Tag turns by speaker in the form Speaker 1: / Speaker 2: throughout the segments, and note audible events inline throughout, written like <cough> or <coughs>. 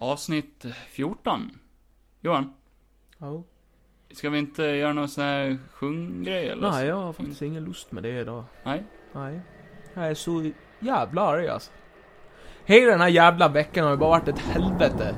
Speaker 1: Avsnitt 14. Johan,
Speaker 2: Ja.
Speaker 1: ska vi inte göra någon sån här sjunggrej eller?
Speaker 2: Nej, jag har faktiskt ingen lust med det idag.
Speaker 1: Nej.
Speaker 2: Nej. Jag är så jävla arg alltså. Hela den här jävla veckan har ju bara varit ett helvete.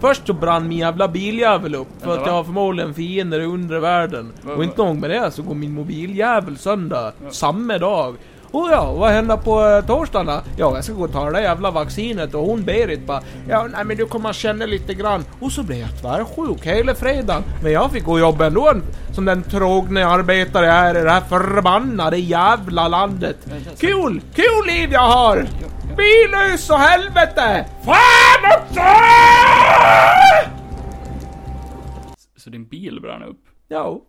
Speaker 2: Först så brann min jävla biljävel upp för
Speaker 1: Vänta,
Speaker 2: att jag
Speaker 1: va?
Speaker 2: har förmodligen fiender i undre världen.
Speaker 1: Va,
Speaker 2: Och
Speaker 1: va?
Speaker 2: inte nog med det så går min mobiljävel sönder.
Speaker 1: Ja.
Speaker 2: Samma dag. Och ja, vad händer på eh, torsdagen då? Ja, jag ska gå och ta det där jävla vaccinet och hon Berit bara Ja, nej men du kommer känna lite grann. Och så blev jag tvärsjuk hela fredagen. Men jag fick gå och jobba ändå som den trogne arbetare jag är i det här förbannade jävla landet.
Speaker 1: Jag känner så.
Speaker 2: Kul! Kul liv jag har!
Speaker 1: ja.
Speaker 2: Bilus och helvete! Fan också!
Speaker 1: Så din bil brann upp?
Speaker 2: Ja.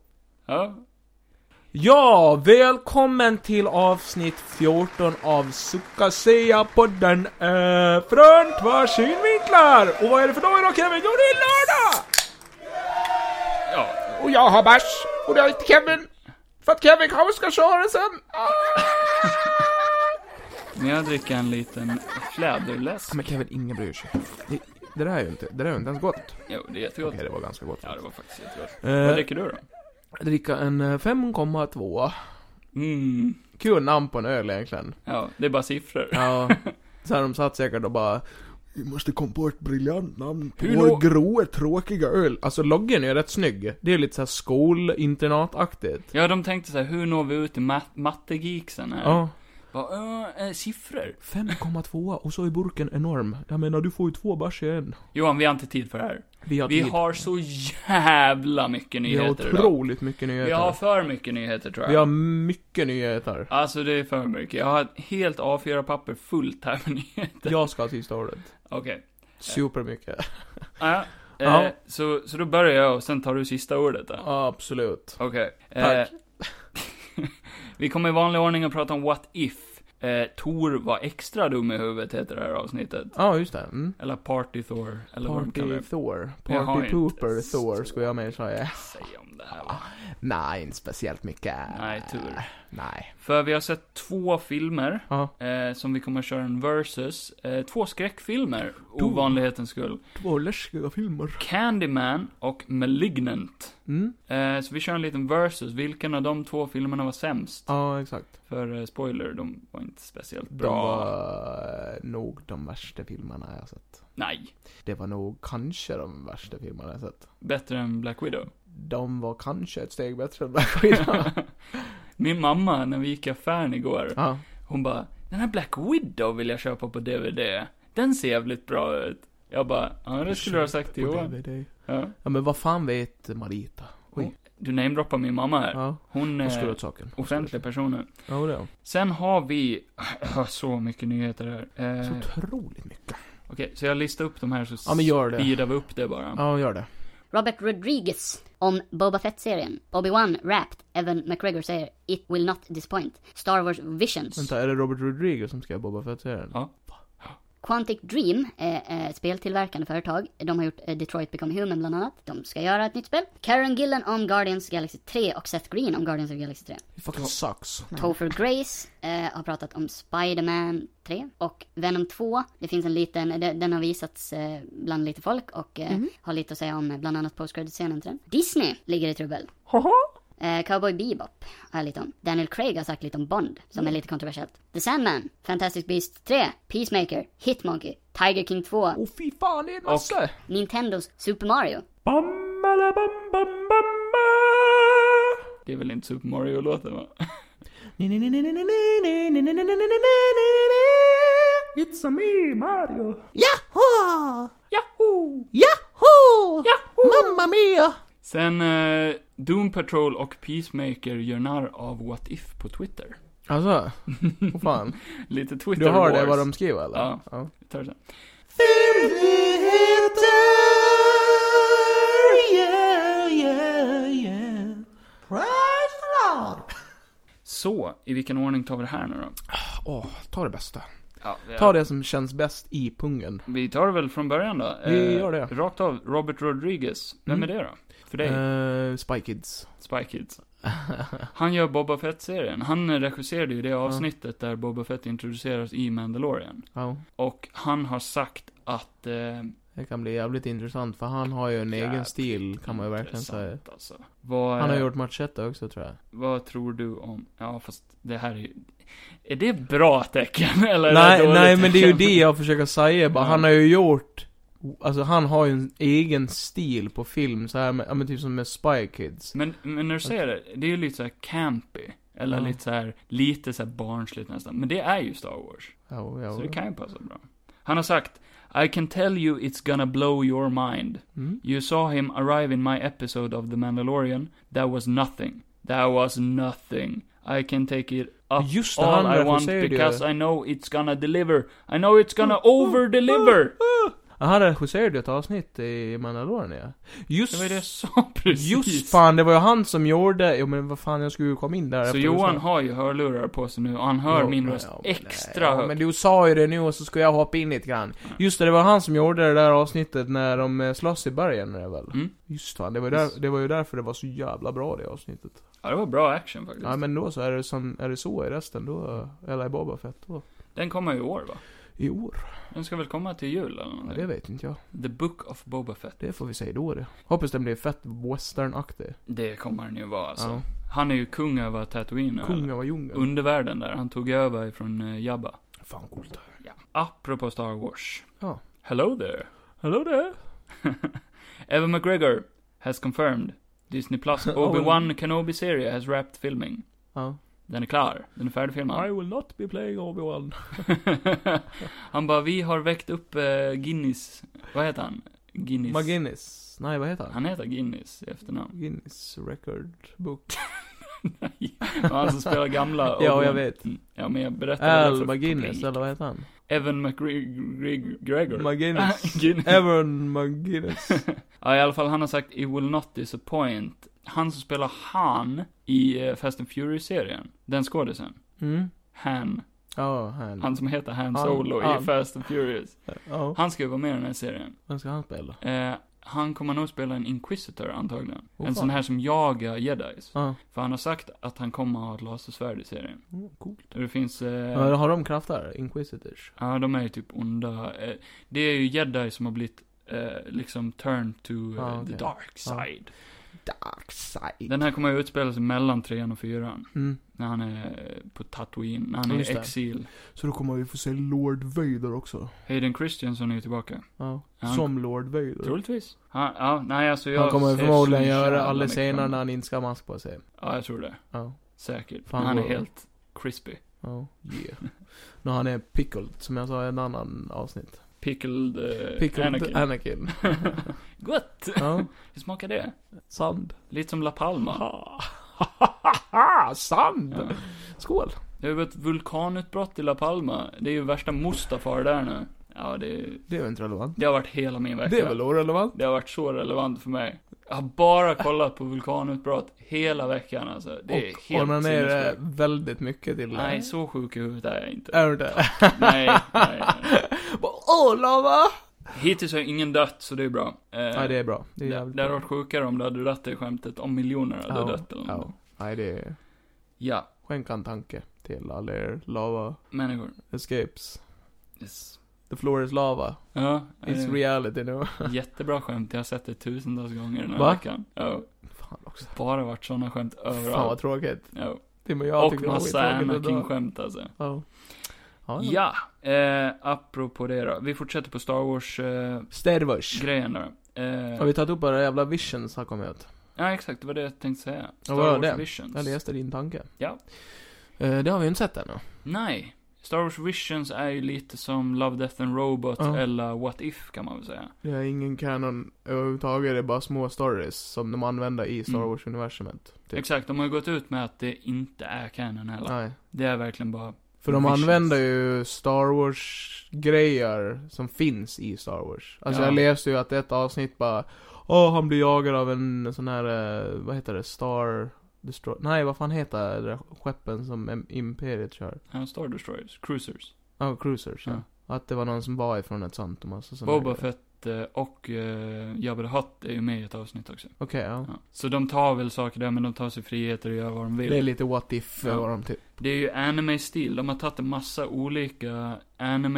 Speaker 1: Ja.
Speaker 2: Ja, välkommen till avsnitt 14 av Sukasea podden eh, från två synvinklar! Och vad är det för dag idag Kevin? Jo, det är lördag!
Speaker 1: Ja.
Speaker 2: Och jag har bärs, och det har inte Kevin. För att Kevin kanske ska köra sen. Ah.
Speaker 1: Men jag dricker en liten fläderläsk.
Speaker 2: Men Kevin, ingen bryr sig. Det, det där är ju inte, det där är ju inte ens gott.
Speaker 1: Jo, det är jättegott.
Speaker 2: det var ganska gott.
Speaker 1: Ja, det var faktiskt jättegott. Vad
Speaker 2: Eh,
Speaker 1: dricker du då?
Speaker 2: dricka en eh, 5,2.
Speaker 1: Mm.
Speaker 2: Kul namn på en öl egentligen.
Speaker 1: Ja, det är bara siffror.
Speaker 2: Ja. <laughs> Sen har de satt säkert och bara Vi måste komma på ett briljant namn på
Speaker 1: Hur
Speaker 2: vår
Speaker 1: nå-
Speaker 2: gråa tråkiga öl. Alltså loggen är ju rätt snygg. Det är lite såhär skolinternataktigt.
Speaker 1: Ja, de tänkte så här, hur når vi ut till mat- mattegeeksen här?
Speaker 2: Ja.
Speaker 1: Bara, "Äh, eh, siffror.
Speaker 2: 5,2 och så är burken enorm. Jag menar du får ju två bärs i en.
Speaker 1: Johan, vi har inte tid för det här.
Speaker 2: Vi har
Speaker 1: Vi
Speaker 2: tid.
Speaker 1: har så jävla mycket
Speaker 2: vi har
Speaker 1: nyheter idag.
Speaker 2: otroligt mycket nyheter.
Speaker 1: Vi har för mycket nyheter tror jag.
Speaker 2: vi har mycket nyheter.
Speaker 1: Alltså det är för mycket. Jag har ett helt A4-papper fullt här med nyheter.
Speaker 2: Jag ska ha sista ordet.
Speaker 1: Okej.
Speaker 2: Supermycket.
Speaker 1: Ja,
Speaker 2: Ja.
Speaker 1: Eh, så, så då börjar jag och sen tar du sista ordet där.
Speaker 2: Absolut.
Speaker 1: Okej. Eh,
Speaker 2: Tack.
Speaker 1: <laughs> vi kommer i vanlig ordning att prata om What If. Eh, Tor var extra dum i huvudet heter det här avsnittet.
Speaker 2: Ja, ah, just det. Mm.
Speaker 1: Eller Party Thor, eller vad man kan
Speaker 2: Party
Speaker 1: det
Speaker 2: Thor.
Speaker 1: Jag har
Speaker 2: Party
Speaker 1: inte
Speaker 2: Pooper Thor
Speaker 1: så-
Speaker 2: skulle jag mer säga.
Speaker 1: säga om det här va?
Speaker 2: Nej, inte speciellt mycket.
Speaker 1: Nej, tur.
Speaker 2: Nej.
Speaker 1: För vi har sett två filmer,
Speaker 2: Ja.
Speaker 1: eh, som vi kommer att köra en versus. Eh, två skräckfilmer,
Speaker 2: Tor.
Speaker 1: ovanlighetens skull.
Speaker 2: Två läskiga filmer.
Speaker 1: Candyman och Malignant.
Speaker 2: Mm.
Speaker 1: Eh, så vi kör en liten versus, vilken av de två filmerna var sämst?
Speaker 2: Ja, exakt.
Speaker 1: För eh, spoiler, de var inte speciellt
Speaker 2: De
Speaker 1: bra.
Speaker 2: var eh, nog de värsta filmerna jag sett.
Speaker 1: Nej.
Speaker 2: Det var nog kanske de värsta filmerna jag sett.
Speaker 1: Bättre än Black
Speaker 2: <laughs>
Speaker 1: Widow.
Speaker 2: De var kanske ett steg bättre än
Speaker 1: <laughs>
Speaker 2: Black Widow.
Speaker 1: Min mamma, när vi gick i affären igår,
Speaker 2: ja.
Speaker 1: hon bara Den här Black Widow vill jag köpa på DVD. Den ser jävligt bra ut. Jag bara, ja det skulle du ha sagt till
Speaker 2: På
Speaker 1: Johan.
Speaker 2: DVD.
Speaker 1: Ja.
Speaker 2: Ja, men vad fan vet Marita? Oj.
Speaker 1: Du namedroppar min mamma här.
Speaker 2: Ja,
Speaker 1: Hon
Speaker 2: hon skulle
Speaker 1: är
Speaker 2: åt saken. Hon skulle åt
Speaker 1: offentlig personen.
Speaker 2: saken. Ja, det är hon.
Speaker 1: Sen har vi, jag har så mycket nyheter här. Eh,
Speaker 2: Så
Speaker 1: Okej,
Speaker 2: otroligt mycket.
Speaker 1: så jag listar upp de här så
Speaker 2: Ja, men gör det.
Speaker 1: speedar vi upp det bara.
Speaker 2: Ja, gör det.
Speaker 3: Robert Rodriguez om Boba Fett-serien. Obi-Wan Wrapped. Evan McGregor säger It will not disappoint. Star Wars Visions.
Speaker 2: Vänta, är det Robert Rodriguez som ska Boba Fett-serien?
Speaker 1: Ja.
Speaker 3: Quantic Dream är eh, speltillverkande företag. De har gjort eh, Detroit Become Human bland annat. De ska göra ett nytt spel. Karen Gillan om Guardians Galaxy 3 och Seth Green om Guardians of Galaxy 3.
Speaker 2: It fucking sucks.
Speaker 3: Topher Grace eh, har pratat om Spider-Man 3 och Venom 2. Det finns en liten, de- den har visats eh, bland lite folk och eh, har lite att säga om eh, bland annat post-credit-scenen till den. Disney ligger i trubbel. Eh, Cowboy Bebop har jag lite om. Daniel Craig har sagt lite om Bond, som är lite kontroversiellt. The Sandman, Fantastic Beasts 3, Peacemaker, Hitmonkey, Tiger King 2,
Speaker 2: Åh fy fan, det är en massa!
Speaker 3: Nintendos Super Mario.
Speaker 1: Det är väl inte Super Mario-låten va? <laughs>
Speaker 2: It's a me, Mario! Jaha!
Speaker 1: Yahoo!
Speaker 2: Jaha! Mamma mia!
Speaker 1: Sen eh, Doom Patrol och Peacemaker gör narr av What If på Twitter. <laughs>
Speaker 2: Alltså, vad fan.
Speaker 1: Lite Twitter
Speaker 2: Du har
Speaker 1: wars.
Speaker 2: det vad de skriver eller?
Speaker 1: Ja. Vi tar det sen. Så, i vilken ordning tar vi det här nu då?
Speaker 2: Åh, ta det bästa.
Speaker 1: Ja, vi,
Speaker 2: Ta det som känns bäst i pungen.
Speaker 1: vi tar det väl från början då? Eh,
Speaker 2: Vi gör det.
Speaker 1: Rakt av, Robert Rodriguez. Vem
Speaker 2: Mm.
Speaker 1: är det då? För dig,
Speaker 2: Eh, Spy Kids.
Speaker 1: Spy
Speaker 2: <laughs>
Speaker 1: Kids. Han gör Boba Fett-serien. Han eh, regisserade ju det avsnittet där Boba Fett introduceras i Mandalorian.
Speaker 2: Ja.
Speaker 1: Och han har sagt att eh,
Speaker 2: Det kan bli jävligt intressant för han har ju en egen
Speaker 1: Jävligt
Speaker 2: stil kan man ju verkligen
Speaker 1: Intressant,
Speaker 2: säga.
Speaker 1: Alltså. Vad,
Speaker 2: Han har gjort Machete också tror jag.
Speaker 1: vad tror du om... Ja, fast det här är ju... Är det bra tecken? <laughs> Eller är
Speaker 2: Nej,
Speaker 1: dåligt
Speaker 2: nej men det är ju
Speaker 1: tecken?
Speaker 2: det jag försöker säga bara.
Speaker 1: Ja.
Speaker 2: Han har ju gjort, alltså han har ju en egen stil på film så här med, ja men typ som med Spy Kids.
Speaker 1: Men, men när du säger det, det är ju lite så här campy. Eller
Speaker 2: Ja.
Speaker 1: lite så här, lite så här barnsligt nästan. Men det är ju Star Wars.
Speaker 2: Jo,
Speaker 1: Så
Speaker 2: jo.
Speaker 1: det kan ju passa bra. Han har sagt, I can tell you it's gonna blow your mind.
Speaker 2: Mm.
Speaker 1: You saw him arrive in my episode of The Mandalorian. That was nothing. That was nothing. I can take it up
Speaker 2: Just det,
Speaker 1: all
Speaker 2: han
Speaker 1: I want
Speaker 2: regisserade ju.
Speaker 1: because I know it's gonna deliver. I know it's gonna
Speaker 2: Oh,
Speaker 1: over-deliver!
Speaker 2: Ja, Han regisserade ju ett avsnitt i Mandalorian ja.
Speaker 1: Det var ju
Speaker 2: Just,
Speaker 1: det jag sa <laughs> precis.
Speaker 2: just fan, det var ju han som gjorde, jo men vad fan jag skulle ju komma in där
Speaker 1: Så
Speaker 2: efter du
Speaker 1: Johan
Speaker 2: sa.
Speaker 1: har ju hörlurar på sig nu och han hör
Speaker 2: Jo,
Speaker 1: min
Speaker 2: men-
Speaker 1: röst
Speaker 2: ja, men
Speaker 1: extra
Speaker 2: nej, ja,
Speaker 1: högt.
Speaker 2: Men du sa ju det nu och så skulle jag hoppa in lite grann. Just det, det var han som gjorde det där avsnittet när de eh, slåss i bergen är det väl?
Speaker 1: Mm.
Speaker 2: Just fan, det var, ju där, det var ju därför det var så jävla bra det avsnittet.
Speaker 1: Ja, det var bra action faktiskt.
Speaker 2: Ja men då så, är det, som, är det så i resten då, eller i Boba Fett då?
Speaker 1: Den kommer i år va?
Speaker 2: I år?
Speaker 1: Den ska väl komma till jul eller
Speaker 2: Ja,
Speaker 1: någonting?
Speaker 2: det vet inte jag.
Speaker 1: The Book of Boba Fett.
Speaker 2: Det får vi säga då det. Hoppas den blir fett westernaktig.
Speaker 1: Det kommer den ju vara alltså.
Speaker 2: Ja.
Speaker 1: Han är ju kung över Tatooine. nu, eller?
Speaker 2: Kung av djungeln.
Speaker 1: Undervärlden där, han tog över ifrån eh, Jabba.
Speaker 2: Fan coolt.
Speaker 1: Apropå Star Wars.
Speaker 2: Ja.
Speaker 1: Hello there.
Speaker 2: Hello there!
Speaker 1: Evan McGregor has confirmed. Disney
Speaker 2: <laughs>
Speaker 1: Plus
Speaker 2: Oh.
Speaker 1: Obi-Wan Kenobi serie has wrapped filming.
Speaker 2: Ja.
Speaker 1: Den är klar. Den är färdigfilmad.
Speaker 2: will not be playing Obi-Wan.
Speaker 1: <laughs> han bara, vi har väckt upp eh, Guinness. Vad heter han? Guinness.
Speaker 2: McGinnis. Nej, vad heter han?
Speaker 1: han heter Guinness i efternamn. <laughs>
Speaker 2: Guinness Record Book.
Speaker 1: Det var Han som spelar gamla
Speaker 2: <laughs> Ja,
Speaker 1: Obi-Wan.
Speaker 2: jag vet.
Speaker 1: Mm. Ja, men jag berättade
Speaker 2: Al McGinnis, eller vad heter han?
Speaker 1: Evan McGregor. <laughs>
Speaker 2: McGinnis. <laughs>
Speaker 1: Guinness.
Speaker 2: Evan <laughs> McGinnis.
Speaker 1: ja, i alla fall, han har sagt It will not disappoint. Han som spelar Han i eh, Fast and Furious-serien, den skådisen.
Speaker 2: Mm.
Speaker 1: Han.
Speaker 2: Ja, han.
Speaker 1: Han som heter Han
Speaker 2: Han-
Speaker 1: Solo
Speaker 2: han.
Speaker 1: i Fast and Furious.
Speaker 2: Ja.
Speaker 1: Han ska ju vara med i den här serien.
Speaker 2: Vem ska han spela?
Speaker 1: Eh, han kommer nog spela en Inquisitor antagligen.
Speaker 2: Åh,
Speaker 1: en
Speaker 2: Oh, fan.
Speaker 1: sån här som jagar jedis.
Speaker 2: Ja.
Speaker 1: För han har sagt att han kommer ha ett lasersvärd i serien.
Speaker 2: Mm, Coolt.
Speaker 1: Och det finns... Eh,
Speaker 2: Ja, har de krafter? Inquisitors?
Speaker 1: Ja, de är ju typ onda. Eh, Det är ju jedi som har blivit eh, liksom turned to eh,
Speaker 2: Ja, okej.
Speaker 1: the dark side.
Speaker 2: Dark side.
Speaker 1: Den här kommer ju utspela sig mellan trean och fyran.
Speaker 2: Mm.
Speaker 1: När han är eh, på Tatooine, när han är
Speaker 2: Just
Speaker 1: i
Speaker 2: det.
Speaker 1: exil.
Speaker 2: Så då kommer vi få se Lord Vader också.
Speaker 1: Hayden Christensen är ju tillbaka.
Speaker 2: Ja.
Speaker 1: Han-
Speaker 2: Som Lord Vader.
Speaker 1: Troligtvis. Han, ja, nej alltså jag
Speaker 2: Typ. han kommer
Speaker 1: ser
Speaker 2: förmodligen
Speaker 1: så
Speaker 2: göra
Speaker 1: jävla
Speaker 2: alla
Speaker 1: mycket fram
Speaker 2: scener
Speaker 1: emot-
Speaker 2: när han inte ska ha mask på sig.
Speaker 1: Ja, jag tror det.
Speaker 2: Ja.
Speaker 1: Säkert.
Speaker 2: Fan,
Speaker 1: han är
Speaker 2: vad-
Speaker 1: helt crispy.
Speaker 2: Ja. Yeah. när han är pickled, som jag sa i en annan avsnitt.
Speaker 1: Pickled, eh,
Speaker 2: Pickled
Speaker 1: Anakin.
Speaker 2: Anakin. Anakin.
Speaker 1: <laughs> Gott!
Speaker 2: ja.
Speaker 1: Hur smakar det?
Speaker 2: Sand.
Speaker 1: Lite som La Palma.
Speaker 2: Sand!
Speaker 1: Ja.
Speaker 2: Skål!
Speaker 1: Det har ju varit vulkanutbrott i La Palma. Det är ju värsta Mustafar där nu. Ja, det,
Speaker 2: Det är väl inte relevant?
Speaker 1: det har varit hela min vecka.
Speaker 2: Det är väl orelevant?
Speaker 1: Det har varit så relevant för mig. Jag har bara kollat på vulkanutbrott hela veckan alltså. Det är
Speaker 2: och eh,
Speaker 1: helt
Speaker 2: onanerar
Speaker 1: sinnessjukt.
Speaker 2: väldigt mycket till det.
Speaker 1: Nej, så sjuk i huvudet är jag inte.
Speaker 2: Är du inte?
Speaker 1: nej, nej, nej.
Speaker 2: <laughs> Bara, Åh, lava!
Speaker 1: Hittills har ingen dött, så det är bra. Eh,
Speaker 2: Nej, det är bra. Det är
Speaker 1: det,
Speaker 2: jävligt
Speaker 1: det hade
Speaker 2: bra.
Speaker 1: varit sjukare om du hade dött det skämtet, om miljoner hade
Speaker 2: Ja,
Speaker 1: dött eller något.
Speaker 2: Ja. Nej, det är...
Speaker 1: Ja,
Speaker 2: Skänk en tanke till alla er lava
Speaker 1: människor.
Speaker 2: escapes.
Speaker 1: Yes.
Speaker 2: The floor is lava.
Speaker 1: Ja,
Speaker 2: It's
Speaker 1: eh,
Speaker 2: reality nu.
Speaker 1: <laughs> jättebra skämt. Jag har sett det tusentals gånger den här
Speaker 2: Va?
Speaker 1: veckan. Ja.
Speaker 2: Fan också.
Speaker 1: Bara varit såna skämt
Speaker 2: Fan vad
Speaker 1: överallt.
Speaker 2: tråkigt.
Speaker 1: Ja.
Speaker 2: Tim och jag
Speaker 1: Och
Speaker 2: tycker det var
Speaker 1: massa
Speaker 2: skittråkigt att dra.
Speaker 1: Anakin-skämt alltså.
Speaker 2: Ja. Ja, ja.
Speaker 1: Ja, eh, apropå det då. Vi fortsätter på Star Wars-grejen
Speaker 2: Stervers.
Speaker 1: då. Eh,
Speaker 2: Har vi tagit upp alla jävla visions har kommit ut?
Speaker 1: Ja, exakt. Det var det jag tänkte säga. Star
Speaker 2: vad var
Speaker 1: Wars
Speaker 2: det?
Speaker 1: Visions.
Speaker 2: Jag läste din tanke.
Speaker 1: Ja.
Speaker 2: Eh, det har vi inte sett ännu.
Speaker 1: Nej. Star Wars Visions är ju lite som Love, Death and Robot
Speaker 2: Ja.
Speaker 1: eller What If kan man väl säga.
Speaker 2: Det är ingen canon överhuvudtaget, det är bara små stories som de använder i Star
Speaker 1: Mm.
Speaker 2: Wars-universumet. Typ.
Speaker 1: Exakt, de har ju gått ut med att det inte är canon heller.
Speaker 2: Nej.
Speaker 1: Det är verkligen bara...
Speaker 2: För de
Speaker 1: Visions.
Speaker 2: använder ju Star Wars-grejer som finns i Star Wars. Alltså
Speaker 1: Ja.
Speaker 2: jag läste ju att ett avsnitt bara, åh han blir jagad av en sån här, eh, vad heter det, Star Destroyer? Nej, vad fan heter det där skeppen som Im- Imperiet kör?
Speaker 1: Ja, Star Destroyers, Cruisers.
Speaker 2: Ja, Cruisers ja.
Speaker 1: Ja.
Speaker 2: Att det var någon som var ifrån ett sånt och massa såna här
Speaker 1: Boba
Speaker 2: grejer.
Speaker 1: Fett eh, och eh, Jabba the Hutt är ju med i ett avsnitt också.
Speaker 2: Okej, ja.
Speaker 1: Ja. Så de tar väl saker där, men de tar sig friheter och gör vad de vill.
Speaker 2: Det är lite what if,
Speaker 1: Ja.
Speaker 2: vad de typ.
Speaker 1: Det är ju anime-stil. De har tagit en massa olika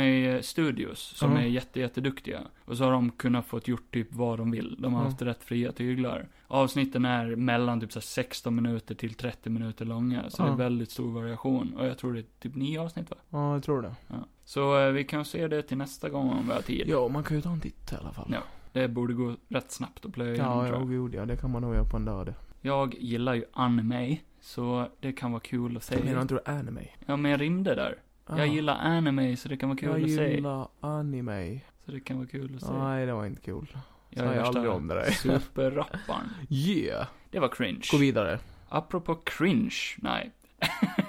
Speaker 1: anime-studios som
Speaker 2: Ja.
Speaker 1: är jätte, jätteduktiga. Och så har de kunnat få gjort typ vad de vill. De har
Speaker 2: Ja.
Speaker 1: haft rätt fria tyglar. Avsnitten är mellan typ så här 16 minuter till 30 minuter långa. Så det
Speaker 2: Ja.
Speaker 1: är väldigt stor variation. Och jag tror det är typ nio avsnitt va?
Speaker 2: Ja, jag tror det.
Speaker 1: Ja. Så eh, vi kan se det till nästa gång om vi har tid.
Speaker 2: Ja, man kan ju ta en titt i alla fall.
Speaker 1: Ja, Det borde gå rätt snabbt att plöja igenom,
Speaker 2: Ja,
Speaker 1: tror
Speaker 2: ja,
Speaker 1: jag.
Speaker 2: god ja. Det kan man nog göra på en dag det.
Speaker 1: jag gillar ju anime. Så det kan vara kul att se.
Speaker 2: Menar inte du anime?
Speaker 1: Ja, men jag rymde där.
Speaker 2: Ah.
Speaker 1: Jag gillar anime, så det kan vara kul
Speaker 2: Jag
Speaker 1: att se.
Speaker 2: gillar anime.
Speaker 1: Så det kan vara kul att se.
Speaker 2: Nej, det var inte kul. sa jag
Speaker 1: värsta
Speaker 2: aldrig om det där. <laughs>
Speaker 1: Superrapparen.
Speaker 2: Yeah.
Speaker 1: Det var cringe.
Speaker 2: Gå vidare.
Speaker 1: Apropå cringe, nej.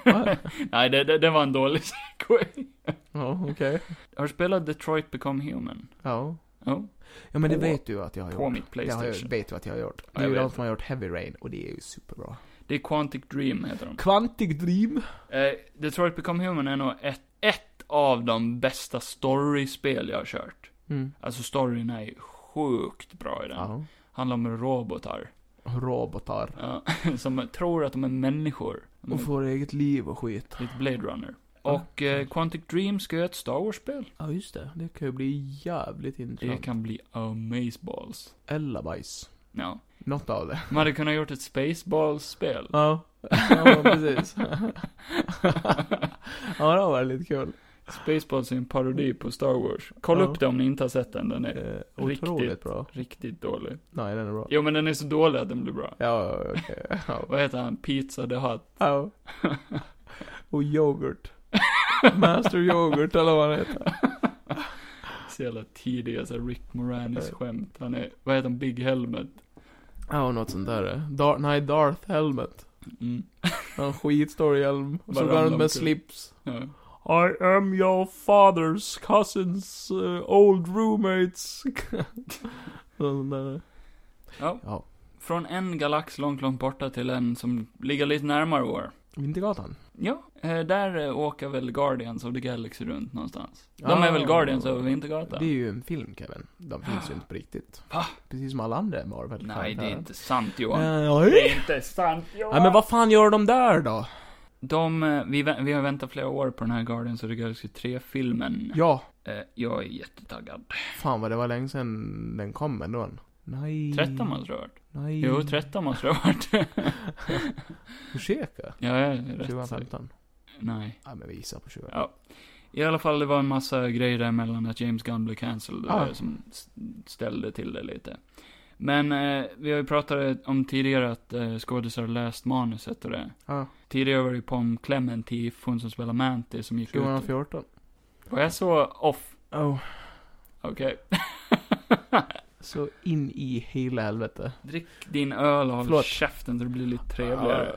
Speaker 2: Ah.
Speaker 1: <laughs> nej, det, det, det var en dålig <laughs> segway.
Speaker 2: Ja, okej.
Speaker 1: Har du spelat Detroit Become Human?
Speaker 2: Ja.
Speaker 1: Ja,
Speaker 2: Ja, men det
Speaker 1: På-
Speaker 2: vet du att jag har
Speaker 1: på
Speaker 2: gjort.
Speaker 1: mitt
Speaker 2: Det har jag,
Speaker 1: Playstation.
Speaker 2: vet du att jag har gjort.
Speaker 1: Ja,
Speaker 2: Det är
Speaker 1: jag
Speaker 2: ju
Speaker 1: vet
Speaker 2: de som har gjort Heavy Rain och det är ju superbra.
Speaker 1: Det är Quantic Dream, heter de.
Speaker 2: Quantic Dream.
Speaker 1: Eh, Detroit Become Human är nog ett, ett av de bästa story-spel jag har kört.
Speaker 2: Mm.
Speaker 1: Alltså, storyn är sjukt bra i den.
Speaker 2: Ja.
Speaker 1: Handlar om robotar.
Speaker 2: Robotar.
Speaker 1: Ja, <laughs> som tror att de är människor. De
Speaker 2: Och
Speaker 1: är
Speaker 2: får eget liv och skit.
Speaker 1: lite Blade Runner.
Speaker 2: Ja.
Speaker 1: Och eh, Quantic Dream ska göra ett Star Wars-spel.
Speaker 2: Ja, just det. Det kan ju bli jävligt
Speaker 1: Det
Speaker 2: intressant.
Speaker 1: kan bli amazeballs.
Speaker 2: Eller bajs.
Speaker 1: Ja.
Speaker 2: Något av det.
Speaker 1: Man hade kunnat gjort ett <laughs> spaceballs-spel.
Speaker 2: Ja. <laughs> ja, precis. ja, det var lite kul.
Speaker 1: Spaceballs är en parodi på Star Wars. Kolla
Speaker 2: Ja.
Speaker 1: upp det om ni inte har sett den, den är
Speaker 2: Eh,
Speaker 1: Riktigt.
Speaker 2: otroligt bra.
Speaker 1: riktigt dålig.
Speaker 2: Nej, den är bra.
Speaker 1: Jo men den är så dålig att den blir bra.
Speaker 2: Ja, ja, okej. Ja.
Speaker 1: Vad heter han? Pizza the Hut.
Speaker 2: Ja. <laughs> Och yoghurt. Master yoghurt, eller vad han heter.
Speaker 1: Så jävla tidiga så här Rick Moranis skämt. Han är, vad heter han? Big Helmet.
Speaker 2: Ja, något sånt där. eh. Dar- nej, Darth Helmet.
Speaker 1: Mm.
Speaker 2: Han skitstor hjälm. Och så
Speaker 1: Bara
Speaker 2: går han
Speaker 1: ramlar
Speaker 2: med
Speaker 1: omkull.
Speaker 2: slips.
Speaker 1: Ja.
Speaker 2: I am your father's cousins eh, old roommates. <laughs> Sån där.
Speaker 1: ja.
Speaker 2: Ja.
Speaker 1: Från en galax långt, långt borta till en som ligger lite närmare vår.
Speaker 2: Vintergatan.
Speaker 1: Ja, eh, där eh, åker väl Guardians of the Galaxy runt någonstans. De är
Speaker 2: Ah.
Speaker 1: väl Guardians över Vintergatan?
Speaker 2: Det är ju en film Kevin. De finns ju inte på riktigt.
Speaker 1: Va?
Speaker 2: Precis som alla andra Marvel
Speaker 1: Nej, det är inte sant Johan.
Speaker 2: Nej,
Speaker 1: inte sant
Speaker 2: Nej, men vad fan gör de där då?
Speaker 1: De, eh, vi, vä- vi har väntat flera år på den här Guardians of the Galaxy 3-filmen.
Speaker 2: Ja,
Speaker 1: Eh, jag är jättetaggad.
Speaker 2: fan vad det var länge sedan den kom ändå. Nej.
Speaker 1: 13 måste det ha varit.
Speaker 2: Nej.
Speaker 1: Jo, 13 måste det ha varit. <laughs>
Speaker 2: Försöka.
Speaker 1: ja, jag är rätt säker.
Speaker 2: 2015.
Speaker 1: Nej.
Speaker 2: Nej, men vi gissar på 20.
Speaker 1: Ja. I alla fall, det var en massa grejer däremellan att James Gunn blev cancelled
Speaker 2: Ah.
Speaker 1: eh, som s- ställde till det lite. Men eh, vi har ju pratat om tidigare att eh, skådisar har läst manuset och det.
Speaker 2: Ja.
Speaker 1: Tidigare var det ju Pom Clementif, hon som spelar Mantis, som gick ut.
Speaker 2: 2014.
Speaker 1: Var jag så off?
Speaker 2: Oh.
Speaker 1: Okej.
Speaker 2: Så in i hela helvete.
Speaker 1: Drick din öl och håll
Speaker 2: Förlåt.
Speaker 1: käften så det blir lite trevligare.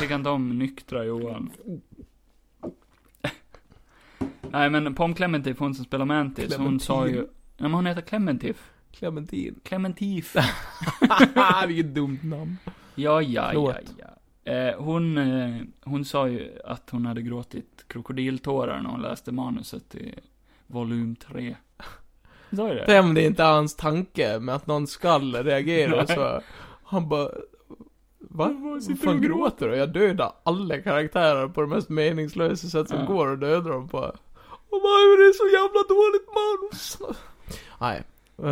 Speaker 1: Tycker inte om nyktra Johan. Nej men Pom Clementif, hon som spelar Mantis, hon sa ju... Nej
Speaker 2: Clementine.
Speaker 1: men hon heter Clementif.
Speaker 2: Clementin.
Speaker 1: <laughs> Clementif.
Speaker 2: <laughs> Vilket dumt namn.
Speaker 1: Ja, ja, ja,
Speaker 2: Förlåt.
Speaker 1: ja. Eh, hon, eh, hon sa ju att hon hade gråtit krokodiltårar när hon läste manuset i volym 3. <laughs> Sa ju det?
Speaker 2: Stämde inte hans tanke med att någon skall reagera och så. Han bara... Va? Vad
Speaker 1: sitter
Speaker 2: fan
Speaker 1: och
Speaker 2: gråter du? Jag dödar alla karaktärer på det mest meningslösa sätt som
Speaker 1: Ja.
Speaker 2: går och dödar dem på. Och bara, "Men det är så jävla dåligt manus. Nej.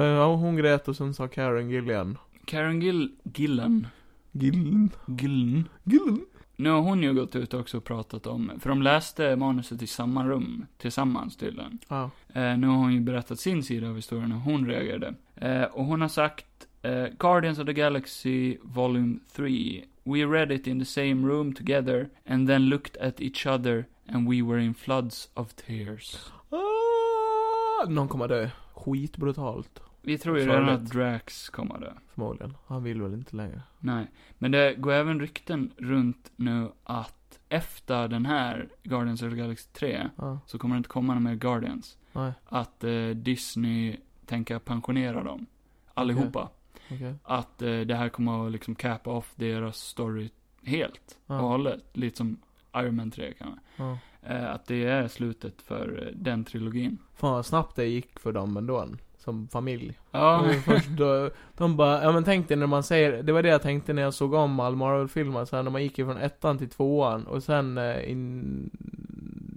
Speaker 2: Eh, ja, hon grät och sen sa Karen Gillian.
Speaker 1: Karen Gill, Gillan.
Speaker 2: Gillen?
Speaker 1: Gillen.
Speaker 2: Gillen?
Speaker 1: Nu har hon ju gått ut också och pratat om, för de läste manuset i samma rum, tillsammans tydligen.
Speaker 2: Ja.
Speaker 1: Eh, nu har hon ju berättat sin sida av historien och hon reagerade. Eh, och hon har sagt eh, Guardians of the Galaxy Volume 3. We read it in the same room together and then looked at each other and we were in floods of tears.
Speaker 2: Ah, någon kommer dö. Skitbrutalt.
Speaker 1: Vi tror ju
Speaker 2: Sorgligt.
Speaker 1: redan att Drax kommer dö.
Speaker 2: Förmodligen. Han vill väl inte längre.
Speaker 1: Nej. Men det går även rykten runt nu att efter den här Guardians of the Galaxy 3
Speaker 2: Ja.
Speaker 1: så kommer det inte komma några mer Guardians.
Speaker 2: Nej.
Speaker 1: Att eh, Disney tänker pensionera dem. Allihopa.
Speaker 2: Okej.
Speaker 1: att eh, det här kommer att liksom capa off deras story helt
Speaker 2: Ja.
Speaker 1: och hållet. Lite som Iron Man 3 kanske.
Speaker 2: Ja.
Speaker 1: Eh, att det är slutet för eh, den trilogin.
Speaker 2: Fan vad snabbt det gick för dem ändå. Så som familj.
Speaker 1: Ja.
Speaker 2: Och Först då, de bara, ja men tänk dig när man säger, det var det jag tänkte när jag såg om all Marvel-filmer, så här, när man gick ifrån ettan till tvåan och sen eh, in,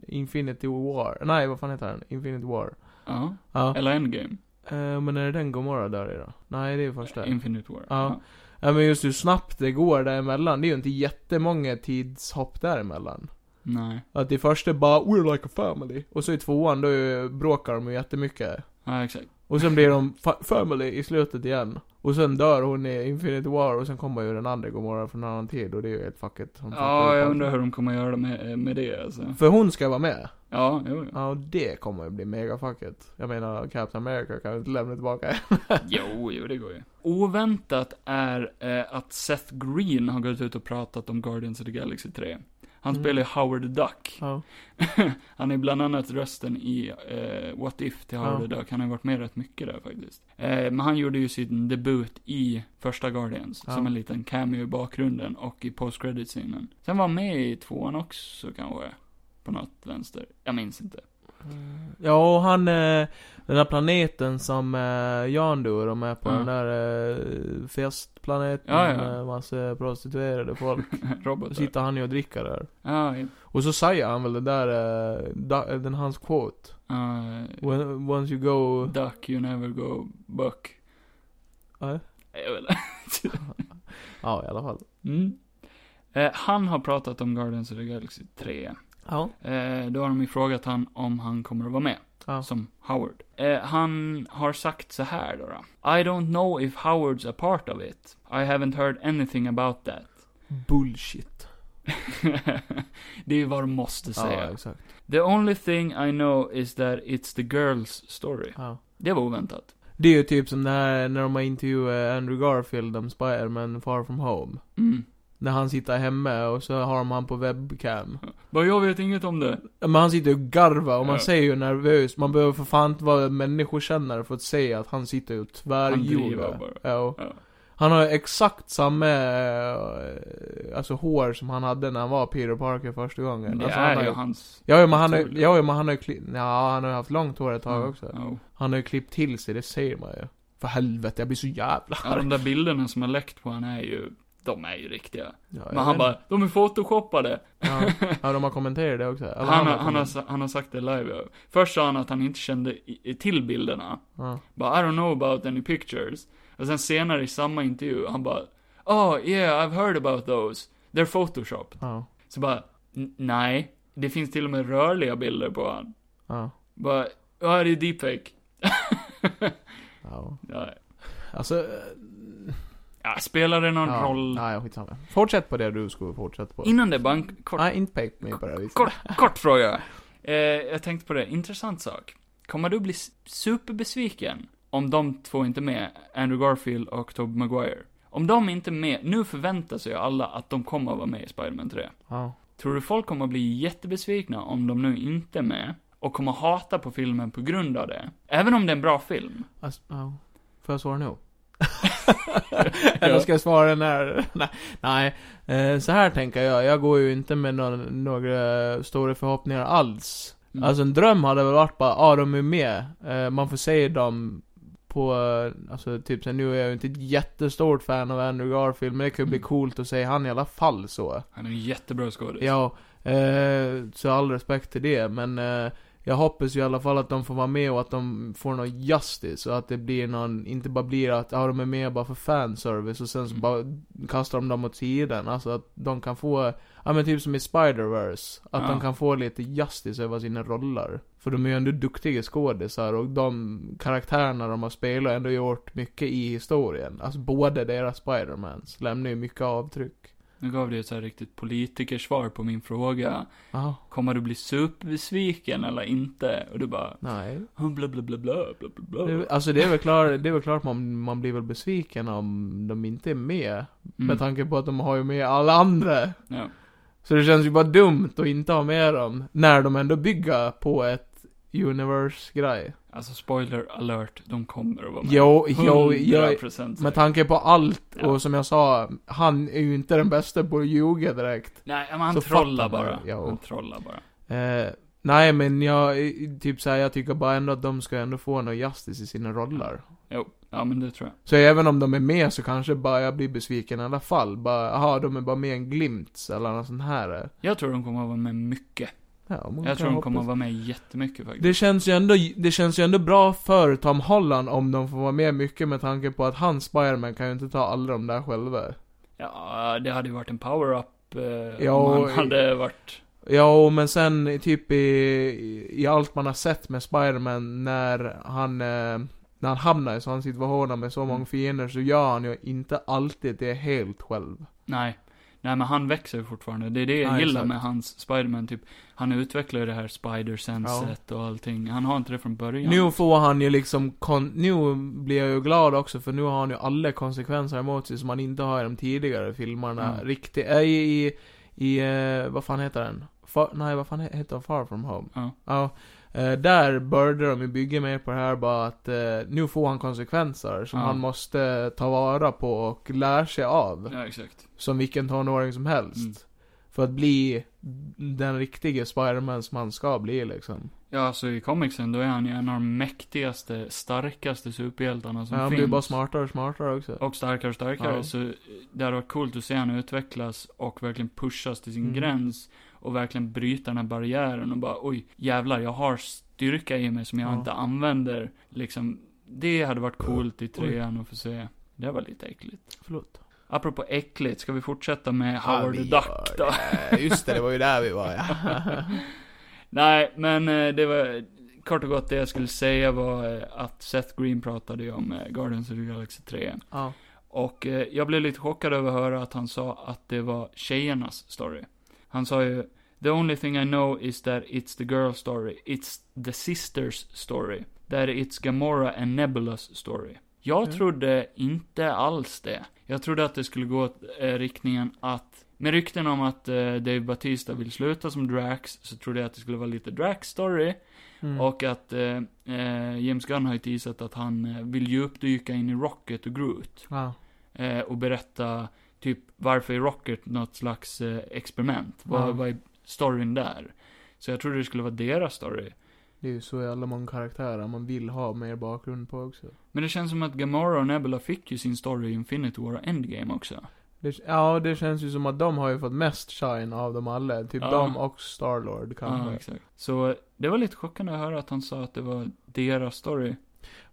Speaker 2: Infinity War, nej vad fan heter den? Infinity War.
Speaker 1: <laughs> ja.
Speaker 2: Ja.
Speaker 1: Eller Endgame.
Speaker 2: Eh, men är det den Gomorra dör i då? Nej det är första.
Speaker 1: Infinite War.
Speaker 2: Ja. Ja men just hur snabbt det går däremellan, det är ju inte jättemånga tidshopp däremellan.
Speaker 1: Nej.
Speaker 2: Att i första bara 'We're like a family' och så i tvåan då är- bråkar de ju jättemycket.
Speaker 1: Ja, exakt.
Speaker 2: Och sen blir de fa- 'family' i slutet igen. Och sen dör hon i Infinity War och sen kommer ju den andra Gomorra från en annan tid och det är ju helt fucket.
Speaker 1: Ja, jag undrar hur de kommer göra med, med det alltså.
Speaker 2: För hon ska vara med.
Speaker 1: Ja, jo, jo.
Speaker 2: Ja och det kommer ju bli mega fucket. Jag menar Captain America kan ju inte lämna tillbaka
Speaker 1: Jo, jo, det går ju. Oväntat är eh, att Seth Green har gått ut och pratat om Guardians of the Galaxy 3. Han
Speaker 2: Mm.
Speaker 1: spelar ju Howard the Duck.
Speaker 2: <laughs> Ja.
Speaker 1: han är bland annat rösten i eh, What If till Howard the Duck. Han har ju varit med rätt mycket där faktiskt. Eh, men han gjorde ju sin debut i första Guardians,
Speaker 2: Ja.
Speaker 1: som en liten cameo i bakgrunden och i post credit scenen Sen var han med i tvåan också kanske, på något vänster. Jag minns inte. <laughs>
Speaker 2: Ja, och han, eh, den där planeten som eh, Jandu och de är på,
Speaker 1: Ja.
Speaker 2: den där eh, festplaneten,
Speaker 1: Ja, ja.
Speaker 2: eh, massa
Speaker 1: <laughs>
Speaker 2: prostituerade folk. Då
Speaker 1: Robotar.
Speaker 2: sitter han ju och dricker där.
Speaker 1: Ja, ja.
Speaker 2: Och så säger han väl det där, eh, da, den hans quote.
Speaker 1: ja,
Speaker 2: When, once you go...
Speaker 1: Eh, Duck, you never go buck.
Speaker 2: Ja.
Speaker 1: Jag vet inte.
Speaker 2: Ja, i alla fall.
Speaker 1: Mm. Eh, han har pratat om Guardians of the Galaxy 3.
Speaker 2: Ja.
Speaker 1: Eh, då har de ju frågat han om han kommer att vara med.
Speaker 2: Ja.
Speaker 1: Som Howard. Eh, han har sagt så här då, då. I don't know if Howard's a part of it. I haven't heard anything about that. <laughs>
Speaker 2: Bullshit.
Speaker 1: det är ju vad de måste säga.
Speaker 2: Ja, exakt.
Speaker 1: The only thing I know is that it's the girl's story.
Speaker 2: Ja.
Speaker 1: Det var oväntat.
Speaker 2: Det är ju typ som det här när de har intervjuat Andrew Garfield om Spiderman Far From Home.
Speaker 1: Mm.
Speaker 2: När han sitter hemma och så har de han på webcam.
Speaker 1: Bara, jag vet inget om det.
Speaker 2: Ja, Men han sitter och garvar och man
Speaker 1: Ja.
Speaker 2: ser ju nervös. Man behöver för fan inte vara människokännare för att se att han sitter och
Speaker 1: Han driver
Speaker 2: tvärjordar.
Speaker 1: bara.
Speaker 2: Ja.
Speaker 1: Ja.
Speaker 2: Han har ju exakt samma, eh, alltså hår som han hade när han var Peter Parker första gången.
Speaker 1: Men det
Speaker 2: alltså,
Speaker 1: är
Speaker 2: han har
Speaker 1: ju
Speaker 2: ju...
Speaker 1: hans...
Speaker 2: Ja, ja, men han har
Speaker 1: Otroligt. Mm.
Speaker 2: ja, ja, men han har ju klippt, ja, han har ju haft långt hår ett tag
Speaker 1: Ja,
Speaker 2: också.
Speaker 1: ja.
Speaker 2: Han har ju klippt till sig, det ser man ju. För helvete, jag blir så jävla
Speaker 1: Ja, de där bilderna som har läckt på han är ju, de är ju riktiga.
Speaker 2: Ja, jag
Speaker 1: Men han
Speaker 2: vet
Speaker 1: bara, de är photoshoppade.
Speaker 2: inte. Ja, ja, de har kommenterat det också. Eller
Speaker 1: Han, har- han, har,
Speaker 2: kommenterat.
Speaker 1: sa- han har sagt det live. ja. Först sa han att han inte kände i- i- till bilderna.
Speaker 2: Ja.
Speaker 1: Bara, I don't know about any pictures. Och sen senare i samma intervju, han bara, Oh yeah, I've heard about those. They're photoshopped.
Speaker 2: Ja.
Speaker 1: Så bara, "N- nej. Det finns till och med rörliga bilder på han.
Speaker 2: Ja.
Speaker 1: Bara, ja det är deepfake. <laughs>
Speaker 2: Ja.
Speaker 1: ja,
Speaker 2: Alltså, eh,
Speaker 1: ja, spelar det någon
Speaker 2: ja.
Speaker 1: roll?
Speaker 2: Nej, skitsamma. Fortsätt på det du skulle fortsätta på.
Speaker 1: Innan det, bara en kort
Speaker 2: Nej, inte pek mig på det viset.
Speaker 1: Kort, kort fråga. Eh, jag tänkte på det, intressant sak. Kommer du bli s- superbesviken om de två inte är med, Andrew Garfield och Tobey Maguire? Om de inte är med, nu förväntar sig ju alla att de kommer att vara med i Spider-Man 3.
Speaker 2: Ja.
Speaker 1: Tror du folk kommer att bli jättebesvikna om de nu inte är med och kommer hata på filmen på grund av det? Även om det är en bra film.
Speaker 2: Alltså, ja. Får jag
Speaker 1: <laughs>
Speaker 2: svara nu? Eller ska jag svara när? Nej. Nej. Eh, Så här tänker jag. Jag går ju inte med någon, några stora förhoppningar alls.
Speaker 1: Mm.
Speaker 2: Alltså en dröm hade väl varit bara, ja ah, de är med. Eh, Man får se dem på, eh, alltså typ sen nu är jag ju inte ett jättestort fan av Andrew Garfield, men det kan ju bli
Speaker 1: Mm.
Speaker 2: coolt att se han i alla fall så.
Speaker 1: Han är en jättebra skådis.
Speaker 2: Ja, eh, så all respekt till det, men eh, jag hoppas ju i alla fall att de får vara med och att de får någon justice och att det blir någon, inte bara blir att ja, de är med bara för fanservice och sen så
Speaker 1: Mm.
Speaker 2: bara kastar de dem åt sidan. Alltså att de kan få, ja men typ som i Spider-Verse, att
Speaker 1: Ja.
Speaker 2: de kan få lite justice över sina roller. För de är ju ändå duktiga skådisar och de karaktärerna de har spelat har ändå gjort mycket i historien. Alltså båda deras Spider-Mans lämnar ju mycket avtryck.
Speaker 1: Nu gav du ett så här riktigt politikersvar på min fråga.
Speaker 2: Ja,
Speaker 1: Kommer du bli superbesviken eller inte? Och du bara,
Speaker 2: nej.
Speaker 1: Bla, bla, bla, bla, bla, bla, bla.
Speaker 2: Det- Alltså det är väl klart, det är väl klart man, man blir väl besviken om de inte är med.
Speaker 1: Mm.
Speaker 2: Med tanke på att de har ju med alla andra.
Speaker 1: Ja.
Speaker 2: Så det känns ju bara dumt att inte ha med dem. När de ändå bygger på ett universe-grej.
Speaker 1: Alltså, spoiler alert, de kommer att vara med.
Speaker 2: Jo, jo, jo.
Speaker 1: 100%
Speaker 2: Med tanke på allt,
Speaker 1: Ja.
Speaker 2: och som jag sa, han är ju inte den bästa på att ljuga direkt.
Speaker 1: Nej, men han
Speaker 2: så
Speaker 1: trollar
Speaker 2: fattar
Speaker 1: bara.
Speaker 2: man det, ja.
Speaker 1: Han trollar bara.
Speaker 2: Eh, Nej men jag, i- typ såhär, jag tycker bara ändå att de ska ändå få någon justice i sina roller.
Speaker 1: Jo, ja men det tror jag.
Speaker 2: Så även om de är med så kanske bara jag blir besviken i alla fall. Bara, aha, de är bara med i en glimt eller något sånt här.
Speaker 1: Jag tror de kommer att vara med mycket.
Speaker 2: Ja, man kan
Speaker 1: Jag tror de kommer
Speaker 2: hoppas.
Speaker 1: att vara med jättemycket faktiskt.
Speaker 2: Det känns ju ändå, det känns ju ändå bra för Tom Holland om de får vara med mycket med tanke på att hans Spiderman kan ju inte ta alla de där själva.
Speaker 1: Ja, det hade ju varit en power-up eh,
Speaker 2: Ja,
Speaker 1: om
Speaker 2: och-
Speaker 1: han hade varit...
Speaker 2: Ja, men sen i typ i, i allt man har sett med Spiderman när han, eh, när han hamnar i sådana situationer med så många fiender så gör han ju inte alltid det helt själv.
Speaker 1: Nej. Nej, men han växer ju fortfarande. Det är det jag
Speaker 2: Ja,
Speaker 1: gillar
Speaker 2: exakt.
Speaker 1: med hans Spiderman, typ. Han utvecklar ju det här spider-senset och allting. Han har inte det från början.
Speaker 2: Nu får han ju liksom, kon- nu blir jag ju glad också för nu har han ju alla konsekvenser emot sig som han inte har i de tidigare filmerna.
Speaker 1: Mm.
Speaker 2: Riktigt, äh, i, i, i eh, vad fan heter den? Far, nej, vad fan he- heter den? Far from home?
Speaker 1: Ja.
Speaker 2: Ja. eh, där började de ju bygga mer på det här bara att eh, nu får han konsekvenser som
Speaker 1: Ja.
Speaker 2: han måste ta vara på och lära sig av.
Speaker 1: Ja, exakt.
Speaker 2: Som vilken tonåring som helst.
Speaker 1: Mm.
Speaker 2: För att bli den riktiga Spiderman som han ska bli liksom.
Speaker 1: Ja, alltså i comicsen, då är han ju en av de mäktigaste, starkaste superhjältarna som
Speaker 2: Ja, han
Speaker 1: finns.
Speaker 2: blir bara smartare och smartare också.
Speaker 1: Och starkare och starkare.
Speaker 2: Ja.
Speaker 1: Så det hade varit coolt att se han utvecklas och verkligen pushas till sin
Speaker 2: Mm.
Speaker 1: gräns. Och verkligen bryta den här barriären och bara oj, jävlar jag har styrka i mig som jag
Speaker 2: Ja.
Speaker 1: inte använder. Liksom, det hade varit coolt i trean att få se. Det var lite äckligt.
Speaker 2: Förlåt.
Speaker 1: Apropå äckligt, ska vi fortsätta med Howard the
Speaker 2: vi
Speaker 1: Duck då?
Speaker 2: var- Just det, det var ju där vi var ja.
Speaker 1: Nej, men eh, det var kort och gott det jag skulle säga var eh, att Seth Green pratade ju om eh, Guardians of the Galaxy 3.
Speaker 2: <laughs> ja.
Speaker 1: Och eh, jag blev lite chockad över att höra att han sa att det var tjejernas story. Han sa ju The only thing I know is that it's the girl story. It's the sisters story. That it's Gamora and Nebulas story. Jag
Speaker 2: Mm.
Speaker 1: trodde inte alls det. Jag trodde att det skulle gå åt eh, riktningen att med rykten om att eh, Dave Batista vill sluta som Drax, så trodde jag att det skulle vara lite Drax-story.
Speaker 2: Mm.
Speaker 1: Och att eh, eh, James Gunn har ju teasat att han eh, vill djupdyka in i Rocket och Groot
Speaker 2: ja.
Speaker 1: eh, och berätta typ varför är Rocket något slags eh, experiment?
Speaker 2: Ja.
Speaker 1: Vad, vad är storyn där? Så jag trodde det skulle vara deras story.
Speaker 2: Det är ju så jävla många karaktärer man vill ha mer bakgrund på också.
Speaker 1: Men det känns som att Gamora och Nebula fick ju sin story i Infinity War och Endgame också.
Speaker 2: Det, ja, det känns ju som att de har ju fått mest shine av dem alla. Typ
Speaker 1: Ja.
Speaker 2: de och Starlord
Speaker 1: Ja,
Speaker 2: kanske.
Speaker 1: Ah, exakt. Så det var lite chockande att höra att han sa att det var deras story. <laughs>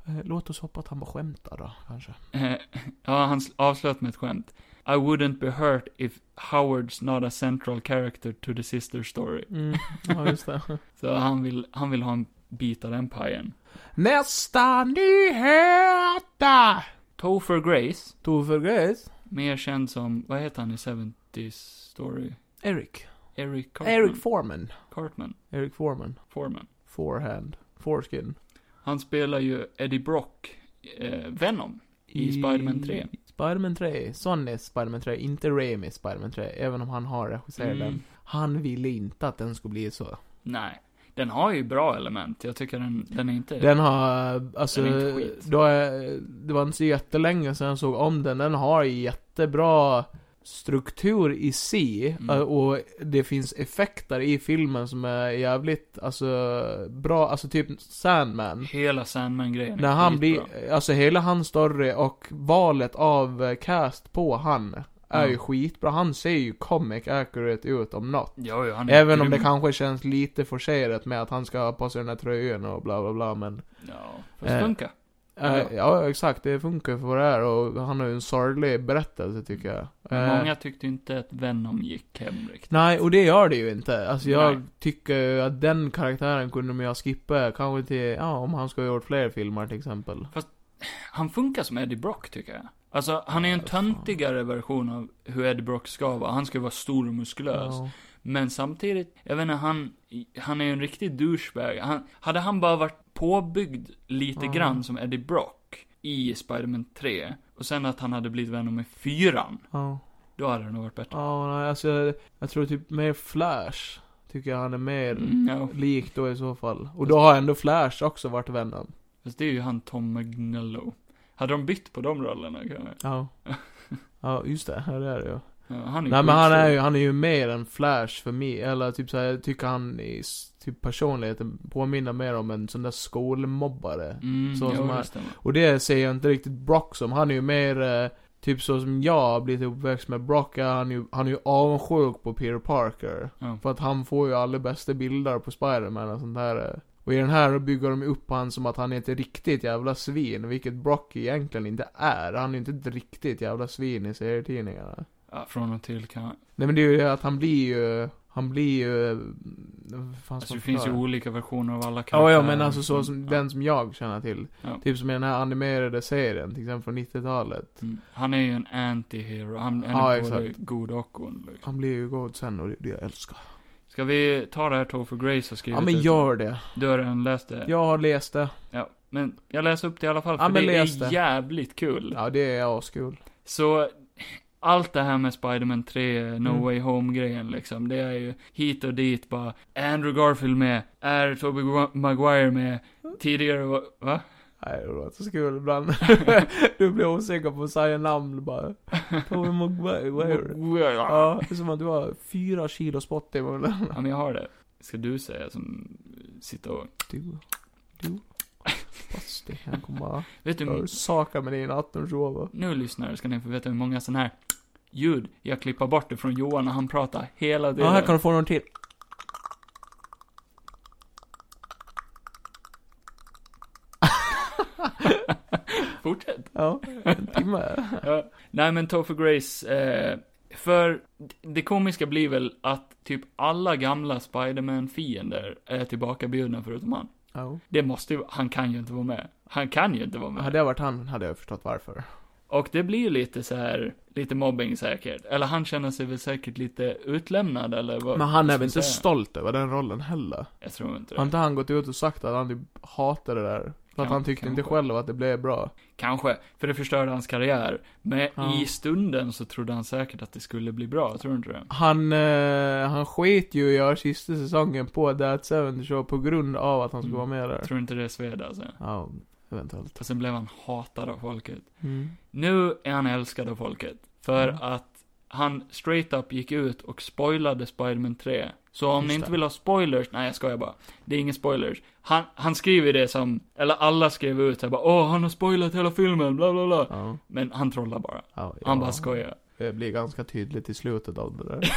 Speaker 2: Eh, Låt oss hoppas att han bara skämtar då, kanske.
Speaker 1: Eh, ja, han sl- avslöt med ett skämt. I wouldn't be hurt if Howard's not a central character to the sister story.
Speaker 2: Mm. <laughs> Ja, just det.
Speaker 1: Så han vill, han vill ha en bit av den pajen.
Speaker 2: <laughs> Nästa nyhet!
Speaker 1: Topher Grace,
Speaker 2: Tove Grace?
Speaker 1: Mer känd som, vad heter han i 70s Story?
Speaker 2: Eric.
Speaker 1: Eric Cartman.
Speaker 2: Eric Foreman.
Speaker 1: Cartman.
Speaker 2: Eric Foreman.
Speaker 1: Foreman.
Speaker 2: Forehand. Foreskin.
Speaker 1: Han spelar ju Eddie Brock, eh, Venom, i Spiderman 3.
Speaker 2: Spiderman 3, Sonny Spiderman 3, inte Raimi Spiderman 3, även om han har regisserat
Speaker 1: Mm.
Speaker 2: den. Han ville inte att den skulle bli så.
Speaker 1: Nej. Den har ju bra element, jag tycker den, den är inte...
Speaker 2: Den har, alltså,
Speaker 1: Den är inte skit.
Speaker 2: då är, det var inte så jättelänge sedan jag såg om den. Den har jättebra struktur i sig
Speaker 1: Mm.
Speaker 2: eh, och det finns effekter i filmen som är jävligt, alltså, bra, alltså typ Sandman.
Speaker 1: Hela Sandman-grejen är
Speaker 2: När han blir,
Speaker 1: skitbra.
Speaker 2: alltså hela hans story och valet av eh, cast på han är
Speaker 1: Mm.
Speaker 2: ju skitbra. Han ser ju comic accurate ut om något.
Speaker 1: Jo, jo, han är
Speaker 2: Även om det
Speaker 1: grym.
Speaker 2: kanske känns lite forcerat med att han ska ha på sig den här tröjan och bla bla bla men...
Speaker 1: Ja, fast
Speaker 2: Eh,
Speaker 1: funka.
Speaker 2: eh,
Speaker 1: Ja.
Speaker 2: ja exakt, det funkar för vad det är och han har ju en sorglig berättelse tycker jag. Eh,
Speaker 1: Många tyckte inte att Venom gick hem riktigt.
Speaker 2: Nej, och det gör det ju inte. Alltså jag
Speaker 1: Nej.
Speaker 2: tycker ju att den karaktären kunde man ju ha skippat kanske till, ja om han ska ha gjort fler filmer till exempel.
Speaker 1: Han funkar som Eddie Brock, tycker jag. Alltså, han är ju en
Speaker 2: Ja, fan.
Speaker 1: töntigare version av hur Eddie Brock ska vara. Han ska vara stor och muskulös.
Speaker 2: Ja.
Speaker 1: Men samtidigt, jag vet inte, han, han är ju en riktig douchebag. Han, hade han bara varit påbyggd lite
Speaker 2: Ja.
Speaker 1: grann som Eddie Brock i Spider-Man 3, och sen att han hade blivit Venom i 4,
Speaker 2: ja.
Speaker 1: då hade det nog varit bättre.
Speaker 2: Ja, nej, alltså jag, jag tror typ mer Flash. Tycker jag han är mer
Speaker 1: Mm, Alltså- ja,
Speaker 2: lik då i så fall. Och då har ändå Flash också varit Venom.
Speaker 1: fast det är ju han Tom <laughs> Magnello. Hade de bytt på de rollerna kanske?
Speaker 2: Ja. ja, just det. Ja, det är det ju.
Speaker 1: Ja, han är
Speaker 2: Nej men han
Speaker 1: skitstor.
Speaker 2: är ju, han är ju mer en Flash för mig, eller typ såhär, jag tycker han i s- typ personligheten påminner mer om en sån där skolmobbare.
Speaker 1: Mm,
Speaker 2: så
Speaker 1: jo,
Speaker 2: som han-
Speaker 1: det stämmer.
Speaker 2: Och det ser jag inte riktigt Brock som, han är ju mer eh, Typ så som jag har blivit uppväxt med Brock, är han, ju, han är ju avundsjuk på Peter Parker.
Speaker 1: Ja.
Speaker 2: För att han får ju aldrig bästa bilder på Spiderman och sånt där. eh. Och i den här bygger de upp han som att han är ett riktigt jävla svin, vilket Brock egentligen inte är. Han är ju inte ett riktigt jävla svin i serietidningarna.
Speaker 1: Ja, från och till kan
Speaker 2: Nej men det är ju det att han blir ju, han blir ju... mm, vad Fan
Speaker 1: Alltså,
Speaker 2: ska
Speaker 1: det
Speaker 2: man
Speaker 1: finns ju
Speaker 2: förklara?
Speaker 1: olika versioner av alla liksom.
Speaker 2: Ja, ja men alltså så som, den som jag känner till.
Speaker 1: Ja.
Speaker 2: Typ som i den här animerade serien, till exempel från 90-talet.
Speaker 1: Mm. Han är ju en anti-hero. Han, han
Speaker 2: Ja,
Speaker 1: är både
Speaker 2: exakt.
Speaker 1: god och ond. liksom.
Speaker 2: Han blir ju god sen och det är det jag älskar.
Speaker 1: Ska vi ta det här Topher Grace har skrivit
Speaker 2: Ja men
Speaker 1: ut?
Speaker 2: gör det.
Speaker 1: Du har redan läst det?
Speaker 2: Jag har läst det.
Speaker 1: Ja, Men jag läser upp det i alla fall, för
Speaker 2: Ja, men
Speaker 1: det
Speaker 2: läs
Speaker 1: är
Speaker 2: det.
Speaker 1: jävligt kul.
Speaker 2: Ja det är askul.
Speaker 1: Så, allt det här med Spider-Man 3, No
Speaker 2: Mm.
Speaker 1: Way Home-grejen liksom, det är ju hit och dit bara, Andrew Garfield med, är Tobey Gua- Maguire med, tidigare var, va?
Speaker 2: Nej det låter så kul <laughs> ibland. du blir osäker på att säga namn bara. Tommy <laughs> Maguire.
Speaker 1: Ja,
Speaker 2: Ja, det är som att du har fyra kilo spott i munnen.
Speaker 1: men jag har det. Ska du säga som, sitter och,
Speaker 2: Du, du. Fast det här kommer
Speaker 1: vet du,
Speaker 2: att saka med din 18-årsgåva.
Speaker 1: nu lyssnare ska ni få veta hur många sådana här ljud jag klipper bort ifrån Johan och han pratar hela
Speaker 2: Ja,
Speaker 1: tiden.
Speaker 2: här kan du få någon till.
Speaker 1: <laughs> Fortsätt.
Speaker 2: Ja, en timme.
Speaker 1: Ja. Nej men Topher Grace, eh, för det komiska blir väl att typ alla gamla Spiderman-fiender är tillbakabjudna förutom han.
Speaker 2: Ja.
Speaker 1: Det måste ju, han kan ju inte vara med. Han kan ju inte vara med.
Speaker 2: Hade jag varit han hade jag förstått varför.
Speaker 1: Och det blir ju lite så här, lite mobbing säkert. Eller han känner sig väl säkert lite utlämnad eller vad
Speaker 2: Men han
Speaker 1: vad ska
Speaker 2: är väl
Speaker 1: man
Speaker 2: inte
Speaker 1: säga?
Speaker 2: stolt över den rollen heller?
Speaker 1: Jag tror inte det.
Speaker 2: Har inte han gått ut och sagt att han typ hatade det där? För att
Speaker 1: Kan-
Speaker 2: han tyckte inte
Speaker 1: kanske.
Speaker 2: själv att det blev bra.
Speaker 1: Kanske, för det förstörde hans karriär. Men
Speaker 2: Ja.
Speaker 1: i stunden så trodde han säkert att det skulle bli bra, tror du inte det?
Speaker 2: Han, eh, han sket ju i att göra sista säsongen på That 70 Show på grund av att han skulle
Speaker 1: Mm.
Speaker 2: vara med där.
Speaker 1: Tror du inte det sved alltså?
Speaker 2: Ja, eventuellt.
Speaker 1: Och sen blev han hatad av folket.
Speaker 2: Mm.
Speaker 1: Nu är han älskad av folket. För
Speaker 2: Mm.
Speaker 1: att han straight up gick ut och spoilade Spiderman 3. Så om
Speaker 2: Just
Speaker 1: ni inte
Speaker 2: det.
Speaker 1: vill ha spoilers, nej jag skojar bara. Det är ingen spoilers. Han, han skriver det som, eller alla skrev ut här bara åh han har spoilat hela filmen, bla bla bla.
Speaker 2: Ja,
Speaker 1: Men han trollar bara.
Speaker 2: ja, ja.
Speaker 1: Han bara skojar.
Speaker 2: Det blir ganska tydligt i slutet av det där.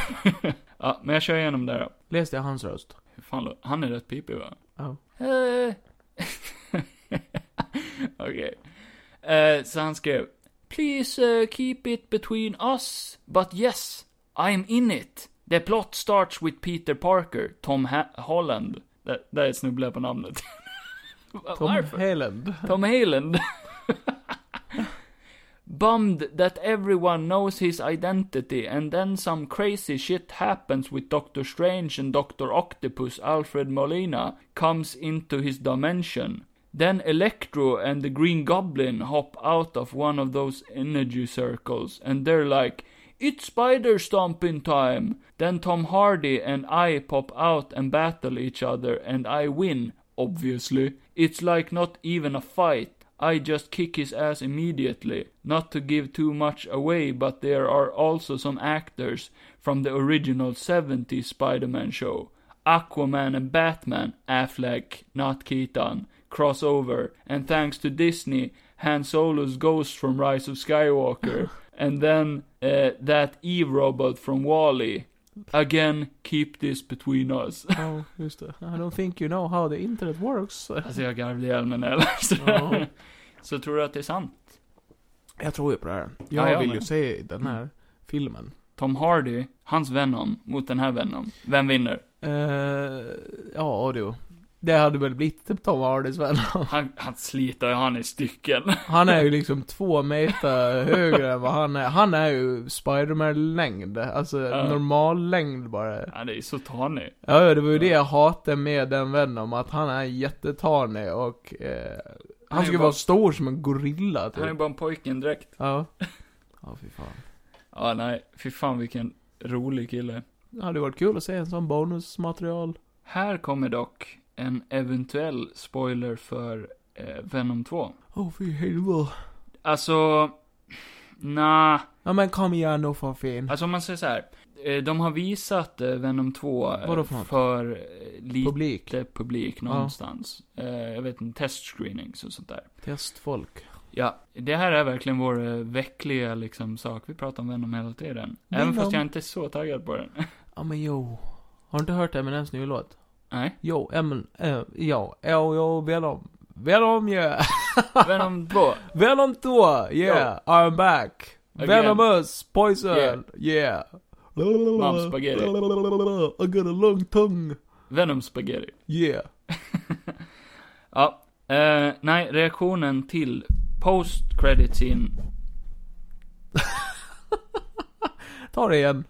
Speaker 1: Ja, men jag kör igenom det då.
Speaker 2: <laughs> Läste jag hans röst?
Speaker 1: Hur Fan, lå- han är rätt pipig va?
Speaker 2: Ja.
Speaker 1: Eh. <laughs> Okej. Eh, så han skrev. Please eh, keep it between us, but yes, I'm in it. The plot starts with Peter Parker, Tom ha- Holland. Där, där snubblar jag på namnet. <laughs> Va-
Speaker 2: Tom
Speaker 1: Varför?
Speaker 2: <laughs> Haland.
Speaker 1: Tom Haland. Bummed that everyone knows his identity and then some crazy shit happens with Doctor Strange and Doctor Octopus Alfred Molina comes into his dimension. Then Electro and the Green Goblin hop out of one of those energy circles and they're like, It's spider stomping time! Then Tom Hardy and I pop out and battle each other and I win, obviously. It's like not even a fight. I just kick his ass immediately. Not to give too much away, but there are also some actors from the original 70s Spider Man show. Aquaman and Batman, Affleck, not Keaton, crossover, and thanks to Disney, Han Solo's ghost from Rise of Skywalker, and then uh, that Eve robot from Wally. Again, keep this between us.
Speaker 2: Ja, just det. I don't think you know how the internet works.
Speaker 1: Alltså jag garvade ihjäl mig när jag läste
Speaker 2: Ja.
Speaker 1: det. Så tror du att det är sant?
Speaker 2: Jag tror ju på det här.
Speaker 1: Ja,
Speaker 2: Jag
Speaker 1: jag
Speaker 2: vill ju
Speaker 1: med.
Speaker 2: se den här filmen.
Speaker 1: Tom Hardy, hans Venom, mot den här Venom. Vem vinner?
Speaker 2: Eh, ja du. Det hade väl blivit typ Tom Hardys vän.
Speaker 1: Han, han sliter ju han i stycken.
Speaker 2: Han är ju liksom två meter högre än vad han är. Han är ju Spiderman-längd. Alltså
Speaker 1: Ja.
Speaker 2: normal längd bara.
Speaker 1: Ja, det är så tanig.
Speaker 2: Ja, ja, det var ju det jag hatade med den vännen, att han är jättetanig och...
Speaker 1: Han
Speaker 2: Eh,
Speaker 1: är
Speaker 2: han
Speaker 1: ju
Speaker 2: skulle
Speaker 1: bara-
Speaker 2: vara stor som en gorilla
Speaker 1: Han är
Speaker 2: typ.
Speaker 1: bara en pojken direkt. <laughs>
Speaker 2: Ja. Ja, fy fan.
Speaker 1: Ja, nej. Fy fan vilken rolig kille.
Speaker 2: Det hade varit kul att se en sån bonusmaterial.
Speaker 1: Här kommer dock en eventuell spoiler för eh, Venom 2.
Speaker 2: Åh, fy helvete.
Speaker 1: Alltså, na,
Speaker 2: Ja men kom igen nu för fin.
Speaker 1: Alltså om man säger så här. eh, De har visat eh, Venom 2 eh,
Speaker 2: Vadå för något?
Speaker 1: för eh, lite
Speaker 2: Publik.
Speaker 1: publik någonstans. Eh, Jag vet inte, testscreenings och sånt där.
Speaker 2: Testfolk.
Speaker 1: Ja, det här är verkligen vår eh, veckliga liksom sak. Vi pratar om Venom hela tiden. Även
Speaker 2: Venom.
Speaker 1: fast jag inte är så taggad på den. <laughs>
Speaker 2: Ja men jo. Har du inte hört Eminems nya låt? <laughs>
Speaker 1: Nej.
Speaker 2: Jo, Emin, eh, ja, jo, jo, Venom. Venom yeah! <laughs>
Speaker 1: Venom 2.
Speaker 2: Venom 2, yeah! I'm back!
Speaker 1: Again.
Speaker 2: Venomous, poison,
Speaker 1: Yeah.
Speaker 2: yeah!
Speaker 1: Mom spaghetti.
Speaker 2: <laughs> I got a long tongue,
Speaker 1: Venom spaghetti.
Speaker 2: yeah!
Speaker 1: Ja. Eh, nej, reaktionen till post credit scene.
Speaker 2: Ta det igen.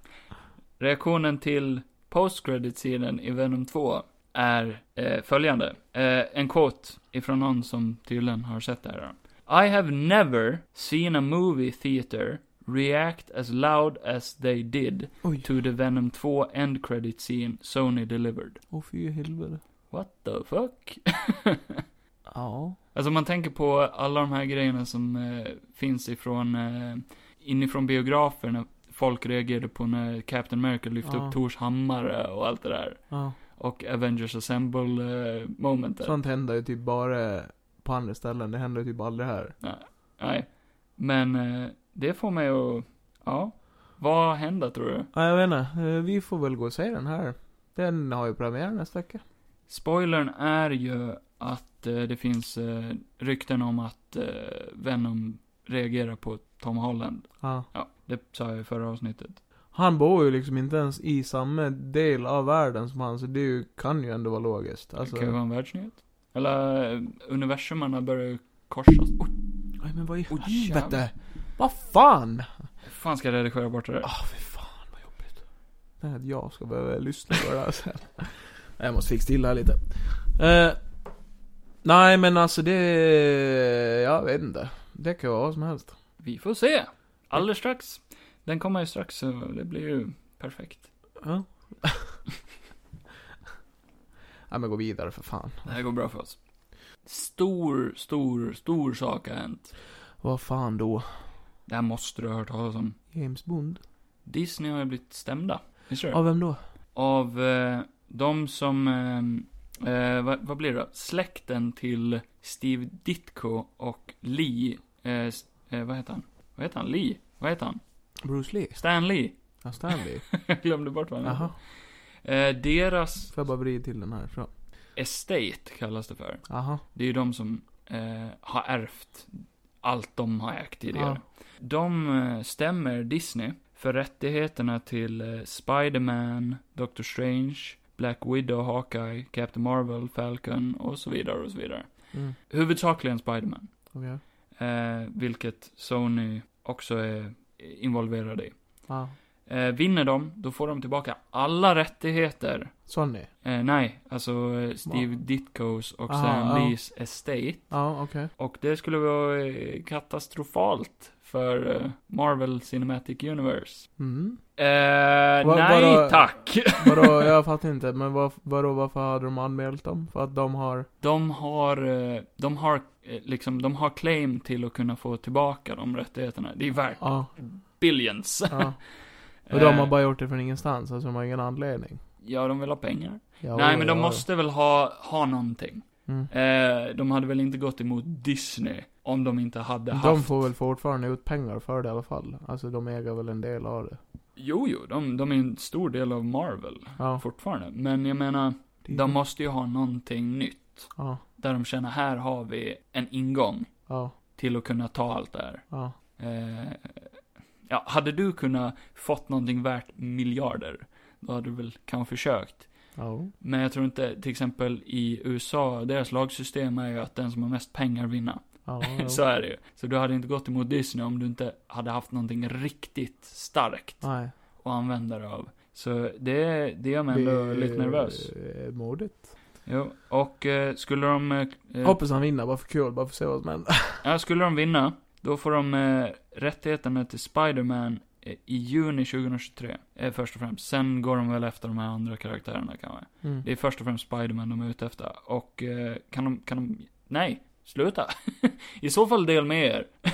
Speaker 1: Reaktionen till post credit scenen i Venom 2 är eh, följande. Eh, en quote ifrån någon som tydligen har sett det här. då. I have never seen a movie theater react as loud as they did
Speaker 2: Oj,
Speaker 1: to the Venom 2 end credit scene Sony delivered.
Speaker 2: åh fy helvete.
Speaker 1: What the fuck? <laughs>
Speaker 2: Ja.
Speaker 1: Alltså om man tänker på alla de här grejerna som eh, finns ifrån, eh, inifrån biografer när folk reagerade på när Captain America lyfte
Speaker 2: Ja.
Speaker 1: upp Tors hammare och allt det där.
Speaker 2: ja.
Speaker 1: Och Avengers Assemble eh, momentet.
Speaker 2: Sånt händer ju typ bara på andra ställen, det händer ju typ aldrig här.
Speaker 1: Nej. Men eh, det får mig att, ja. Vad händer tror du?
Speaker 2: Ja, jag vet inte, Eh, vi får väl gå och se den här. Den har ju premiär nästa vecka.
Speaker 1: Spoilern är ju att eh, det finns eh, rykten om att eh, Venom reagerar på Tom Holland.
Speaker 2: Ja.
Speaker 1: Ja, det sa jag i förra avsnittet.
Speaker 2: Han bor ju liksom inte ens i samma del av världen som han, så det är ju- kan ju ändå vara logiskt. Alltså,
Speaker 1: Det kan ju vara en världsnyhet. Eller eh, universumarna börjar ju korsas. Oj,
Speaker 2: Aj, men vad i
Speaker 1: Oj,
Speaker 2: helvete? Vad fan?
Speaker 1: hur fan ska jag redigera bort det där?
Speaker 2: Ah, fy fan vad jobbigt. Det här att jag ska behöva lyssna på det här sen. Nej, <laughs> Jag måste fixa till det här lite. Eh, nej men alltså det, jag vet inte. Det kan ju vara vad som helst.
Speaker 1: Vi får se. Alldeles strax. Den kommer ju strax, så det blir ju perfekt.
Speaker 2: <laughs> Ja. nej men gå vidare för fan.
Speaker 1: Det här går bra för oss. Stor, stor, stor sak har hänt.
Speaker 2: Vad fan då?
Speaker 1: Det här måste du ha hört talas om.
Speaker 2: James Bond?
Speaker 1: Disney har ju blivit stämda. Visst är det?
Speaker 2: Av vem då?
Speaker 1: av eh, de som, eh, eh, vad, vad blir det då? Släkten till Steve Ditko och Lee, eh, s- eh, vad heter han? Vad heter han? Lee? Vad heter han?
Speaker 2: Bruce Lee?
Speaker 1: Stan Lee? <laughs>
Speaker 2: Ja, Stanley?
Speaker 1: Jag glömde bort vad han
Speaker 2: Jaha.
Speaker 1: heter. eh, Deras
Speaker 2: Får jag bara vrida till den här ifrån?
Speaker 1: estate kallas det för.
Speaker 2: Aha.
Speaker 1: Det är ju de som eh, har ärvt allt de har ägt tidigare. De eh, stämmer Disney för rättigheterna till eh, Spider-Man, Doctor Strange, Black Widow, Hawkeye, Captain Marvel, Falcon och så vidare och så vidare.
Speaker 2: Mm.
Speaker 1: Huvudsakligen Spider-Man,
Speaker 2: Okej.
Speaker 1: eh, vilket Sony också är involverade i.
Speaker 2: Ja.
Speaker 1: Eh, vinner de, då får de tillbaka alla rättigheter.
Speaker 2: Sonny?
Speaker 1: Eh, nej, alltså eh, Steve Ditkos och
Speaker 2: Ah,
Speaker 1: Stan
Speaker 2: ja.
Speaker 1: Lees estate.
Speaker 2: Ja, okej.
Speaker 1: Och det skulle vara eh, katastrofalt för eh, Marvel Cinematic Universe.
Speaker 2: Mm.
Speaker 1: Eh,
Speaker 2: Vad-
Speaker 1: nej
Speaker 2: vadå?
Speaker 1: tack! <laughs>
Speaker 2: Vadå, jag fattar inte. Men var, vadå, varför hade de anmält dem? För att de har...
Speaker 1: De har, eh, de har, eh, liksom, de har claim till att kunna få tillbaka de rättigheterna. Det är värt
Speaker 2: Ja.
Speaker 1: billions.
Speaker 2: ja. Och de har
Speaker 1: Eh,
Speaker 2: bara gjort det från ingenstans. Alltså de har ingen anledning.
Speaker 1: Ja, de vill ha pengar.
Speaker 2: Ja,
Speaker 1: nej,
Speaker 2: ja,
Speaker 1: men de
Speaker 2: ja.
Speaker 1: måste väl ha, ha någonting.
Speaker 2: Mm.
Speaker 1: Eh, de hade väl inte gått emot Disney om de inte hade
Speaker 2: De
Speaker 1: haft...
Speaker 2: får väl fortfarande ut pengar för det i alla fall. Alltså de äger väl en del av det.
Speaker 1: Jo, jo, de, de är en stor del av Marvel
Speaker 2: Ja.
Speaker 1: fortfarande. Men jag menar, de måste ju ha någonting nytt.
Speaker 2: Ja.
Speaker 1: Där de känner, här har vi en ingång
Speaker 2: Ja.
Speaker 1: till att kunna ta allt det här.
Speaker 2: Ja.
Speaker 1: Eh, ja, hade du kunnat fått någonting värt miljarder, då hade du väl kanske försökt.
Speaker 2: Ja.
Speaker 1: Men jag tror inte, till exempel i USA, deras lagsystem är ju att den som har mest pengar vinner.
Speaker 2: Ja. ja.
Speaker 1: Så är det ju. Så du hade inte gått emot Disney om du inte hade haft någonting riktigt starkt
Speaker 2: Nej.
Speaker 1: att använda dig av. Så det, det gör mig ändå
Speaker 2: Det-
Speaker 1: lite nervös.
Speaker 2: eh, Modigt.
Speaker 1: Jo, och eh, skulle de... eh, eh,
Speaker 2: Hoppas han vinner, bara för kul, bara för att se vad som händer.
Speaker 1: Ja, skulle de vinna, då får de eh, rättigheterna till Spider-Man eh, i juni 2023. Eh, först och främst. Sen går de väl efter de här andra karaktärerna kanske.
Speaker 2: Mm.
Speaker 1: Det är först och främst Spider-Man de är ute efter. <laughs> Och eh, kan de, kan de... Nej, sluta. I så fall del med er. <laughs>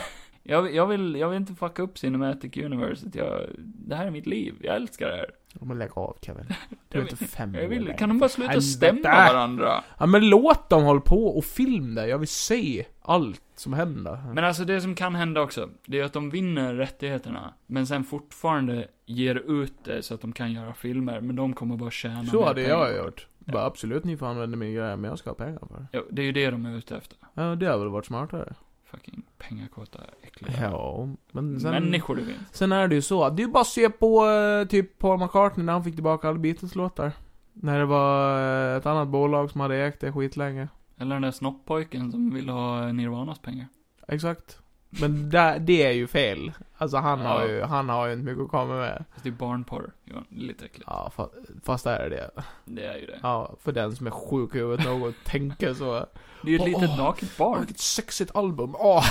Speaker 1: Jag, jag, vill, jag vill inte fucka upp Cinematic Universe. att Jag, det här är mitt liv. Jag älskar det här.
Speaker 2: Ja, men lägg av
Speaker 1: <laughs>
Speaker 2: Kevin. Du är inte fem
Speaker 1: Jag
Speaker 2: år
Speaker 1: vill,
Speaker 2: längre.
Speaker 1: kan de bara sluta
Speaker 2: Helvete.
Speaker 1: stämma varandra?
Speaker 2: Ja men låt dem hålla på och film det, jag vill se allt som händer.
Speaker 1: Men alltså det som kan hända också, det är att de vinner rättigheterna, men sen fortfarande ger ut det så att de kan göra filmer, men de kommer bara tjäna
Speaker 2: så
Speaker 1: mer
Speaker 2: hade
Speaker 1: pengar.
Speaker 2: jag gjort. Bara absolut, ni får använda min grejer, men jag ska ha pengar för det.
Speaker 1: Ja, det är ju det de är ute efter.
Speaker 2: Ja, det hade väl varit smartare.
Speaker 1: Fucking pengakåta äckliga
Speaker 2: Ja, men sen...
Speaker 1: människor det finns.
Speaker 2: Sen är det ju så, det är ju bara att se på eh, typ Paul McCartney när han fick tillbaka alla Beatles-låtar. När det var eh, ett annat bolag som hade ägt det skitlänge.
Speaker 1: Eller den där snopppojken som vill ha Nirvanas pengar.
Speaker 2: Exakt. Men där, det är ju fel. Alltså han
Speaker 1: Ja.
Speaker 2: har ju, han har ju inte mycket att komma med.
Speaker 1: Fast det är barnporr, Johan. Det är lite äckligt.
Speaker 2: Ja, fast, fast det är det.
Speaker 1: Det är ju det.
Speaker 2: Ja, för den som är sjuk i huvudet nog och tänker så.
Speaker 1: Det är ju ett litet
Speaker 2: Åh.
Speaker 1: naket
Speaker 2: Åh, <laughs>
Speaker 1: barn.
Speaker 2: vilket sexigt album. Åh,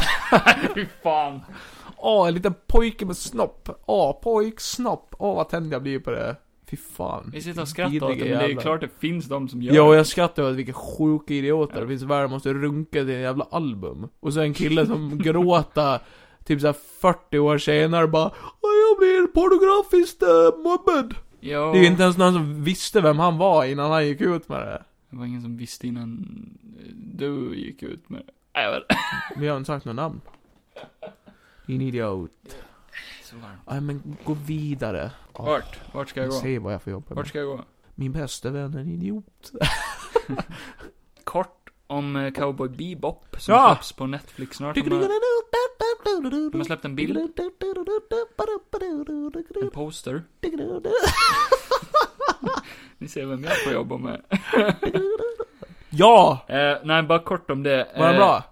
Speaker 1: Fy fan.
Speaker 2: åh, en liten pojke med snopp. Åh, pojk, snopp. Åh, vad tänd jag blir på det. Fy fan.
Speaker 1: Vi sitter och skrattar
Speaker 2: Vidriga
Speaker 1: åt det, men det är
Speaker 2: jävlar.
Speaker 1: klart det finns de som gör
Speaker 2: Ja, och
Speaker 1: det.
Speaker 2: jag skrattar åt vilka sjuka idioter det finns i världen, måste runka till en jävla album. Och så en kille som gråter, typ såhär 40 år senare bara "Åh, jag blir pornografiskt äh, mobbad.
Speaker 1: Ja,
Speaker 2: Det är ju inte ens någon som visste vem han var innan han gick ut med det.
Speaker 1: Det var ingen som visste innan eh, du gick ut med det. Nej, jag vet inte.
Speaker 2: Vi har inte sagt något namn. Din idiot.
Speaker 1: Så varmt.
Speaker 2: Nej men gå vidare. Ja,
Speaker 1: Vart? Vart ska jag gå?
Speaker 2: Säg vad jag får jobba med.
Speaker 1: Vart ska jag gå?
Speaker 2: Min bästa vän är en idiot.
Speaker 1: Kort om eh, Cowboy Bebop som
Speaker 2: Ja!
Speaker 1: släpps på Netflix snart. De har, de har släppt en bild, en poster. Ni ser vem jag får jobba med.
Speaker 2: Ja!
Speaker 1: Eh, nej, bara kort om det.
Speaker 2: Var den
Speaker 1: Eh,
Speaker 2: bra?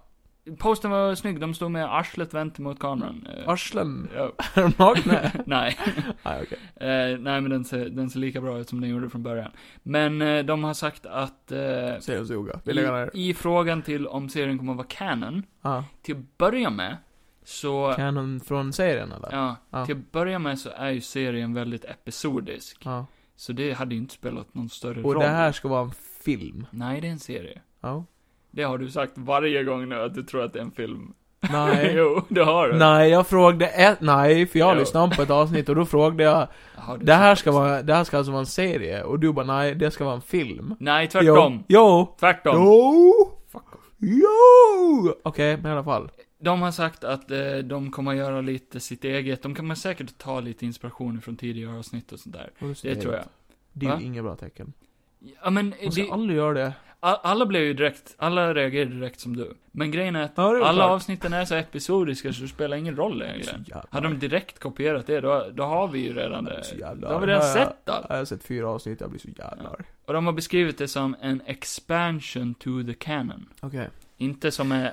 Speaker 1: Posten var snygg, de stod med arslet vänt mot kameran. Eh,
Speaker 2: Arslen?
Speaker 1: ja, <laughs>
Speaker 2: Är de nakna?
Speaker 1: nej.
Speaker 2: Nej, okej.
Speaker 1: Eh, nej, men den ser, den ser lika bra ut som den gjorde från början. Men eh, de har sagt att... Eh,
Speaker 2: Säg oss noga. Vi lägger
Speaker 1: i,
Speaker 2: ner.
Speaker 1: I frågan till om serien kommer att vara canon,
Speaker 2: Ja.
Speaker 1: till att börja med, så...
Speaker 2: Canon från serien eller? Ja.
Speaker 1: Ja, till att börja med så är ju serien väldigt episodisk.
Speaker 2: ja.
Speaker 1: Så det hade ju inte spelat någon större
Speaker 2: Och
Speaker 1: roll.
Speaker 2: det här ska vara en film?
Speaker 1: Nej, det är en serie. <laughs>
Speaker 2: Ja.
Speaker 1: Det har du sagt varje gång nu, att du tror att det är en film.
Speaker 2: Nej.
Speaker 1: <laughs> jo, det har du.
Speaker 2: Nej, jag frågade ett, nej, för jag
Speaker 1: Jo.
Speaker 2: lyssnade på ett avsnitt och då frågade jag
Speaker 1: Har du
Speaker 2: Det här
Speaker 1: sagt
Speaker 2: ska
Speaker 1: också.
Speaker 2: vara, det här ska alltså vara en serie och du bara nej, det ska vara en film.
Speaker 1: Nej, tvärtom.
Speaker 2: Jo. Jo.
Speaker 1: Tvärtom.
Speaker 2: Jo.
Speaker 1: Fuck off.
Speaker 2: jo. Okej, men i alla fall.
Speaker 1: De har sagt att eh, de kommer att göra lite sitt eget. De kommer säkert ta lite inspiration från tidigare avsnitt och sånt där. Det tror jag.
Speaker 2: Det är
Speaker 1: Va?
Speaker 2: ju inget bra tecken.
Speaker 1: Ja, men eh,
Speaker 2: Man
Speaker 1: det,
Speaker 2: ska aldrig göra det.
Speaker 1: a- alla blev ju direkt, alla reagerade direkt som du. Men grejen är att
Speaker 2: Ja, det är
Speaker 1: alla
Speaker 2: klart.
Speaker 1: avsnitten är så episodiska så det spelar ingen roll egentligen.
Speaker 2: Så jävla-
Speaker 1: Hade de direkt kopierat det, då, då har vi ju redan
Speaker 2: Jag blir
Speaker 1: det.
Speaker 2: så
Speaker 1: Då
Speaker 2: jävla
Speaker 1: har vi redan
Speaker 2: arg.
Speaker 1: sett
Speaker 2: Ja,
Speaker 1: allt.
Speaker 2: Jag har sett fyra avsnitt, jag blir så jävla arg.
Speaker 1: Och de har beskrivit det som en expansion to the canon.
Speaker 2: Okej.
Speaker 1: Inte som eh,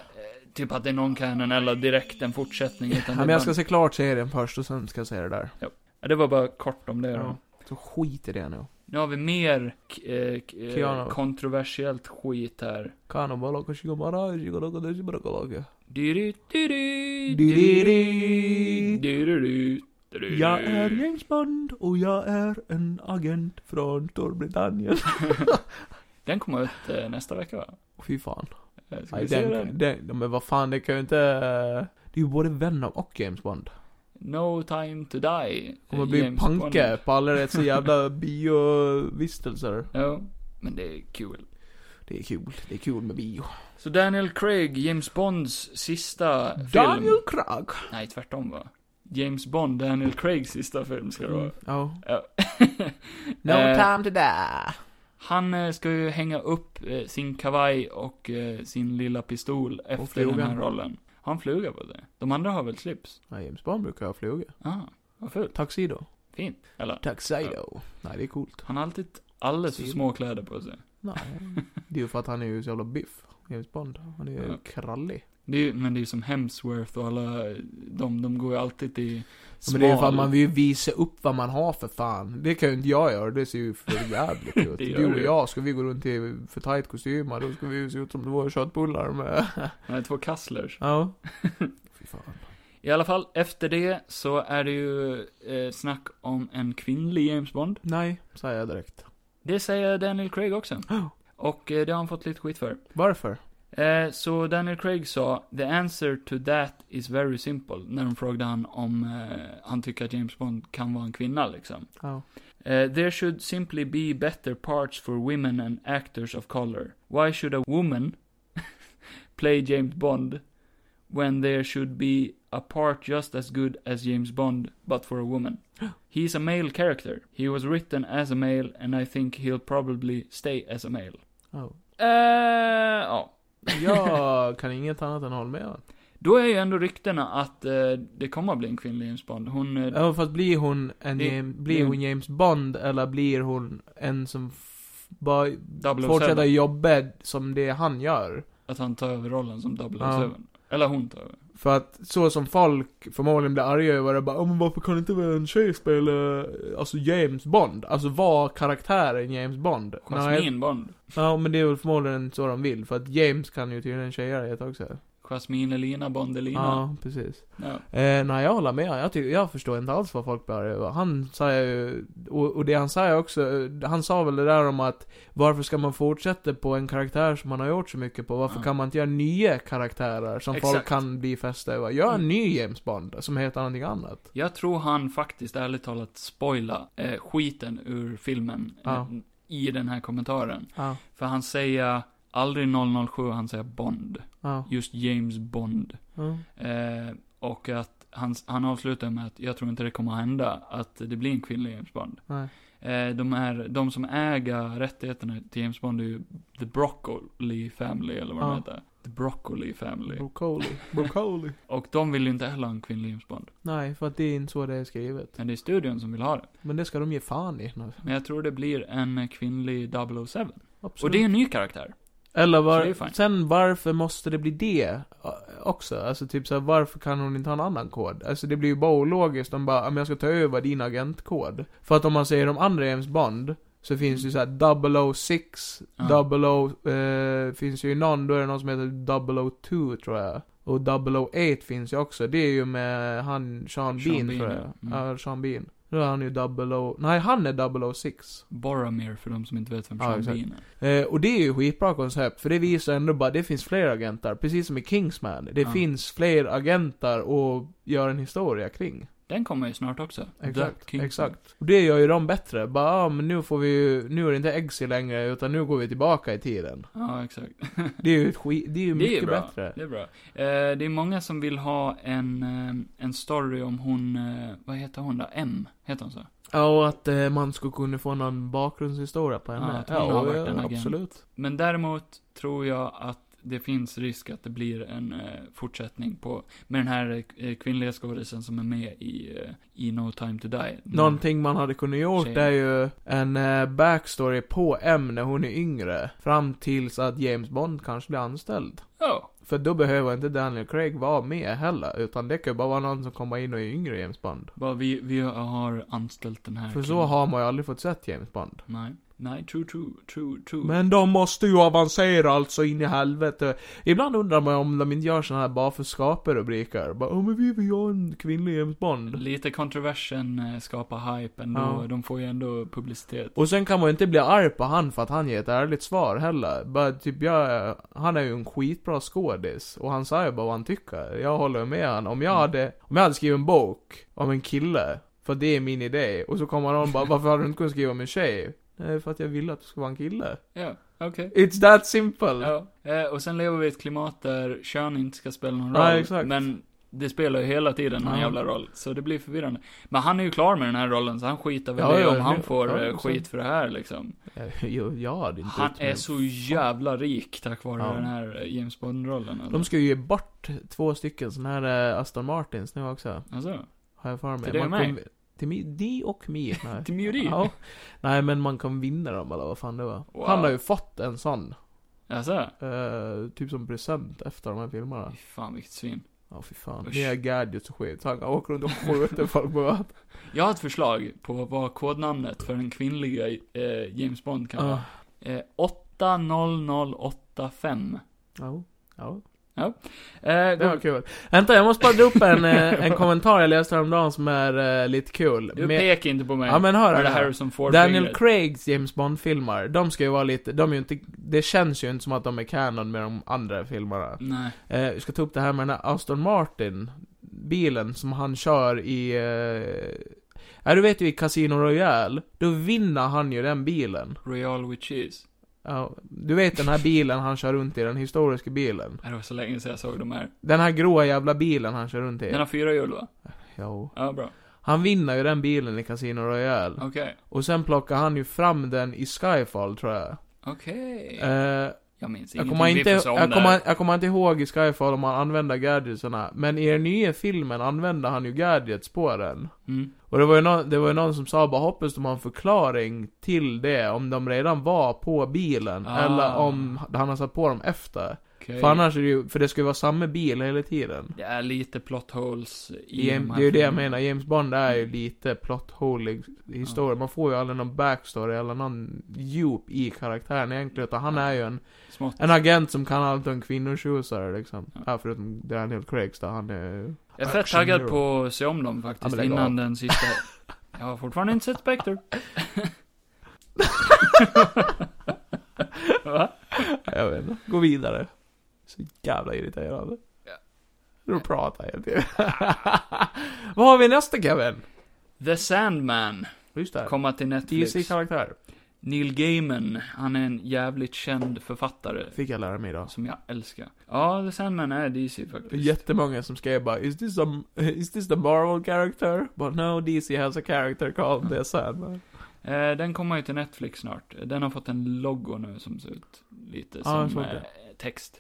Speaker 1: typ att det är någon canon eller direkt en fortsättning. Utan
Speaker 2: Ja,
Speaker 1: det,
Speaker 2: men
Speaker 1: är
Speaker 2: jag ska se klart serien först och sen ska jag se det där.
Speaker 1: bara, det var bara kort om det då.
Speaker 2: Ja. Så skit i det nu.
Speaker 1: Nu har vi mer k- eh, k- eh,
Speaker 2: Keanu.
Speaker 1: kontroversiellt skit här.
Speaker 2: Kanabala och shigomara, shigoroko och shigoroko.
Speaker 1: Du-du, du-du,
Speaker 2: Du-du-du.
Speaker 1: du-du-du, du-du.
Speaker 2: Jag är James Bond och jag är en agent från <laughs> Storbritannien.
Speaker 1: Den kommer ut eh, nästa vecka va?
Speaker 2: Fy fan.
Speaker 1: Eh, Ska
Speaker 2: Nej,
Speaker 1: vi se
Speaker 2: den,
Speaker 1: den?
Speaker 2: den, men vad fan, det kan ju inte... Det är ju både Venom och James Bond.
Speaker 1: No time to die.
Speaker 2: Kommer
Speaker 1: eh,
Speaker 2: bli
Speaker 1: James
Speaker 2: panke
Speaker 1: Bond.
Speaker 2: på
Speaker 1: <laughs>
Speaker 2: alla rätt så jävla biovistelser.
Speaker 1: Ja, men det är kul.
Speaker 2: Det är kul, det är kul med bio.
Speaker 1: Så Daniel Craig, James Bonds sista film.
Speaker 2: Daniel Craig.
Speaker 1: Nej, tvärtom va? James Bond, Daniel Craigs sista film ska det vara.
Speaker 2: Mm, Ja.
Speaker 1: Ja.
Speaker 2: <laughs> No
Speaker 1: Eh.
Speaker 2: time to die.
Speaker 1: Han eh, ska ju hänga upp eh, sin kavaj och eh, sin lilla pistol efter den
Speaker 2: flugan.
Speaker 1: här rollen. Har han fluga på det? De andra har väl slips?
Speaker 2: Ja, James Bond brukar ha fluga.
Speaker 1: Ah, vad fult.
Speaker 2: Tuxedo.
Speaker 1: Fint. Eller?
Speaker 2: Tuxedo. Nej, det är coolt.
Speaker 1: Han har alltid alldeles för
Speaker 2: Stil.
Speaker 1: små kläder på sig. <laughs>
Speaker 2: Nej. Det är ju för att han är ju så jävla biff. James Bond. Han är ju
Speaker 1: Ja.
Speaker 2: krallig.
Speaker 1: Det är, ju- men det är ju som Hemsworth och alla eh, de, de går ju alltid i
Speaker 2: Men
Speaker 1: smal.
Speaker 2: det är ju för att man vill ju visa upp vad man har för fan. Det kan ju inte jag göra. Det ser ju
Speaker 1: <laughs>
Speaker 2: för jävligt ut.
Speaker 1: Det gör
Speaker 2: du och
Speaker 1: det ju.
Speaker 2: jag, ska vi gå runt i för tight kostymer, då ska vi ju se ut som två köttbullar med...
Speaker 1: <laughs> Nej, två kasslers. <laughs>
Speaker 2: Ja. Fy fan.
Speaker 1: I alla fall, efter det så är det ju eh, snack om en kvinnlig James Bond.
Speaker 2: Nej, säger jag direkt.
Speaker 1: Det säger Daniel Craig också.
Speaker 2: Oh.
Speaker 1: Och eh, det har han fått lite skit för.
Speaker 2: Varför?
Speaker 1: Eh, så Daniel Craig sa, the answer to that is very simple, när de frågade han om eh, han tycker att James Bond kan vara en kvinna liksom.
Speaker 2: Ja.
Speaker 1: Eh, there should simply be better parts for women and actors of color. Why should a woman <laughs> play James Bond when there should be a part just as good as James Bond, but for a
Speaker 2: <gasps>
Speaker 1: woman? He's a male character. He was written as a male, and I think he'll probably stay as a male.
Speaker 2: Oh.
Speaker 1: Eh,
Speaker 2: <laughs>
Speaker 1: ja.
Speaker 2: Jag kan inget annat än hålla med om.
Speaker 1: Då är ju ändå ryktena att eh, det kommer att bli en kvinnlig James Bond. Hon, eh,
Speaker 2: Ja, fast blir hon en
Speaker 1: Det-
Speaker 2: James, blir hon James Bond eller blir hon en som f- bara
Speaker 1: 007,
Speaker 2: fortsätter jobba som det han gör?
Speaker 1: att han tar över rollen som 007.
Speaker 2: Ja.
Speaker 1: Eller hon tar över.
Speaker 2: För att så som folk förmodligen blir arga över det bara "Ja, men varför kan inte en tjej spela, eh, alltså James Bond? Alltså var karaktären James Bond?
Speaker 1: Jasmine Bond.
Speaker 2: ja men det är väl förmodligen så de vill, för att James kan ju tydligen tjejer heta också.
Speaker 1: Jasmine Elina Bond Elina.
Speaker 2: Ja, precis.
Speaker 1: Ja.
Speaker 2: Eh, nej, jag håller med. Jag, tycker, jag förstår inte alls vad folk blir arga över. Han säger ju, och, och det han säger också, eh, han sa väl det där om att varför ska man fortsätta på en karaktär som man har gjort så mycket på? Varför
Speaker 1: Ja.
Speaker 2: kan man inte göra nya karaktärer som folk
Speaker 1: Exakt. Mm.
Speaker 2: kan bli fästa över? Gör en ny James Bond som heter någonting annat.
Speaker 1: Jag tror han faktiskt ärligt talat spoila eh, skiten ur filmen
Speaker 2: Ja.
Speaker 1: eh, i den här kommentaren.
Speaker 2: Ja.
Speaker 1: För han säger aldrig 007, han säger Bond.
Speaker 2: Ja.
Speaker 1: Just James Bond.
Speaker 2: Ja.
Speaker 1: Eh, och att han, han avslutar med att jag tror inte det kommer att hända att det blir en kvinnlig James Bond.
Speaker 2: Nej.
Speaker 1: Eh, de, är, de som äger rättigheterna till James Bond är ju The Broccoli Family eller vad
Speaker 2: Ja. Mm.
Speaker 1: de heter. The Broccoli Family.
Speaker 2: <laughs> Broccoli. Broccoli.
Speaker 1: Och de vill ju inte heller ha en kvinnlig James Bond.
Speaker 2: nej, för att det är inte så det är skrivet.
Speaker 1: Men det är studion som vill ha det.
Speaker 2: Men det ska de ge fan i.
Speaker 1: Men jag tror det blir en kvinnlig 007.
Speaker 2: Absolut.
Speaker 1: Och det är en ny karaktär.
Speaker 2: Eller
Speaker 1: Så det är
Speaker 2: var,
Speaker 1: fine.
Speaker 2: sen varför måste det bli det eh, också? Alltså typ så här, varför kan hon inte ha en annan kod? Alltså det blir ju bara ologiskt om bara, "Ja, men jag ska ta över din agentkod. För att om man säger de andra James Bond, så oh finns det ju såhär 006,
Speaker 1: Ja.
Speaker 2: 00, eh, finns ju någon, då är det någon som heter 002 tror jag. Och 008 finns ju också, det är ju med han, Sean
Speaker 1: Sean
Speaker 2: Bean,
Speaker 1: Bean,
Speaker 2: tror
Speaker 1: ja.
Speaker 2: jag.
Speaker 1: Mm.
Speaker 2: Ja, Sean Bean. Då är han ju 00, nej han är 006.
Speaker 1: Boromir, för de som inte vet vem
Speaker 2: Ja,
Speaker 1: Sean
Speaker 2: exakt.
Speaker 1: Bean är.
Speaker 2: Eh, och det är ju skitbra koncept, för det visar ändå bara, det finns fler agenter. Precis som i Kingsman. Det
Speaker 1: Ja.
Speaker 2: finns fler agenter att göra en historia kring.
Speaker 1: Den kommer ju snart också.
Speaker 2: Exakt,
Speaker 1: The Kingsman.
Speaker 2: exakt. Och det gör ju dem bättre. Bara, ah, men nu får vi ju, nu är det inte Eggsy längre, utan nu går vi tillbaka i tiden.
Speaker 1: Ja, exakt.
Speaker 2: Det är ju ett skit, det är ju
Speaker 1: Det är
Speaker 2: mycket
Speaker 1: bra.
Speaker 2: bättre.
Speaker 1: Det är bra. Eh, det är många som vill ha en, eh, en story om hon, eh, vad heter hon då? M, heter hon så?
Speaker 2: Ja, och att eh, man skulle kunna få någon bakgrundshistoria på
Speaker 1: Ja,
Speaker 2: henne.
Speaker 1: att hon har
Speaker 2: och-
Speaker 1: varit en agent.
Speaker 2: absolut.
Speaker 1: Men däremot tror jag att det finns risk att det blir en eh, fortsättning på, med den här eh, kvinnliga skådisen som är med i, eh, i No Time To Die. Den här-
Speaker 2: Någonting man hade kunnat gjort
Speaker 1: Tjejen.
Speaker 2: är ju en eh, backstory på M när hon är yngre. Fram tills att James Bond kanske blir anställd.
Speaker 1: Ja,
Speaker 2: För då behöver inte Daniel Craig vara med heller, utan det kan ju bara vara någon som kommer in och är yngre James Bond.
Speaker 1: bara vi, vi har anställt den här
Speaker 2: För så
Speaker 1: killen.
Speaker 2: har man ju aldrig fått sett James Bond.
Speaker 1: Nej, nej, true, true, true, true.
Speaker 2: Men de måste ju avancera alltså in i helvete. Ibland undrar man om de inte gör såna här bara för att skapa rubriker. Bara, oh, men vi vill göra en kvinnlig James Bond.
Speaker 1: Lite kontroversen eh, skapar hype ändå,
Speaker 2: Ja.
Speaker 1: de får ju ändå publicitet.
Speaker 2: Och sen kan man ju inte bli arg på han för att han ger ett ärligt svar heller. Bara typ jag, han är ju en skitbra skådis. Och han säger bara vad han tycker. Jag håller ju med han. Om jag
Speaker 1: Mm.
Speaker 2: hade, om jag hade skrivit en bok om en kille. För det är min idé. Och så kommer någon bara, varför hade du inte kunnat skriva om en tjej? Nej, för att jag ville att du skulle vara en kille.
Speaker 1: Ja, okej.
Speaker 2: It's that simple.
Speaker 1: Ja, eh, och sen lever vi i ett klimat där kön inte ska spela någon roll.
Speaker 2: Nej, exakt.
Speaker 1: Men det spelar ju hela tiden någon
Speaker 2: Ja.
Speaker 1: jävla roll, så det blir förvirrande. Men han är ju klar med den här rollen, så han skiter väl
Speaker 2: Ja,
Speaker 1: i
Speaker 2: ja,
Speaker 1: om han
Speaker 2: nu-
Speaker 1: får
Speaker 2: ja,
Speaker 1: eh,
Speaker 2: exakt.
Speaker 1: skit för det här liksom.
Speaker 2: Jag, Eh, jag hade inte
Speaker 1: Han
Speaker 2: gjort
Speaker 1: är
Speaker 2: det.
Speaker 1: så jävla rik tack vare
Speaker 2: Ja.
Speaker 1: den här eh, James Bond-rollen. Alltså.
Speaker 2: De ska ju ge bort två stycken såna här eh, Aston Martins nu också.
Speaker 1: alltså,
Speaker 2: Har jag för mig.
Speaker 1: Till dig och
Speaker 2: Man
Speaker 1: mig?
Speaker 2: kommer- Till mig, di och mi. Nej.
Speaker 1: <laughs> Till mig och di?
Speaker 2: Ja. Nej men man kan vinna dem eller vad fan det var.
Speaker 1: Wow.
Speaker 2: Han har ju fått en sån.
Speaker 1: alltså.
Speaker 2: eh, typ som present efter de här filmerna.
Speaker 1: Fy fan vilket svin.
Speaker 2: Ja fy fan.
Speaker 1: Usch.
Speaker 2: Det är gadgets och skit. Så han kan åka runt och
Speaker 1: <laughs>
Speaker 2: skjuta folk på gatan.
Speaker 1: Jag har ett förslag på vad kodnamnet för den kvinnliga eh, James Eh, Bond kan vara.
Speaker 2: Ja.
Speaker 1: Eh, 80085.
Speaker 2: Ja. Ja.
Speaker 1: Eh,
Speaker 2: Det
Speaker 1: gå,
Speaker 2: var kul. Vänta, jag måste bara dra upp en, eh, en kommentar jag läste häromdagen som är eh, lite kul.
Speaker 1: du
Speaker 2: Med-
Speaker 1: pekar inte på mig.
Speaker 2: Ja men hör
Speaker 1: Var det
Speaker 2: här.
Speaker 1: Harrison Ford
Speaker 2: Daniel
Speaker 1: fingret?
Speaker 2: Craigs James Bond-filmer, de ska ju vara lite, de är ju inte, det känns ju inte som att de är canon med de andra filmerna.
Speaker 1: Nej.
Speaker 2: Eh, jag ska ta upp det här med den här Aston Martin, bilen som han kör i, eh, ja du vet ju i Casino Royale, då vinner han ju den bilen.
Speaker 1: Royal with cheese.
Speaker 2: Ja, du vet den här bilen han kör runt i, den historiska bilen.
Speaker 1: Nej, Det var så länge sedan jag såg de här.
Speaker 2: Den här gråa jävla bilen han kör runt i.
Speaker 1: Den har fyra hjul va?
Speaker 2: Jo.
Speaker 1: Ja, bra.
Speaker 2: Han vinner ju den bilen i Casino Royale.
Speaker 1: Okej.
Speaker 2: Och sen plockar han ju fram den i Skyfall tror jag.
Speaker 1: Okej.
Speaker 2: Eh,
Speaker 1: jag minns
Speaker 2: jag
Speaker 1: ingenting.
Speaker 2: kommer, inte,
Speaker 1: Vi får se om
Speaker 2: jag,
Speaker 1: det
Speaker 2: kommer,
Speaker 1: här.
Speaker 2: jag kommer inte ihåg i Skyfall om han använder gadgetsarna, men i den nya filmen använder han ju gadgets på den.
Speaker 1: Mm.
Speaker 2: Och det var ju någon, det var ju någon som sa bara hoppas de har en förklaring till det, om de redan var på bilen,
Speaker 1: Ah.
Speaker 2: eller om han har satt på dem efter.
Speaker 1: okej.
Speaker 2: För annars är det ju, för det ska ju vara samma bil hela tiden.
Speaker 1: Det är lite plot holes i Mm. de
Speaker 2: Jam- det
Speaker 1: här
Speaker 2: är ju det jag
Speaker 1: filmerna.
Speaker 2: menar, James Bond är ju lite plot hole historia. Man får ju aldrig någon backstory eller någon djup i karaktären egentligen, utan han är ju en
Speaker 1: Smått.
Speaker 2: En agent som kan allt om kvinnotjusare liksom.
Speaker 1: Ja.
Speaker 2: Ja. förutom Daniel Craigs där, han är...
Speaker 1: Jag är fett
Speaker 2: Action
Speaker 1: taggad
Speaker 2: hero.
Speaker 1: på att se om dem
Speaker 2: Ja,
Speaker 1: faktiskt,
Speaker 2: men lägg
Speaker 1: innan
Speaker 2: av.
Speaker 1: den sista. Jag har fortfarande inte sett Spectre. Va?
Speaker 2: Jag vet inte. Gå vidare. Så jävla irriterande.
Speaker 1: Ja.
Speaker 2: Du pratar hela tiden. <laughs> Vad har vi nästa Kevin?
Speaker 1: The Sandman
Speaker 2: Just det.
Speaker 1: komma till Netflix.
Speaker 2: DC-karaktär.
Speaker 1: Neil Gaiman, han är en jävligt känd författare
Speaker 2: Fick jag lära mig idag.
Speaker 1: som jag älskar. Ja, The Sandman är DC faktiskt.
Speaker 2: Jättemånga som skrev bara is this, some, is this the Marvel character? But no, DC has a character called the Sandman.
Speaker 1: Eh, den kommer ju till Netflix snart. Den har fått en logo nu som ser ut lite
Speaker 2: Ja, jag
Speaker 1: som
Speaker 2: såg
Speaker 1: eh,
Speaker 2: det.
Speaker 1: text.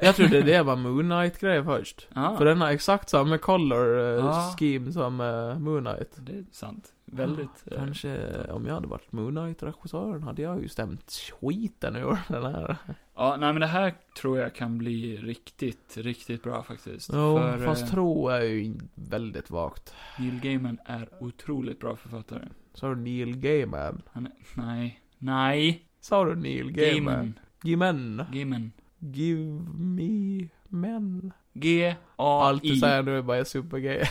Speaker 2: Jag trodde det var Moon Knight-grej först.
Speaker 1: Ja,
Speaker 2: För den har exakt samma color eh,
Speaker 1: Ja.
Speaker 2: scheme som eh, Moon Knight.
Speaker 1: det är sant. Väldigt.
Speaker 2: Ja,
Speaker 1: eh,
Speaker 2: Kanske, om jag hade varit Moon Knight-regissören hade jag ju stämt skiten ur den här.
Speaker 1: eh, Ja, nej men det här tror jag kan bli riktigt, riktigt bra faktiskt.
Speaker 2: Jo,
Speaker 1: För eh,
Speaker 2: fast tro är ju väldigt vagt.
Speaker 1: Neil Gaiman är otroligt bra författare.
Speaker 2: Sa du Neil Gaiman?
Speaker 1: Han är, nej, nej.
Speaker 2: Sa du Neil Gaiman?
Speaker 1: Gaiman.
Speaker 2: Gaiman.
Speaker 1: Gaiman.
Speaker 2: Give me men. Allt du
Speaker 1: G-A-I.
Speaker 2: säger nu är bara supergay.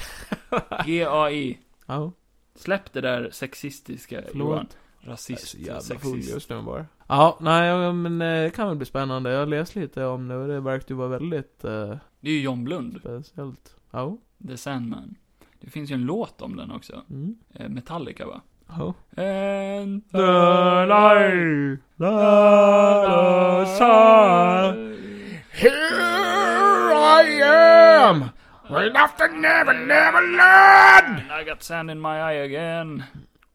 Speaker 1: G-A-I.
Speaker 2: <laughs> Ja,
Speaker 1: Släpp det där sexistiska, Johan.
Speaker 2: förlåt. Jag är
Speaker 1: Rasist,
Speaker 2: så jävla full
Speaker 1: sexist.
Speaker 2: just nu bara. Ja, nej ja, men eh, det kan väl bli spännande. Jag läste lite om det och det verkar ju vara väldigt eh,
Speaker 1: Det är ju John Blund,
Speaker 2: speciellt. Ja.
Speaker 1: The Sandman. Det finns ju en låt om den också.
Speaker 2: Mm.
Speaker 1: Eh, Metallica, va?
Speaker 2: Ja.
Speaker 1: And
Speaker 2: The light, the sun.
Speaker 4: Here I am! We left the never, never land!
Speaker 1: And I got sand in my eye again.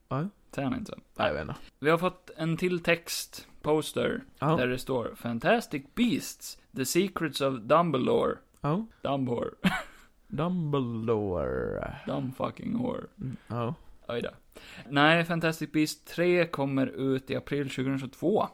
Speaker 2: Va?
Speaker 1: Säger han inte.
Speaker 2: Nej, jag vet inte.
Speaker 1: Vi har fått en till text, poster,
Speaker 2: Ja.
Speaker 1: där det står Fantastic Beasts, The Secrets of Dumbledore.
Speaker 2: Ja.
Speaker 1: <laughs> Dumbhore.
Speaker 2: Dumbledore.
Speaker 1: Dumbfucking whore.
Speaker 2: Ja.
Speaker 1: Oj då. Nej, Fantastic Beasts 3 kommer ut i april 2022.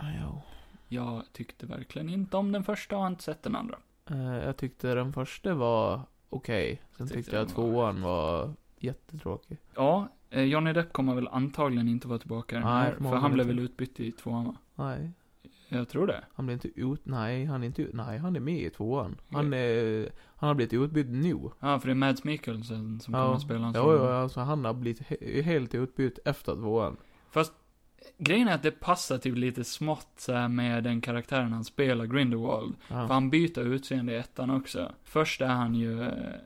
Speaker 2: Ja.
Speaker 1: Jag tyckte verkligen inte om den första och har inte sett den andra.
Speaker 2: Eh, Jag tyckte den första var okej. Sen
Speaker 1: tyckte
Speaker 2: tyckte jag
Speaker 1: den var-
Speaker 2: tvåan var jättetråkig.
Speaker 1: Ja, eh, Johnny Depp kommer väl antagligen inte vara tillbaka i den
Speaker 2: Nej,
Speaker 1: här, för
Speaker 2: förmodligen
Speaker 1: han blev väl
Speaker 2: inte.
Speaker 1: utbytt i tvåan va?
Speaker 2: Nej.
Speaker 1: Jag tror det.
Speaker 2: Han blir inte ut... Nej, han är inte ut... Nej, han är med i tvåan. Han är... Han har blivit utbytt nu.
Speaker 1: Ja, för det är Mads Mikkelsen som kommer att spela hans
Speaker 2: jo,
Speaker 1: roll.
Speaker 2: jo, alltså han har blivit he- helt utbytt efter tvåan.
Speaker 1: Fast grejen är att det passar typ lite smått så här med den karaktären han spelar, Grindelwald. För
Speaker 2: Ja.
Speaker 1: han byter utseende i ettan också. Först är han ju, eh,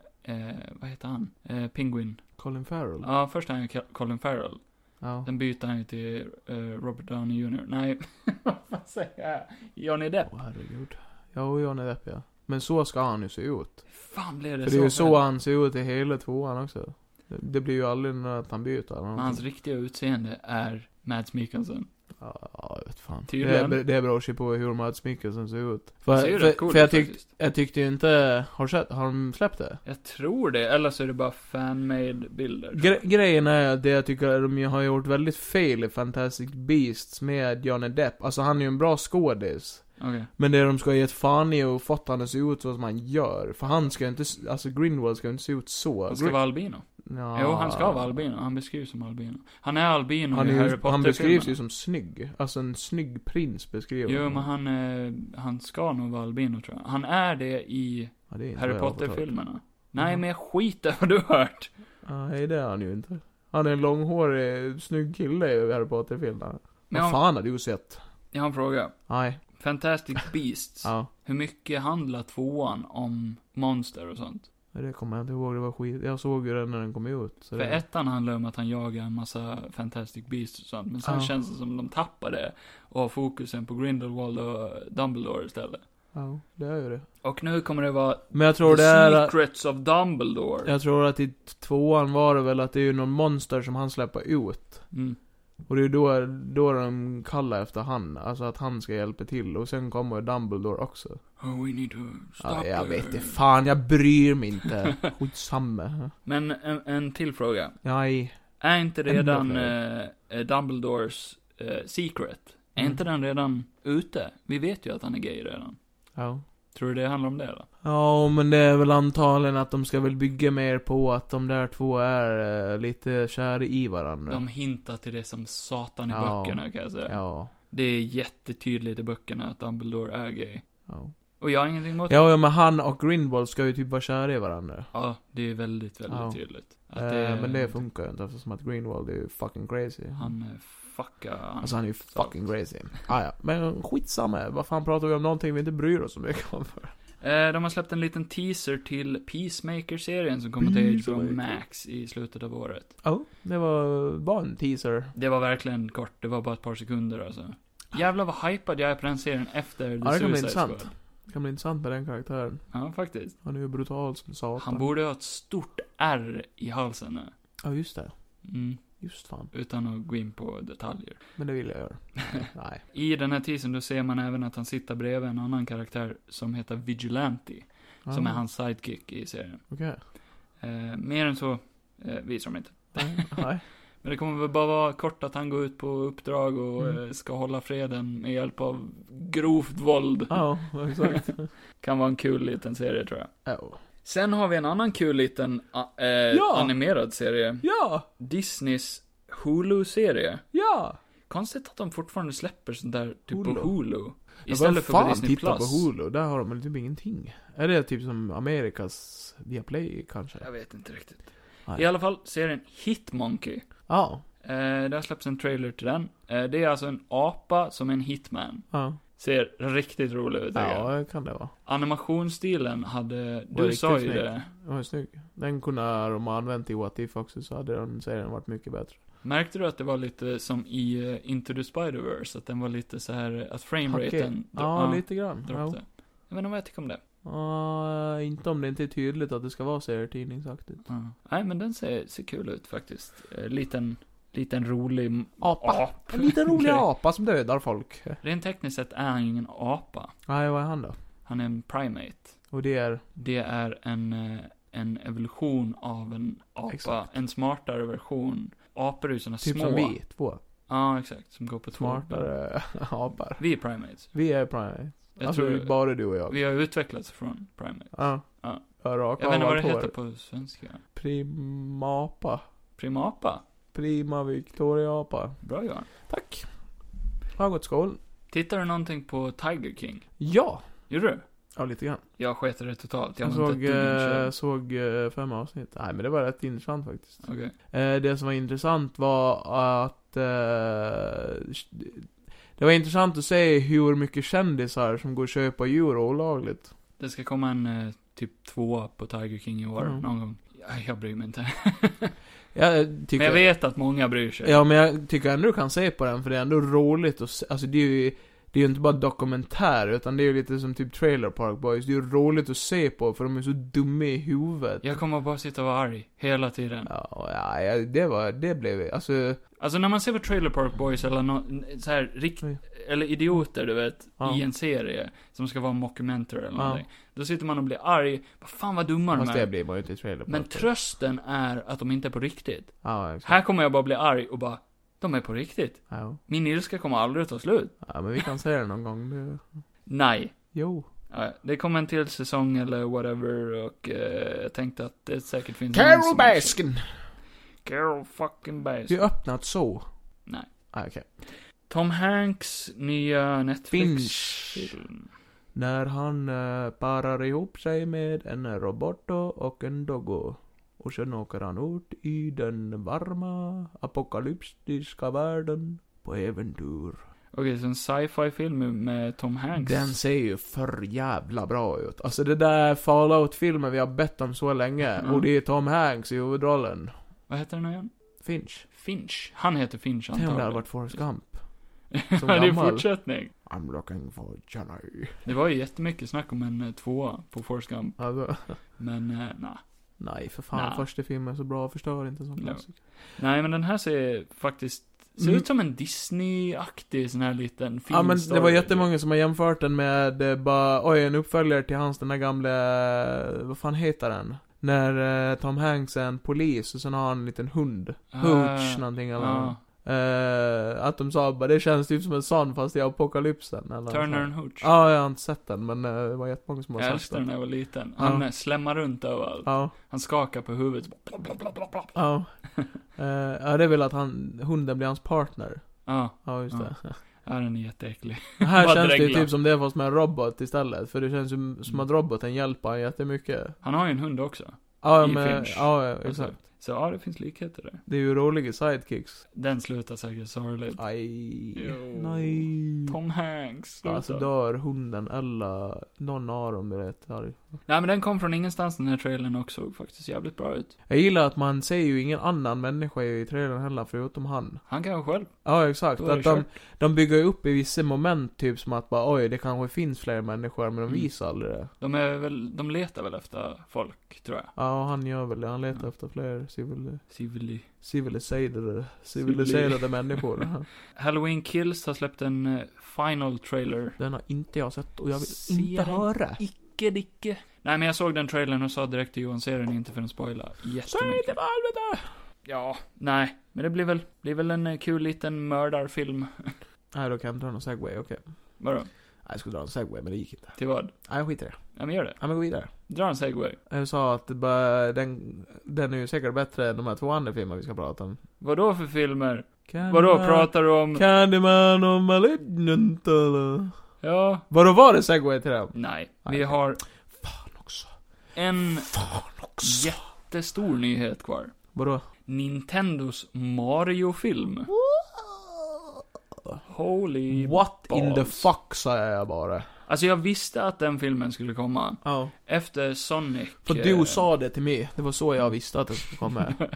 Speaker 1: eh, vad heter han? Eh, Penguin.
Speaker 2: Colin Farrell.
Speaker 1: Ja, först är han ju Ca- Colin Farrell.
Speaker 2: Ja.
Speaker 1: Sen byter han ju till eh, Robert Downey Jr. Nej, <laughs> vad säger jag? Johnny Depp.
Speaker 2: Åh herregud. Ja, och Johnny Depp ja. Men så ska han ju se ut.
Speaker 1: Fan blev det
Speaker 2: För
Speaker 1: så?
Speaker 2: det är ju så
Speaker 1: fel?
Speaker 2: han ser ut i hela tvåan också. Det- Det blir ju aldrig någon att han byter eller
Speaker 1: Men hans
Speaker 2: någonting.
Speaker 1: riktiga utseende är Mads Mikkelsen.
Speaker 2: Ja, ja, jag vet fan. Det,
Speaker 1: Tydligen.
Speaker 2: det beror sig på hur Mats Mikkelsen ser ut. För,
Speaker 1: Ser ju
Speaker 2: för,
Speaker 1: rätt cool
Speaker 2: för jag,
Speaker 1: ut
Speaker 2: tyck,
Speaker 1: faktiskt.
Speaker 2: jag tyckte ju inte, har, du sett, har de släppt det?
Speaker 1: Jag tror det, eller så är det bara fan-made bilder.
Speaker 2: Gre grejen är att det jag tycker att de ju har gjort väldigt fel i Fantastic Beasts med Johnny Depp. Alltså han är ju en bra skådis.
Speaker 1: Okej.
Speaker 2: Men det de ska ha gett fan i och fått han att se ut så som han gör. För han ska ju inte, s- alltså Greenwald ska ju inte se ut så.
Speaker 1: Han ska
Speaker 2: Gri-
Speaker 1: vara albino.
Speaker 2: Ja.
Speaker 1: Jo, han ska vara albino. Han beskrivs som albino. Han är albino
Speaker 2: Ah. Han,
Speaker 1: i
Speaker 2: är,
Speaker 1: Harry
Speaker 2: ju-
Speaker 1: Potter-filmerna.
Speaker 2: han beskrivs ju som snygg. Alltså en snygg prins beskriver
Speaker 1: Jo, men han, eh, han ska nog vara albino tror jag. Han är det i
Speaker 2: Ja, det är inte
Speaker 1: Harry
Speaker 2: vad jag har fått höra.
Speaker 1: Potter-filmerna. Nej,
Speaker 2: Mhm.
Speaker 1: men skit i vad du har hört.
Speaker 2: Nej, det är han ju inte. Han är en långhårig, snygg kille i Harry Potter-filmerna.
Speaker 1: Men
Speaker 2: Vad
Speaker 1: jag,
Speaker 2: fan har du sett?
Speaker 1: jag har en fråga.
Speaker 2: Nej.
Speaker 1: Fantastic Beasts.
Speaker 2: Ja.
Speaker 1: Hur mycket handlar tvåan om monster och sånt?
Speaker 2: Det kommer jag inte ihåg, det var skit. Jag såg ju den när den kom ut. Så
Speaker 1: För
Speaker 2: det...
Speaker 1: ettan handlar om att han jagar en massa Fantastic Beasts och sånt. Men sen
Speaker 2: Ja.
Speaker 1: känns det som de tappar det och har fokusen på Grindelwald och Dumbledore istället.
Speaker 2: Ja, det är ju det.
Speaker 1: Och nu kommer det vara
Speaker 2: Men jag tror det är...
Speaker 1: Secrets of Dumbledore.
Speaker 2: Jag tror att i tvåan var det väl att det är ju någon monster som han släpper ut.
Speaker 1: Mm.
Speaker 2: Och det är ju då, då de kallar efter han. Alltså att han ska hjälpa till. Och sen kommer Dumbledore också.
Speaker 1: Oh, we need to stop
Speaker 2: Ja, jag
Speaker 1: her.
Speaker 2: vet inte fan, jag bryr
Speaker 1: <laughs>
Speaker 2: mig inte. Skitsamma.
Speaker 1: Men en, en till fråga.
Speaker 2: Nej.
Speaker 1: Är inte
Speaker 2: Ännu
Speaker 1: redan
Speaker 2: fler.
Speaker 1: eh, Dumbledores eh, secret, är
Speaker 2: Mm.
Speaker 1: inte den redan ute? Vi vet ju att han är gay redan.
Speaker 2: Ja.
Speaker 1: Tror du det handlar om det då?
Speaker 2: Ja, men det är väl antagligen att de ska väl bygga mer på att de där två är eh, lite kära i varandra.
Speaker 1: De hintar till det som satan i
Speaker 2: Ja.
Speaker 1: böckerna kan jag säga.
Speaker 2: Ja.
Speaker 1: Det är jättetydligt i böckerna att Dumbledore är gay.
Speaker 2: Ja.
Speaker 1: Och jag har ingenting emot det.
Speaker 2: ja, ja, men han och Grindwald ska ju typ vara kära i varandra.
Speaker 1: Ja, det är väldigt, väldigt
Speaker 2: Ja.
Speaker 1: tydligt. Att
Speaker 2: Eh, men det funkar ju inte eftersom att Greenwald är ju fucking crazy.
Speaker 1: Han eh, fuckar... Han,
Speaker 2: alltså han är ju fucking crazy. Ah, ja. men skitsamma. Vad fan pratar vi om någonting vi inte bryr oss så mycket om <laughs> för?
Speaker 1: Eh, de har släppt en liten teaser till Peacemaker-serien som kommer till HBO
Speaker 2: Peacemaker.
Speaker 1: Max i slutet av året.
Speaker 2: Ja, det var bara en teaser.
Speaker 1: Det var verkligen kort, det var bara ett par sekunder alltså. Jävlar vad hypad jag är på den serien efter The
Speaker 2: Ja, det kan bli
Speaker 1: Suicide
Speaker 2: intressant.
Speaker 1: Squad.
Speaker 2: Det kan bli intressant med den karaktären.
Speaker 1: Ja, faktiskt.
Speaker 2: Han är ju brutal som satan.
Speaker 1: Han borde ha ett stort R i halsen nu.
Speaker 2: Ja, just det.
Speaker 1: Mm,
Speaker 2: Just fan.
Speaker 1: utan att gå in på detaljer.
Speaker 2: Men det vill
Speaker 1: <laughs>
Speaker 2: jag göra. Nej.
Speaker 1: I den här teasern då ser man även att han sitter bredvid en annan karaktär som heter Vigilante. Som
Speaker 2: Ja,
Speaker 1: är hans sidekick i serien.
Speaker 2: Okej.
Speaker 1: Eh, mer än så eh, visar de inte.
Speaker 2: Nej, Nej.
Speaker 1: Men det kommer väl bara vara kort att han går ut på uppdrag och
Speaker 2: Mm.
Speaker 1: eh, ska hålla freden med hjälp av grovt våld.
Speaker 2: Ja,
Speaker 1: <laughs>
Speaker 2: exakt.
Speaker 1: Kan vara en kul liten serie tror jag.
Speaker 2: Ja.
Speaker 1: Sen har vi en annan kul liten a- eh,
Speaker 2: Ja!
Speaker 1: animerad serie.
Speaker 2: Ja!
Speaker 1: Disneys Hulu-serie.
Speaker 2: Ja!
Speaker 1: Konstigt att de fortfarande släpper sånt där typ
Speaker 2: Hulu.
Speaker 1: på Hulu.
Speaker 2: Men
Speaker 1: Istället
Speaker 2: vad
Speaker 1: för på
Speaker 2: fan
Speaker 1: Disney
Speaker 2: titta
Speaker 1: Plus.
Speaker 2: på Hulu? Där har de väl typ ingenting. Är det typ som Amerikas Viaplay kanske?
Speaker 1: Jag vet inte riktigt.
Speaker 2: Nej.
Speaker 1: I alla fall, serien Hitmonkey.
Speaker 2: Ja.
Speaker 1: Eh, det har släppts en trailer till den. Eh, det är alltså en apa som en hitman.
Speaker 2: Ja.
Speaker 1: Ser riktigt rolig ut tycker jag.
Speaker 2: Ja, det kan det vara.
Speaker 1: Animationsstilen hade,
Speaker 2: Var
Speaker 1: du
Speaker 2: riktigt
Speaker 1: sa ju
Speaker 2: snygg.
Speaker 1: det.
Speaker 2: Den var ju snygg. Den kunde de ha använt i What If också så hade den serien varit mycket bättre.
Speaker 1: Märkte du att det var lite som i eh, Into the Spider-Verse? Att den var lite så här att
Speaker 2: Hackig.
Speaker 1: frameraten
Speaker 2: Ja, lite grann.
Speaker 1: droppade.
Speaker 2: Ja.
Speaker 1: Jag vet inte vad jag tycker om det.
Speaker 2: Ja, inte om det inte är tydligt att det ska vara serietidningsaktigt.
Speaker 1: Ja. Nej, men den ser, ser kul ut faktiskt. Eh, liten, liten rolig
Speaker 2: Apa!
Speaker 1: ap.
Speaker 2: En <laughs> liten rolig
Speaker 1: Okej.
Speaker 2: apa som dödar folk.
Speaker 1: Rent tekniskt sett är han ingen apa.
Speaker 2: Nej, vad är han då?
Speaker 1: Han är en primate.
Speaker 2: Och det är...
Speaker 1: Det är en, eh, en evolution av en apa.
Speaker 2: Exakt.
Speaker 1: En smartare version. Apor är ju såna
Speaker 2: Typ
Speaker 1: små.
Speaker 2: som vi två.
Speaker 1: Ja, exakt. Som går på två ben.
Speaker 2: Smartare <laughs> apor.
Speaker 1: Vi är primates.
Speaker 2: Vi är primate.
Speaker 1: Jag
Speaker 2: alltså
Speaker 1: tror
Speaker 2: bara du och jag.
Speaker 1: vi har utvecklats från primate.
Speaker 2: Ja.
Speaker 1: Ja.
Speaker 2: Jag, jag
Speaker 1: Jag vet inte vad det heter på svenska.
Speaker 2: Primapa.
Speaker 1: Primapa.
Speaker 2: Prima Victoria-apa.
Speaker 1: Bra Johan.
Speaker 2: Tack. Har gått skål.
Speaker 1: Tittar du någonting på Tiger King?
Speaker 2: Ja.
Speaker 1: Gjorde du?
Speaker 2: Ja, lite grann.
Speaker 1: Jag sket i det totalt. Jag,
Speaker 2: Jag
Speaker 1: var
Speaker 2: såg,
Speaker 1: inte ett dugg
Speaker 2: eh,
Speaker 1: intresserad.
Speaker 2: såg eh, fem avsnitt. Nej, men det var rätt intressant faktiskt.
Speaker 1: Okej.
Speaker 2: Eh, det som var intressant var att... Eh, det var intressant att se hur mycket kändisar som går och köper djur olagligt.
Speaker 1: Det ska komma en eh, typ tvåa på Tiger King i år.
Speaker 2: Mm.
Speaker 1: Någon gång. Ja, Jag bryr mig inte.
Speaker 2: Jag eh, tycker...
Speaker 1: Men jag vet att många bryr sig.
Speaker 2: Ja, men jag tycker ändå du kan se på den, för det är ändå roligt och se, alltså det är ju, det är ju inte bara dokumentär, utan det är ju lite som typ Trailer Park Boys, det är ju roligt att se på, för de är så dumma i huvudet.
Speaker 1: Jag kommer bara sitta och vara arg. Hela tiden.
Speaker 2: Ja, och ja, ja, det var, det blev, alltså,
Speaker 1: Alltså när man ser på Trailer Park Boys eller nå så här rikt
Speaker 2: Oj.
Speaker 1: eller idioter du vet,
Speaker 2: Ja.
Speaker 1: i en serie som ska vara en mockumentary eller någonting. Då sitter man och blir arg, vad fan vad dumma de
Speaker 2: fast det
Speaker 1: är.
Speaker 2: blir man ju inte i Trailer Park
Speaker 1: Men
Speaker 2: Boys.
Speaker 1: trösten är att de inte är på riktigt.
Speaker 2: Ja, exakt.
Speaker 1: Här kommer jag bara bli arg och bara, de är på riktigt.
Speaker 2: Ja,
Speaker 1: Min ilska kommer aldrig att ta slut.
Speaker 2: ja, men vi kan se den någon gång, det,
Speaker 1: Nej.
Speaker 2: jo.
Speaker 1: Ja, det kommer en till säsong eller whatever och eh, jag tänkte att det säkert finns någon
Speaker 4: Carol
Speaker 1: som-
Speaker 4: Baskin!
Speaker 1: Carol fucking
Speaker 2: Det
Speaker 1: Baskin.
Speaker 2: är öppnat så.
Speaker 1: Nej.
Speaker 2: Ah, okej.
Speaker 1: Tom Hanks nya
Speaker 2: Finch.
Speaker 1: Netflix-film.
Speaker 2: När han eh, parar ihop sig med en robot och en doggo. Och sen åker han ut i den varma apokalyptiska världen på äventyr.
Speaker 1: Okej, så en sci-fi film med- med Tom Hanks.
Speaker 2: Den ser ju för jävla bra ut. Alltså det där Fallout-filmen vi har bett om så länge.
Speaker 1: Mm.
Speaker 2: Och det är Tom Hanks i huvudrollen.
Speaker 1: Vad heter den igen?
Speaker 2: Finch.
Speaker 1: Finch. Han heter Finch
Speaker 2: Tänk om det hade
Speaker 1: antagligen.
Speaker 2: varit Forrest Gump.
Speaker 1: <laughs>
Speaker 2: som
Speaker 1: Ja, det är
Speaker 2: gammal.
Speaker 1: fortsättning.
Speaker 2: I'm looking for Johnny.
Speaker 1: Det var ju jättemycket snack om en eh, tvåa på Forrest Gump.
Speaker 2: Alltså, <laughs>
Speaker 1: Men, eh, nej.
Speaker 2: nej för fan,
Speaker 1: Nej.
Speaker 2: första filmen är så bra, förstör inte en sån
Speaker 1: No.
Speaker 2: klassiker.
Speaker 1: Nej, men den här ser faktiskt... Ser
Speaker 2: Mm.
Speaker 1: ut som en Disney-aktig sån här liten film
Speaker 2: Ja men det var jättemånga som har jämfört den med, eh, bara, oj en uppföljare till hans, den där gamla, eh, vad fan heter den? När eh, Tom Hanks är en polis och sen har han en liten hund. Hooch någonting eller
Speaker 1: Ah. Ja,
Speaker 2: uh, Att de sa bara, det känns typ som en sån fast i apokalypsen eller
Speaker 1: Turner
Speaker 2: så.
Speaker 1: and Hooch.
Speaker 2: Ja, jag har inte sett den men eh, det var jättemånga som har
Speaker 1: Jag
Speaker 2: sagt
Speaker 1: älskade den när
Speaker 2: den.
Speaker 1: jag var liten. Han
Speaker 2: Ja.
Speaker 1: ja. slämmar runt överallt.
Speaker 2: Ja,
Speaker 1: Han skakar på huvudet. så bara bla, bla, bla, bla, bla.
Speaker 2: ja. <laughs> Eh, Ja, det är väl att han, hunden blir hans partner.
Speaker 1: Ja,
Speaker 2: Ja, just
Speaker 1: Ja.
Speaker 2: det. <laughs>
Speaker 1: ja den är jätteäcklig.
Speaker 2: Det Här
Speaker 1: Bara
Speaker 2: känns det ju
Speaker 1: dregla. Mm.
Speaker 2: typ som det fast med en robot istället, för det känns ju som att roboten hjälper han jättemycket.
Speaker 1: Han har ju en hund också.
Speaker 2: Ja,
Speaker 1: I
Speaker 2: men,
Speaker 1: Finch.
Speaker 2: ja, ja, exakt.
Speaker 1: Så ja, det finns likheter där.
Speaker 2: Det är ju roliga sidekicks.
Speaker 1: Den slutar säkert sorgligt.
Speaker 2: Aj.
Speaker 1: Jo.
Speaker 2: Nej.
Speaker 1: Tom Hanks, sluta.
Speaker 2: Alltså dör hunden eller någon av dem, du vet. Arg.
Speaker 1: Nej men den kom från ingenstans den här trailern och såg faktiskt jävligt bra ut.
Speaker 2: Jag gillar att man ser ju ingen annan människa i trailern heller, förutom han.
Speaker 1: Han kan ju själv.
Speaker 2: Ja, exakt.
Speaker 1: Då är det
Speaker 2: Att de,
Speaker 1: kört.
Speaker 2: de bygger ju upp i vissa moment, typ som att bara oj, det kanske finns fler människor, men de
Speaker 1: Mm.
Speaker 2: visar aldrig det.
Speaker 1: De är väl, de letar väl efter folk, tror jag.
Speaker 2: Ja, och han gör väl det. Han letar efter fler civil,
Speaker 1: Civili.
Speaker 2: civiliserade, civiliserade <laughs> människor.
Speaker 1: Halloween Kills har släppt en eh, final trailer.
Speaker 2: Den har inte jag sett och jag vill
Speaker 1: Ser
Speaker 2: inte
Speaker 1: den.
Speaker 2: höra.
Speaker 1: Icke dicke. Nej men jag såg den trailern och sa direkt till Johan, se den inte för den spoilar
Speaker 2: Säg inte
Speaker 1: jättemycket.
Speaker 2: vad helvete!
Speaker 1: Ja, nej. Men det blir väl, blir väl en eh, kul liten mördarfilm.
Speaker 2: Nej, då kan jag inte dra någon segway, okej.
Speaker 1: Vadå?
Speaker 2: Nej, jag skulle dra en segway, men det gick inte.
Speaker 1: Till vad?
Speaker 2: Nej, jag skiter i det.
Speaker 1: Ja men gör det.
Speaker 2: Nej, men gå vidare.
Speaker 1: Dra en segway.
Speaker 2: Jag sa att det bara, den, den är ju säkert bättre än de här två andra filmerna vi ska prata om.
Speaker 1: Vadå för filmer? Vadå,
Speaker 2: Eh,
Speaker 1: pratar du om...
Speaker 2: Candyman och Malignant eller?
Speaker 1: Ja.
Speaker 2: Vadå, var det segway till dem?
Speaker 1: Nej.
Speaker 2: Nej.
Speaker 1: Vi har
Speaker 2: Fan också.
Speaker 1: en
Speaker 2: Fan också.
Speaker 1: jättestor nyhet kvar.
Speaker 2: Vadå?
Speaker 1: Nintendos Mario-film. Holy...
Speaker 2: What in the
Speaker 1: balls.
Speaker 2: fuck sa jag bara.
Speaker 1: Alltså jag visste att den filmen skulle komma.
Speaker 2: Ja.
Speaker 1: Efter Sonic...
Speaker 2: För
Speaker 1: eh,
Speaker 2: du sa det till mig. Det var så jag visste att det skulle <laughs> komma.
Speaker 1: Nej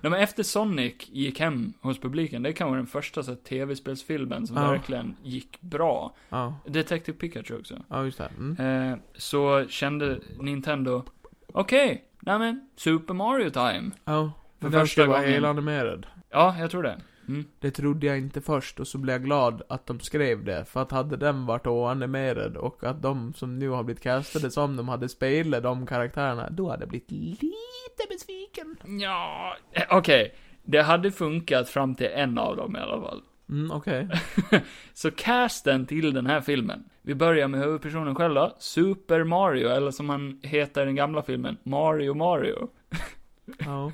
Speaker 1: men efter Sonic gick hem hos publiken, det kan vara den första så här, tv-spelsfilmen som
Speaker 2: Ja.
Speaker 1: verkligen gick bra.
Speaker 2: Ja.
Speaker 1: Detective Pikachu också.
Speaker 2: Ja, just det. Mm.
Speaker 1: Eh, så kände Nintendo, okej, nej men, Super Mario time.
Speaker 2: Ja.
Speaker 1: För
Speaker 2: Men den
Speaker 1: första
Speaker 2: ska vara
Speaker 1: gången.
Speaker 2: helanimerad.
Speaker 1: Ja, jag tror det. Mm.
Speaker 2: Det trodde jag inte först och så blev jag glad att de skrev det. För att hade den varit oanimerad och att de som nu har blivit castade som de hade spelat de karaktärerna, då hade jag blivit lite besviken.
Speaker 1: Ja, eh, okej. Det hade funkat fram till en av dem i alla fall.
Speaker 2: Mm, <laughs> okej.
Speaker 1: Så casten till den här filmen. Vi börjar med huvudpersonen själv då, Super Mario, eller som han heter i den gamla filmen, Mario Mario.
Speaker 2: Ja.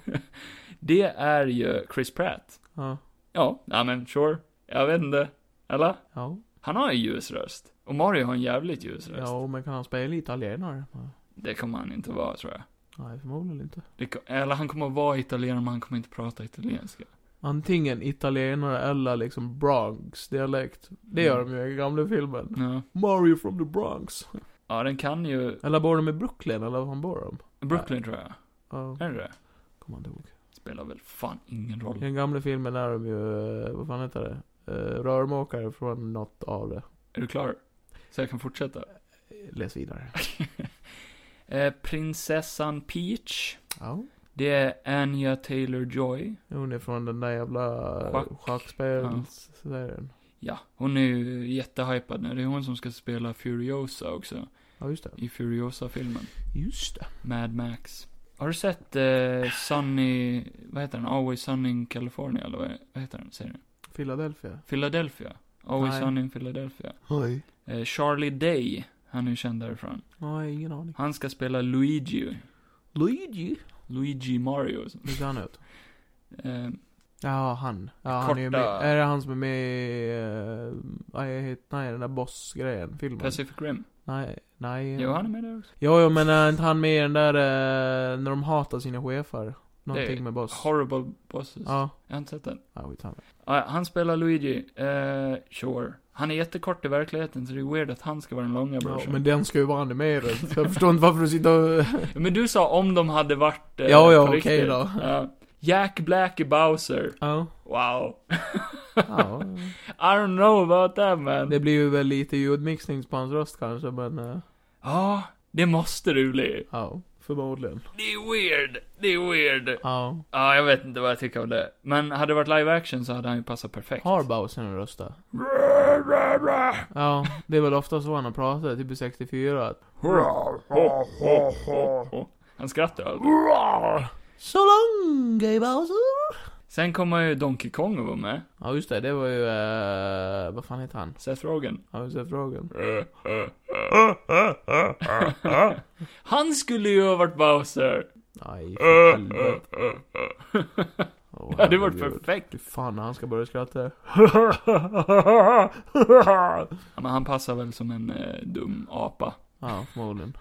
Speaker 1: Det är ju Chris Pratt.
Speaker 2: Ja.
Speaker 1: Ja, nej men sure. Jag vet inte. Eller?
Speaker 2: Ja.
Speaker 1: Han har en ljus röst. Och Mario har en jävligt ljus röst.
Speaker 2: Ja, men kan han spela italienare? Ja.
Speaker 1: Det kommer han inte vara, tror jag.
Speaker 2: Nej, förmodligen inte.
Speaker 1: Det, ko- eller han kommer vara italienare, men han kommer inte prata italienska.
Speaker 2: Antingen italienare eller liksom Bronx-dialekt. Det gör de ju i gamla filmen.
Speaker 1: Ja.
Speaker 2: Mario from the Bronx.
Speaker 1: ja, den kan ju...
Speaker 2: Eller bor de i Brooklyn, eller var fan bor de?
Speaker 1: Brooklyn, tror jag.
Speaker 2: Ja,
Speaker 1: Är det det
Speaker 2: kommer inte ihåg.
Speaker 1: Spelar väl fan ingen
Speaker 2: I
Speaker 1: roll.
Speaker 2: den gamla filmen är de ju, eh, vad fan heter det? Eh, Rörmokare från något av det.
Speaker 1: Är du klar? Så jag kan fortsätta. <laughs>
Speaker 2: Läs vidare.
Speaker 1: Eh, prinsessan Peach.
Speaker 2: Ja.
Speaker 1: Det är Anya Taylor-Joy.
Speaker 2: Hon är från den där jävla eh,
Speaker 1: Schack.
Speaker 2: schackspelsserien.
Speaker 1: Ja, hon är ju jättehypad nu. Det är hon som ska spela Furiosa också.
Speaker 2: Ja, just det.
Speaker 1: I Furiosa-filmen.
Speaker 2: Just det.
Speaker 1: Mad Max. Har du sett eh, Sunny, vad heter den? Always Sunny in California, eller vad, vad heter den serien?
Speaker 2: Philadelphia.
Speaker 1: Philadelphia? Always
Speaker 2: Nej.
Speaker 1: Sunny in Philadelphia.
Speaker 2: Hej.
Speaker 1: Eh, Charlie Day. Han är ju känd därifrån.
Speaker 2: Nej, ingen aning.
Speaker 1: Han ska spela Luigi.
Speaker 2: Luigi?
Speaker 1: Luigi Mario.
Speaker 2: Hur ser han ut?
Speaker 1: Eh,
Speaker 2: Ja, han. Ja, han är ju
Speaker 1: Korta-
Speaker 2: med. Är det han som är med i... Uh, jag heter, nej, den där boss-grejen. Filmen.
Speaker 1: Pacific Rim.
Speaker 2: Nej, nej.
Speaker 1: Jo, han är med där också.
Speaker 2: Jo, jo, men är inte han med i den där eh, när de hatar sina chefer?
Speaker 1: Det
Speaker 2: Någonting
Speaker 1: är
Speaker 2: med boss.
Speaker 1: Horrible Bosses.
Speaker 2: Ja,
Speaker 1: Jag har inte sett den.
Speaker 2: ja vi tar det.
Speaker 1: Ah, han spelar Luigi. Eh, sure. Han är jättekort i verkligheten, så det är weird att han ska vara den långa
Speaker 2: Ja,
Speaker 1: brorsan.
Speaker 2: men den ska ju vara animerad. Så jag förstår inte varför du sitter och... <laughs>
Speaker 1: Men du sa om de hade varit eh,
Speaker 2: Ja, ja,
Speaker 1: på
Speaker 2: okej
Speaker 1: riktigt.
Speaker 2: då.
Speaker 1: Ja. Jack Black i Bowser.
Speaker 2: Ja.
Speaker 1: Wow.
Speaker 2: ja.
Speaker 1: I don't know about that man.
Speaker 2: Det blir ju väl lite ljudmixning på hans röst kanske, men... eh,
Speaker 1: Ja, det måste du bli.
Speaker 2: Ja, förmodligen.
Speaker 1: Det är weird. Det är weird. Ja,
Speaker 2: Ja.
Speaker 1: jag vet inte vad jag tycker om det. Men hade det varit live action så hade han ju passat perfekt.
Speaker 2: Har Bowser en röst där? Ja, det är väl ofta så han har pratat, typ i 64. att,
Speaker 1: Han skrattar aldrig.
Speaker 2: So long, gay Bowser!
Speaker 1: Sen kommer ju Donkey Kong att vara med.
Speaker 2: Ja, just det, det var ju... eh, vad fan heter han?
Speaker 1: Seth Rogen.
Speaker 2: Ja, just det, frågan.
Speaker 1: Han skulle ju ha varit Bowser.
Speaker 2: Nej, för helvete. Åh,
Speaker 1: Det hade varit
Speaker 2: herregud.
Speaker 1: perfekt.
Speaker 2: Fy fan när han ska
Speaker 1: <laughs>
Speaker 2: börja skratta.
Speaker 1: Ja, Men han passar väl som en eh, dum apa.
Speaker 2: Ja, förmodligen.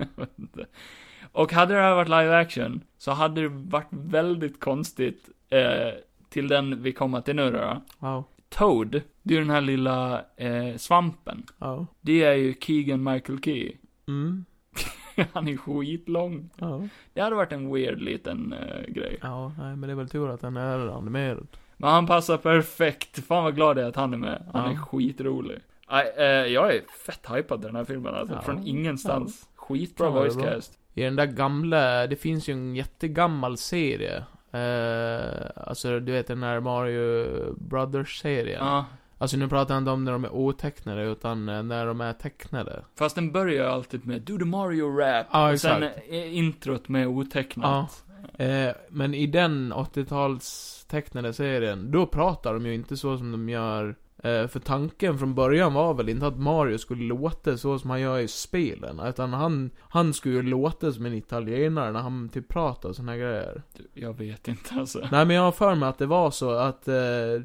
Speaker 1: Och hade det här varit live action, så hade det varit väldigt konstigt, eh, till den vi kommer till nu då.
Speaker 2: Ja,
Speaker 1: Toad, det är ju den här lilla eh, svampen.
Speaker 2: ja.
Speaker 1: Det är ju Keegan Michael Key. <laughs>
Speaker 2: Mm.
Speaker 1: Han är skitlång.
Speaker 2: Ja.
Speaker 1: Det hade varit en weird liten eh, grej.
Speaker 2: ja, nej men det är väl tur att den är animerad.
Speaker 1: Men han passar perfekt. Fan vad glad jag är att han är med. Han är
Speaker 2: Ja.
Speaker 1: skitrolig. Nej, eh, jag är fett hypad till den här filmen alltså.
Speaker 2: Ja.
Speaker 1: Från ingenstans. Skitbra
Speaker 2: Fan, vad det är
Speaker 1: voice
Speaker 2: bra.
Speaker 1: cast.
Speaker 2: I den där gamla, det finns ju en jättegammal serie. Eh, alltså du vet den där Mario Brothers-serien.
Speaker 1: Ja.
Speaker 2: Alltså nu pratar jag inte om när de är otecknade, utan eh, när de är tecknade.
Speaker 1: Fast den börjar ju alltid med Do the Mario Rap.
Speaker 2: Ja,
Speaker 1: och sen
Speaker 2: exakt.
Speaker 1: är introt med otecknat.
Speaker 2: Eh, men i den 80-tals tecknade serien, då pratar de ju inte så som de gör. Eh, för tanken från början var väl inte att Mario skulle låta så som han gör i spelen. Utan han, han skulle ju låta som en italienare när han typ pratar och såna här grejer.
Speaker 1: Du, Jag vet inte alltså.
Speaker 2: Nej men jag har för mig att det var så att eh,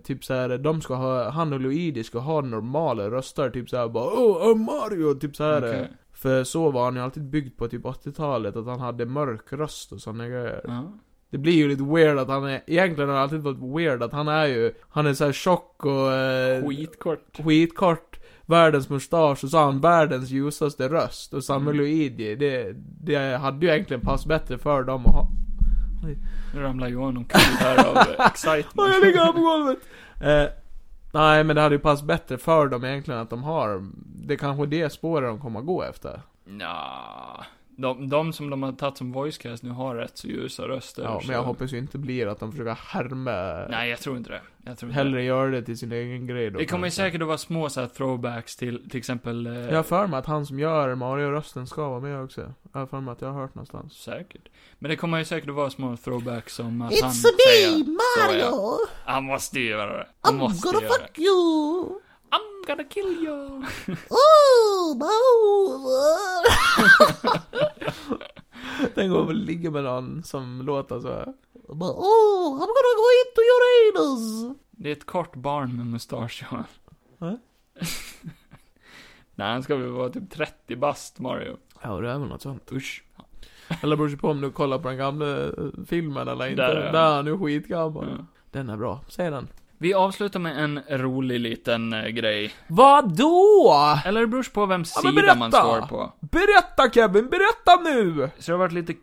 Speaker 2: typ så här, de ska ha, han och Luigi ska ha normala röster, typ så här bara Åh, oh, Mario! Typ så här. eh.
Speaker 1: Okej.
Speaker 2: För så var han ju alltid byggd på typ 80-talet, att han hade mörk röst och såna grejer.
Speaker 1: Ja.
Speaker 2: Det blir ju lite weird att han är, egentligen har det alltid varit weird att han är ju, han är så här tjock och eh,
Speaker 1: Skitkort.
Speaker 2: skitkort, världens mustasch och så har han världens ljusaste röst. Och Samuel
Speaker 1: Mm.
Speaker 2: Luigi, det, det hade ju egentligen passat bättre för dem att ha.
Speaker 1: Nu ramlar Johan omkull här av
Speaker 2: <laughs>
Speaker 1: eh,
Speaker 2: Åh,
Speaker 1: excitement.
Speaker 2: jag ligger här på golvet! <laughs> Eh, nej men det hade ju passat bättre för dem egentligen att de har, det är kanske är det spåret de kommer att gå efter.
Speaker 1: Nja. De, de som de har tagit som voice cast nu har rätt så ljusa röster.
Speaker 2: Ja,
Speaker 1: så-
Speaker 2: men jag hoppas ju inte blir att de försöker härma,
Speaker 1: Nej, jag tror inte det. Jag tror inte
Speaker 2: hellre göra det till sin egen grej då.
Speaker 1: det. Det kommer ju
Speaker 2: kanske.
Speaker 1: säkert att vara små så här throwbacks till, till exempel... Eh,
Speaker 2: Jag har för mig att han som gör Mario-rösten ska vara med också. Jag har för mig att jag har hört någonstans.
Speaker 1: Säkert. Men det kommer ju säkert att vara små throwbacks som att han
Speaker 5: It's a me,
Speaker 1: säger, "Så
Speaker 5: Mario.
Speaker 1: är jag." Han måste ju göra det. Han
Speaker 5: I'm
Speaker 1: måste
Speaker 5: gonna
Speaker 1: göra det.
Speaker 5: fuck you.
Speaker 1: I'm gonna kill you.
Speaker 5: Oh, Bowser.
Speaker 2: Tänk om man ligger med någon som låter så här.
Speaker 5: Oh, I'm gonna go into your anus.
Speaker 1: Det är ett kort barn med mustasch, Johan.
Speaker 2: Va?
Speaker 1: <laughs> Nej, han ska väl vara typ 30 bast, Mario.
Speaker 2: Ja, det är väl något sånt.
Speaker 1: Usch.
Speaker 2: Eller beror på om du kollar på den gamla eh, filmen eller inte.
Speaker 1: Där
Speaker 2: Där
Speaker 1: är den.
Speaker 2: är han ju skitgammal.
Speaker 1: Ja.
Speaker 2: Den är bra. Säg den.
Speaker 1: Vi avslutar med en rolig liten eh, grej.
Speaker 2: Vad då?
Speaker 1: Eller det beror på vem
Speaker 2: Ja, men
Speaker 1: sida man
Speaker 2: berätta!
Speaker 1: står på.
Speaker 2: Berätta Kevin, berätta nu!
Speaker 1: Så det har varit lite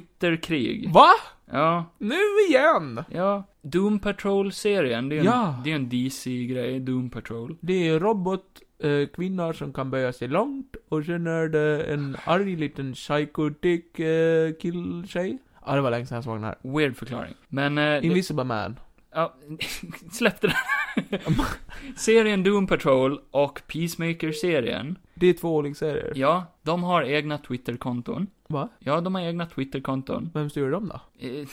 Speaker 1: Twitterkrig.
Speaker 2: Va?
Speaker 1: Ja,
Speaker 2: Nu igen?
Speaker 1: ja. Doom Patrol-serien, det är en,
Speaker 2: Ja.
Speaker 1: det är en DC-grej, Doom Patrol.
Speaker 2: Det är robot, eh, kvinnor som kan böja sig långt och sen är det en arg liten psychotic eh, kill-tjej. Ja, det var länge sedan jag såg den här.
Speaker 1: Weird förklaring. Men, eh, det,
Speaker 2: Invisible Man.
Speaker 1: ja, <laughs> släpp
Speaker 2: <laughs>
Speaker 1: det där. serien Doom Patrol och Peacemaker-serien,
Speaker 2: Det är två olika serier.
Speaker 1: ja, de har egna Twitter-konton.
Speaker 2: Va?
Speaker 1: Ja, de har egna Twitter-konton.
Speaker 2: Vem styr dem då?
Speaker 1: Eh, eh,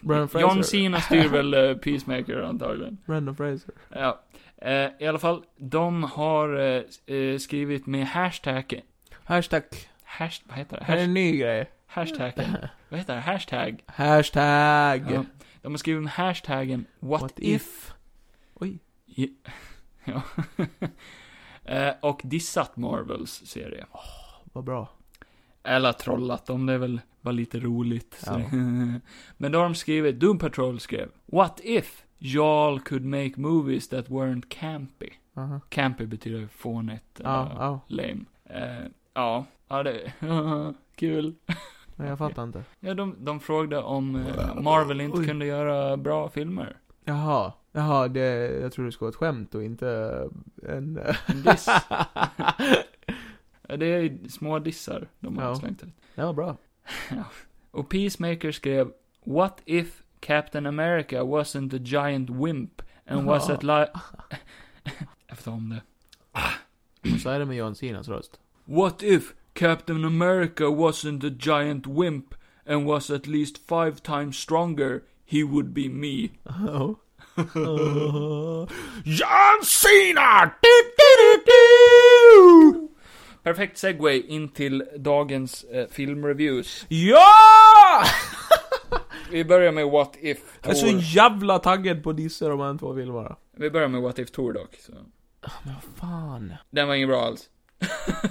Speaker 2: Brandon Fraser?
Speaker 1: John Cena
Speaker 2: <laughs>
Speaker 1: styr väl eh, Peacemaker antagligen.
Speaker 2: Brandon Fraser.
Speaker 1: Ja. Eh, I alla fall, de har eh, s- eh, skrivit med hashtag
Speaker 2: Hashtag.
Speaker 1: Hasht, vad heter det?
Speaker 2: Här är
Speaker 1: Hasht,
Speaker 2: en ny grej.
Speaker 1: hashtaggen. Vad heter det? Hashtag.
Speaker 2: Hashtag.
Speaker 1: Ja, de har skrivit med hashtaggen what,
Speaker 2: What
Speaker 1: if.
Speaker 2: if? Oj.
Speaker 1: <laughs> Ja. Eh, och dissat Marvels serie.
Speaker 2: Vad bra.
Speaker 1: Eller trollat dem, det är väl bara lite roligt. Så.
Speaker 2: Ja.
Speaker 1: <laughs> Men då har de skrivit, Doom Patrol skrev, What if y'all could make movies that weren't campy?
Speaker 2: Aha.
Speaker 1: Campy betyder fånigt, eller
Speaker 2: Ja, ja.
Speaker 1: lame. Eh, ja, ja det, <laughs> kul.
Speaker 2: Men jag fattar inte.
Speaker 1: Ja, de, de frågade om eh, Marvel inte
Speaker 2: Oj.
Speaker 1: kunde göra bra
Speaker 2: <laughs>
Speaker 1: filmer.
Speaker 2: Jaha. Jaha, det, jag tror det skulle vara ett skämt och inte en...
Speaker 1: En diss. Ja, det är små dissar de har
Speaker 2: Ja.
Speaker 1: slängt ut.
Speaker 2: Ja, bra.
Speaker 1: Och Peacemaker skrev What if Captain America wasn't a giant wimp and was at li... <laughs> Jag får ta om det.
Speaker 2: Och så är det med John Sinas <laughs> röst.
Speaker 1: What if Captain America wasn't a giant wimp and was at least five times stronger? He would be me.
Speaker 2: Oh.
Speaker 4: John Cena! Du, du, du, du!
Speaker 1: Perfekt segway in till dagens eh, filmreviews.
Speaker 2: Ja!
Speaker 1: Vi börjar med What If
Speaker 2: Jag är så
Speaker 1: Thor.
Speaker 2: jävla taggad på dissa de här två filmerna.
Speaker 1: Vi börjar med What If Thor dock. Så.
Speaker 2: Men vad fan.
Speaker 1: Den var ingen bra alls.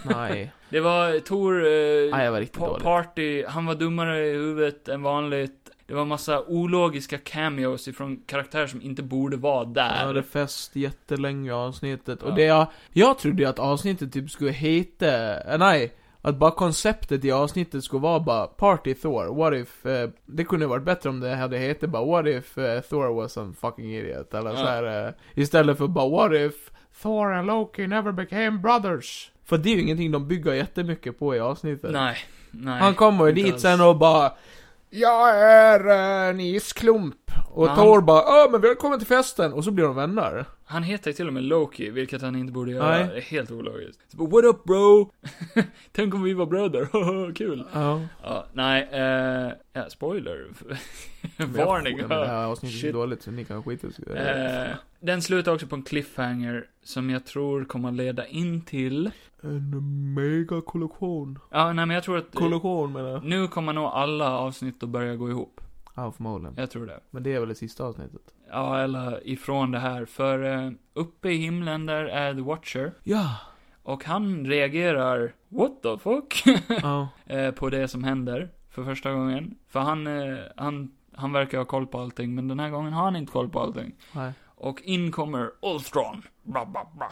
Speaker 2: Nej.
Speaker 1: Det var Tor... Eh,
Speaker 2: Nej, jag var riktigt
Speaker 1: pa-
Speaker 2: dålig.
Speaker 1: Party, han var dummare i huvudet än vanligt. Det var massa ologiska cameos ifrån karaktärer som inte borde vara
Speaker 2: Jag
Speaker 1: där.
Speaker 2: hade fest jättelänge i avsnittet.
Speaker 1: Ja.
Speaker 2: Och det jag... Jag trodde ju att avsnittet typ skulle heta... eh, Nej. Att bara konceptet i avsnittet skulle vara bara Party Thor, what if... Eh, det kunde ha varit bättre om det hade hetat bara What if eh, Thor was a fucking idiot. Eller
Speaker 1: Ja.
Speaker 2: så här, eh, Istället för bara What if Thor and Loki never became brothers. För det är ju ingenting de bygger jättemycket på i avsnittet.
Speaker 1: nej, nej.
Speaker 2: Han kommer ju
Speaker 1: inte
Speaker 2: dit
Speaker 1: alls.
Speaker 2: sen och bara Jag är eh, en isklump. Och
Speaker 1: Ja.
Speaker 2: Thor bara Åh men välkommen till festen. Och så blir de vänner.
Speaker 1: Han heter ju till och med Loki, vilket han inte borde göra.
Speaker 2: Nej.
Speaker 1: Det är helt ologiskt. Så bara, What up bro? <laughs> Tänk om vi var bröder, <laughs> kul.
Speaker 2: Ja.
Speaker 1: Ja, nej, eh, ja, spoiler. <laughs> Varning.
Speaker 2: Men det här avsnittet är
Speaker 1: Shit.
Speaker 2: så dåligt så ni kan skita i
Speaker 1: <laughs> Eh, den slutar också på en cliffhanger som jag tror kommer leda in till...
Speaker 2: En mega kollektion.
Speaker 1: Ja, nej men jag tror att...
Speaker 2: Kollektion menar jag.
Speaker 1: Nu kommer nog alla avsnitt att börja gå ihop.
Speaker 2: Ja förmodligen.
Speaker 1: Jag tror det.
Speaker 2: Men det är väl det sista avsnittet?
Speaker 1: Ja, eller ifrån det här. För eh, uppe i himlen där är The Watcher.
Speaker 2: Ja.
Speaker 1: Och han reagerar, what the fuck? <laughs>
Speaker 2: ja.
Speaker 1: eh, på det som händer. För första gången. För han, eh, han, han verkar ha koll på allting, men den här gången har han inte koll på allting.
Speaker 2: Nej.
Speaker 1: Och in kommer Ultron. Bra, bra, bra.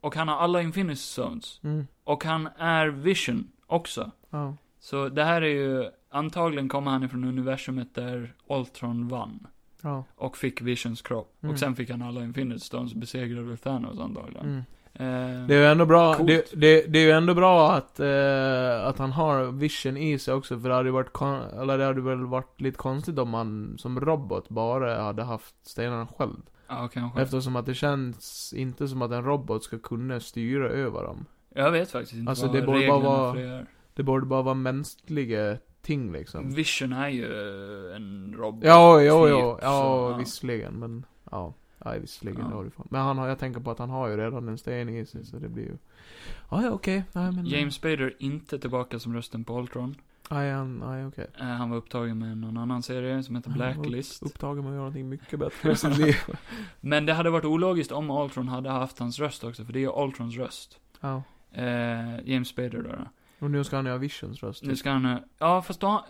Speaker 1: Och han har alla Infinity Stones.
Speaker 2: Mm.
Speaker 1: Och han är Vision också.
Speaker 2: Ja.
Speaker 1: Så det här är ju, antagligen kommer han ifrån universumet där Ultron vann.
Speaker 2: Ja.
Speaker 1: Och fick Visions kropp.
Speaker 2: Mm.
Speaker 1: Och sen fick han alla Infinity Stones och besegrade Thanos antagligen.
Speaker 2: Mm.
Speaker 1: Eh,
Speaker 2: Det är ju ändå bra,
Speaker 1: Coolt.
Speaker 2: det, det, det är ju ändå bra att, eh, att han har vision i sig också, för det hade ju varit, kon- eller det hade väl varit lite konstigt om han som robot bara hade haft stenarna själv.
Speaker 1: Ja, kanske.
Speaker 2: Eftersom att det känns inte som att en robot ska kunna styra över dem.
Speaker 1: Jag vet faktiskt inte
Speaker 2: Alltså,
Speaker 1: vad
Speaker 2: det borde bara
Speaker 1: reglerna
Speaker 2: vara-
Speaker 1: för det är.
Speaker 2: Det borde bara vara mänskliga ting liksom.
Speaker 1: Vision är ju eh, en robot.
Speaker 2: Ja, ja, ja,
Speaker 1: typ, så,
Speaker 2: ja,
Speaker 1: ja.
Speaker 2: visserligen, men ja. Nej, visserligen,
Speaker 1: Ja.
Speaker 2: det har du fan. Men han har, jag tänker på att han har ju redan en sten i sig, så det blir ju... Ja, ja, okej. Nej, men...
Speaker 1: James Spader är inte tillbaka som rösten på Ultron.
Speaker 2: Nej, han- nej, okej.
Speaker 1: Eh, han var upptagen med någon annan serie som heter
Speaker 2: Han var upp-
Speaker 1: Blacklist.
Speaker 2: upptagen med att göra någonting mycket bättre i sitt liv.
Speaker 1: Men det hade varit ologiskt om Ultron hade haft hans röst också, för det är ju Ultrons röst.
Speaker 2: <laughs> Ja.
Speaker 1: Eh, James Spader då. då.
Speaker 2: Och nu ska han göra Visions röst.
Speaker 1: Nu ska han... eh, Ja, fast då... har-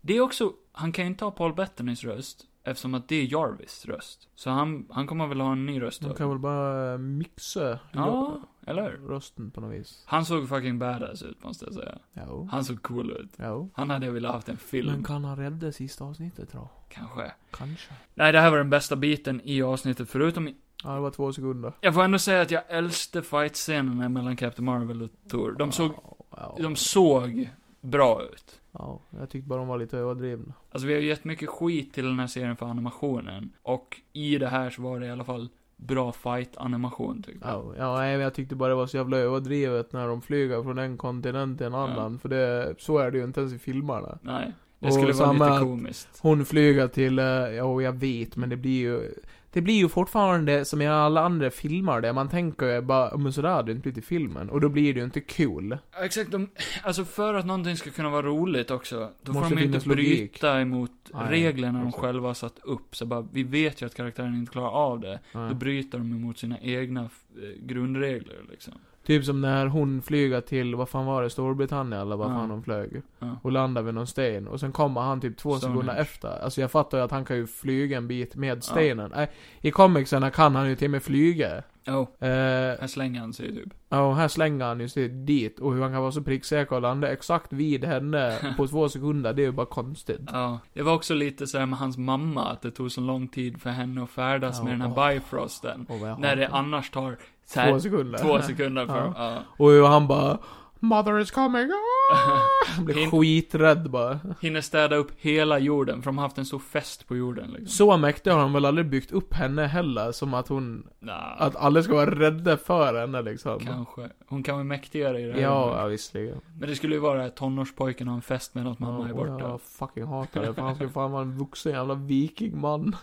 Speaker 1: Det är också... Han kan ju inte ha Paul Bettanys röst, eftersom att det är Jarvis röst. Så han, han kommer väl ha en ny röst då.
Speaker 2: De kan väl bara eh, mixa
Speaker 1: Ja, eller hur?
Speaker 2: rösten på något vis.
Speaker 1: Han såg fucking badass ut, måste jag säga.
Speaker 2: Jo.
Speaker 1: Han såg cool ut.
Speaker 2: Jo.
Speaker 1: Han hade velat haft en film,
Speaker 2: Men kan han rädda sista avsnittet då?
Speaker 1: kanske.
Speaker 2: Kanske.
Speaker 1: Nej, det här var den bästa biten i avsnittet, förutom...
Speaker 2: Ja, det var två sekunder.
Speaker 1: Jag får ändå säga att jag älskade fight-scenerna mellan Captain Marvel och Thor. De såg,
Speaker 2: Ja, ja.
Speaker 1: de såg bra ut.
Speaker 2: ja, jag tyckte bara de var lite överdrivna.
Speaker 1: Alltså vi har ju gett mycket skit till den här serien för animationen. Och i det här så var det i alla fall bra typ. fight-animation tycker jag.
Speaker 2: Ja, ja, nej, men jag tyckte bara det var så jävla överdrivet när de flyger från en kontinent till en annan. För det, så är det ju inte ens i filmerna.
Speaker 1: Nej. Det
Speaker 2: Och
Speaker 1: skulle vara
Speaker 2: samma
Speaker 1: lite
Speaker 2: att-
Speaker 1: komiskt.
Speaker 2: Hon flyger till, eh, ja jag vet, men det blir ju... det blir ju fortfarande som i alla andra filmer där man tänker ju bara, men sådär hade det inte blivit i filmen. Och då blir det ju inte kul.
Speaker 1: Ja, Exakt, de, alltså för att någonting ska kunna vara roligt också, då
Speaker 2: Måste
Speaker 1: får de ju
Speaker 2: finnas
Speaker 1: inte
Speaker 2: logik.
Speaker 1: bryta emot
Speaker 2: Nej,
Speaker 1: reglerna de
Speaker 2: exakt.
Speaker 1: själva har satt upp. Så bara, vi vet ju att karaktären inte klarar av det.
Speaker 2: Nej.
Speaker 1: Då bryter de emot sina egna eh, grundregler liksom.
Speaker 2: Typ som när hon flyger till, vad fan var det, Storbritannien eller vad
Speaker 1: Ja.
Speaker 2: fan hon flög.
Speaker 1: Ja.
Speaker 2: Och landar vid någon sten. Och sen kommer han typ två
Speaker 1: Stonehenge.
Speaker 2: sekunder efter. Alltså jag fattar ju att han kan ju flyga en bit med stenen. Nej, I comicsen kan han ju till och med flyga.
Speaker 1: Jo,
Speaker 2: Eh,
Speaker 1: här slänger han sig typ.
Speaker 2: Ja, och här slänger han ju sig dit. Och hur han kan vara så pricksäker och landa exakt vid henne på två sekunder, det är ju bara konstigt.
Speaker 1: Ja. Det var också lite sådär med hans mamma, att det tog så lång tid för henne att färdas
Speaker 2: Ja,
Speaker 1: med den här
Speaker 2: åh.
Speaker 1: Bifrosten.
Speaker 2: Och vad jag
Speaker 1: När det
Speaker 2: hatar.
Speaker 1: annars tar
Speaker 2: Två
Speaker 1: såhär,
Speaker 2: sekunder.
Speaker 1: två sekunder för,
Speaker 2: Ja.
Speaker 1: ja.
Speaker 2: Och hur han bara 'Mother is coming'
Speaker 1: <laughs>
Speaker 2: Ah! Han blir
Speaker 1: Hin-
Speaker 2: skiträdd bara.
Speaker 1: Hinner städa upp hela jorden, för de har haft en stor fest på jorden liksom.
Speaker 2: Så mäktig har han väl aldrig byggt upp henne heller, som att hon,
Speaker 1: Nah,
Speaker 2: att alla ska vara rädda för henne liksom.
Speaker 1: kanske. Hon kan vara mäktigare i det här.
Speaker 2: Ja, ja, visserligen.
Speaker 1: Men det skulle ju vara att tonårspojken har en fest medan mamma är
Speaker 2: Ja, och
Speaker 1: borta.
Speaker 2: Jag fucking hatar det, för han skulle fan vara en vuxen jävla vikingman.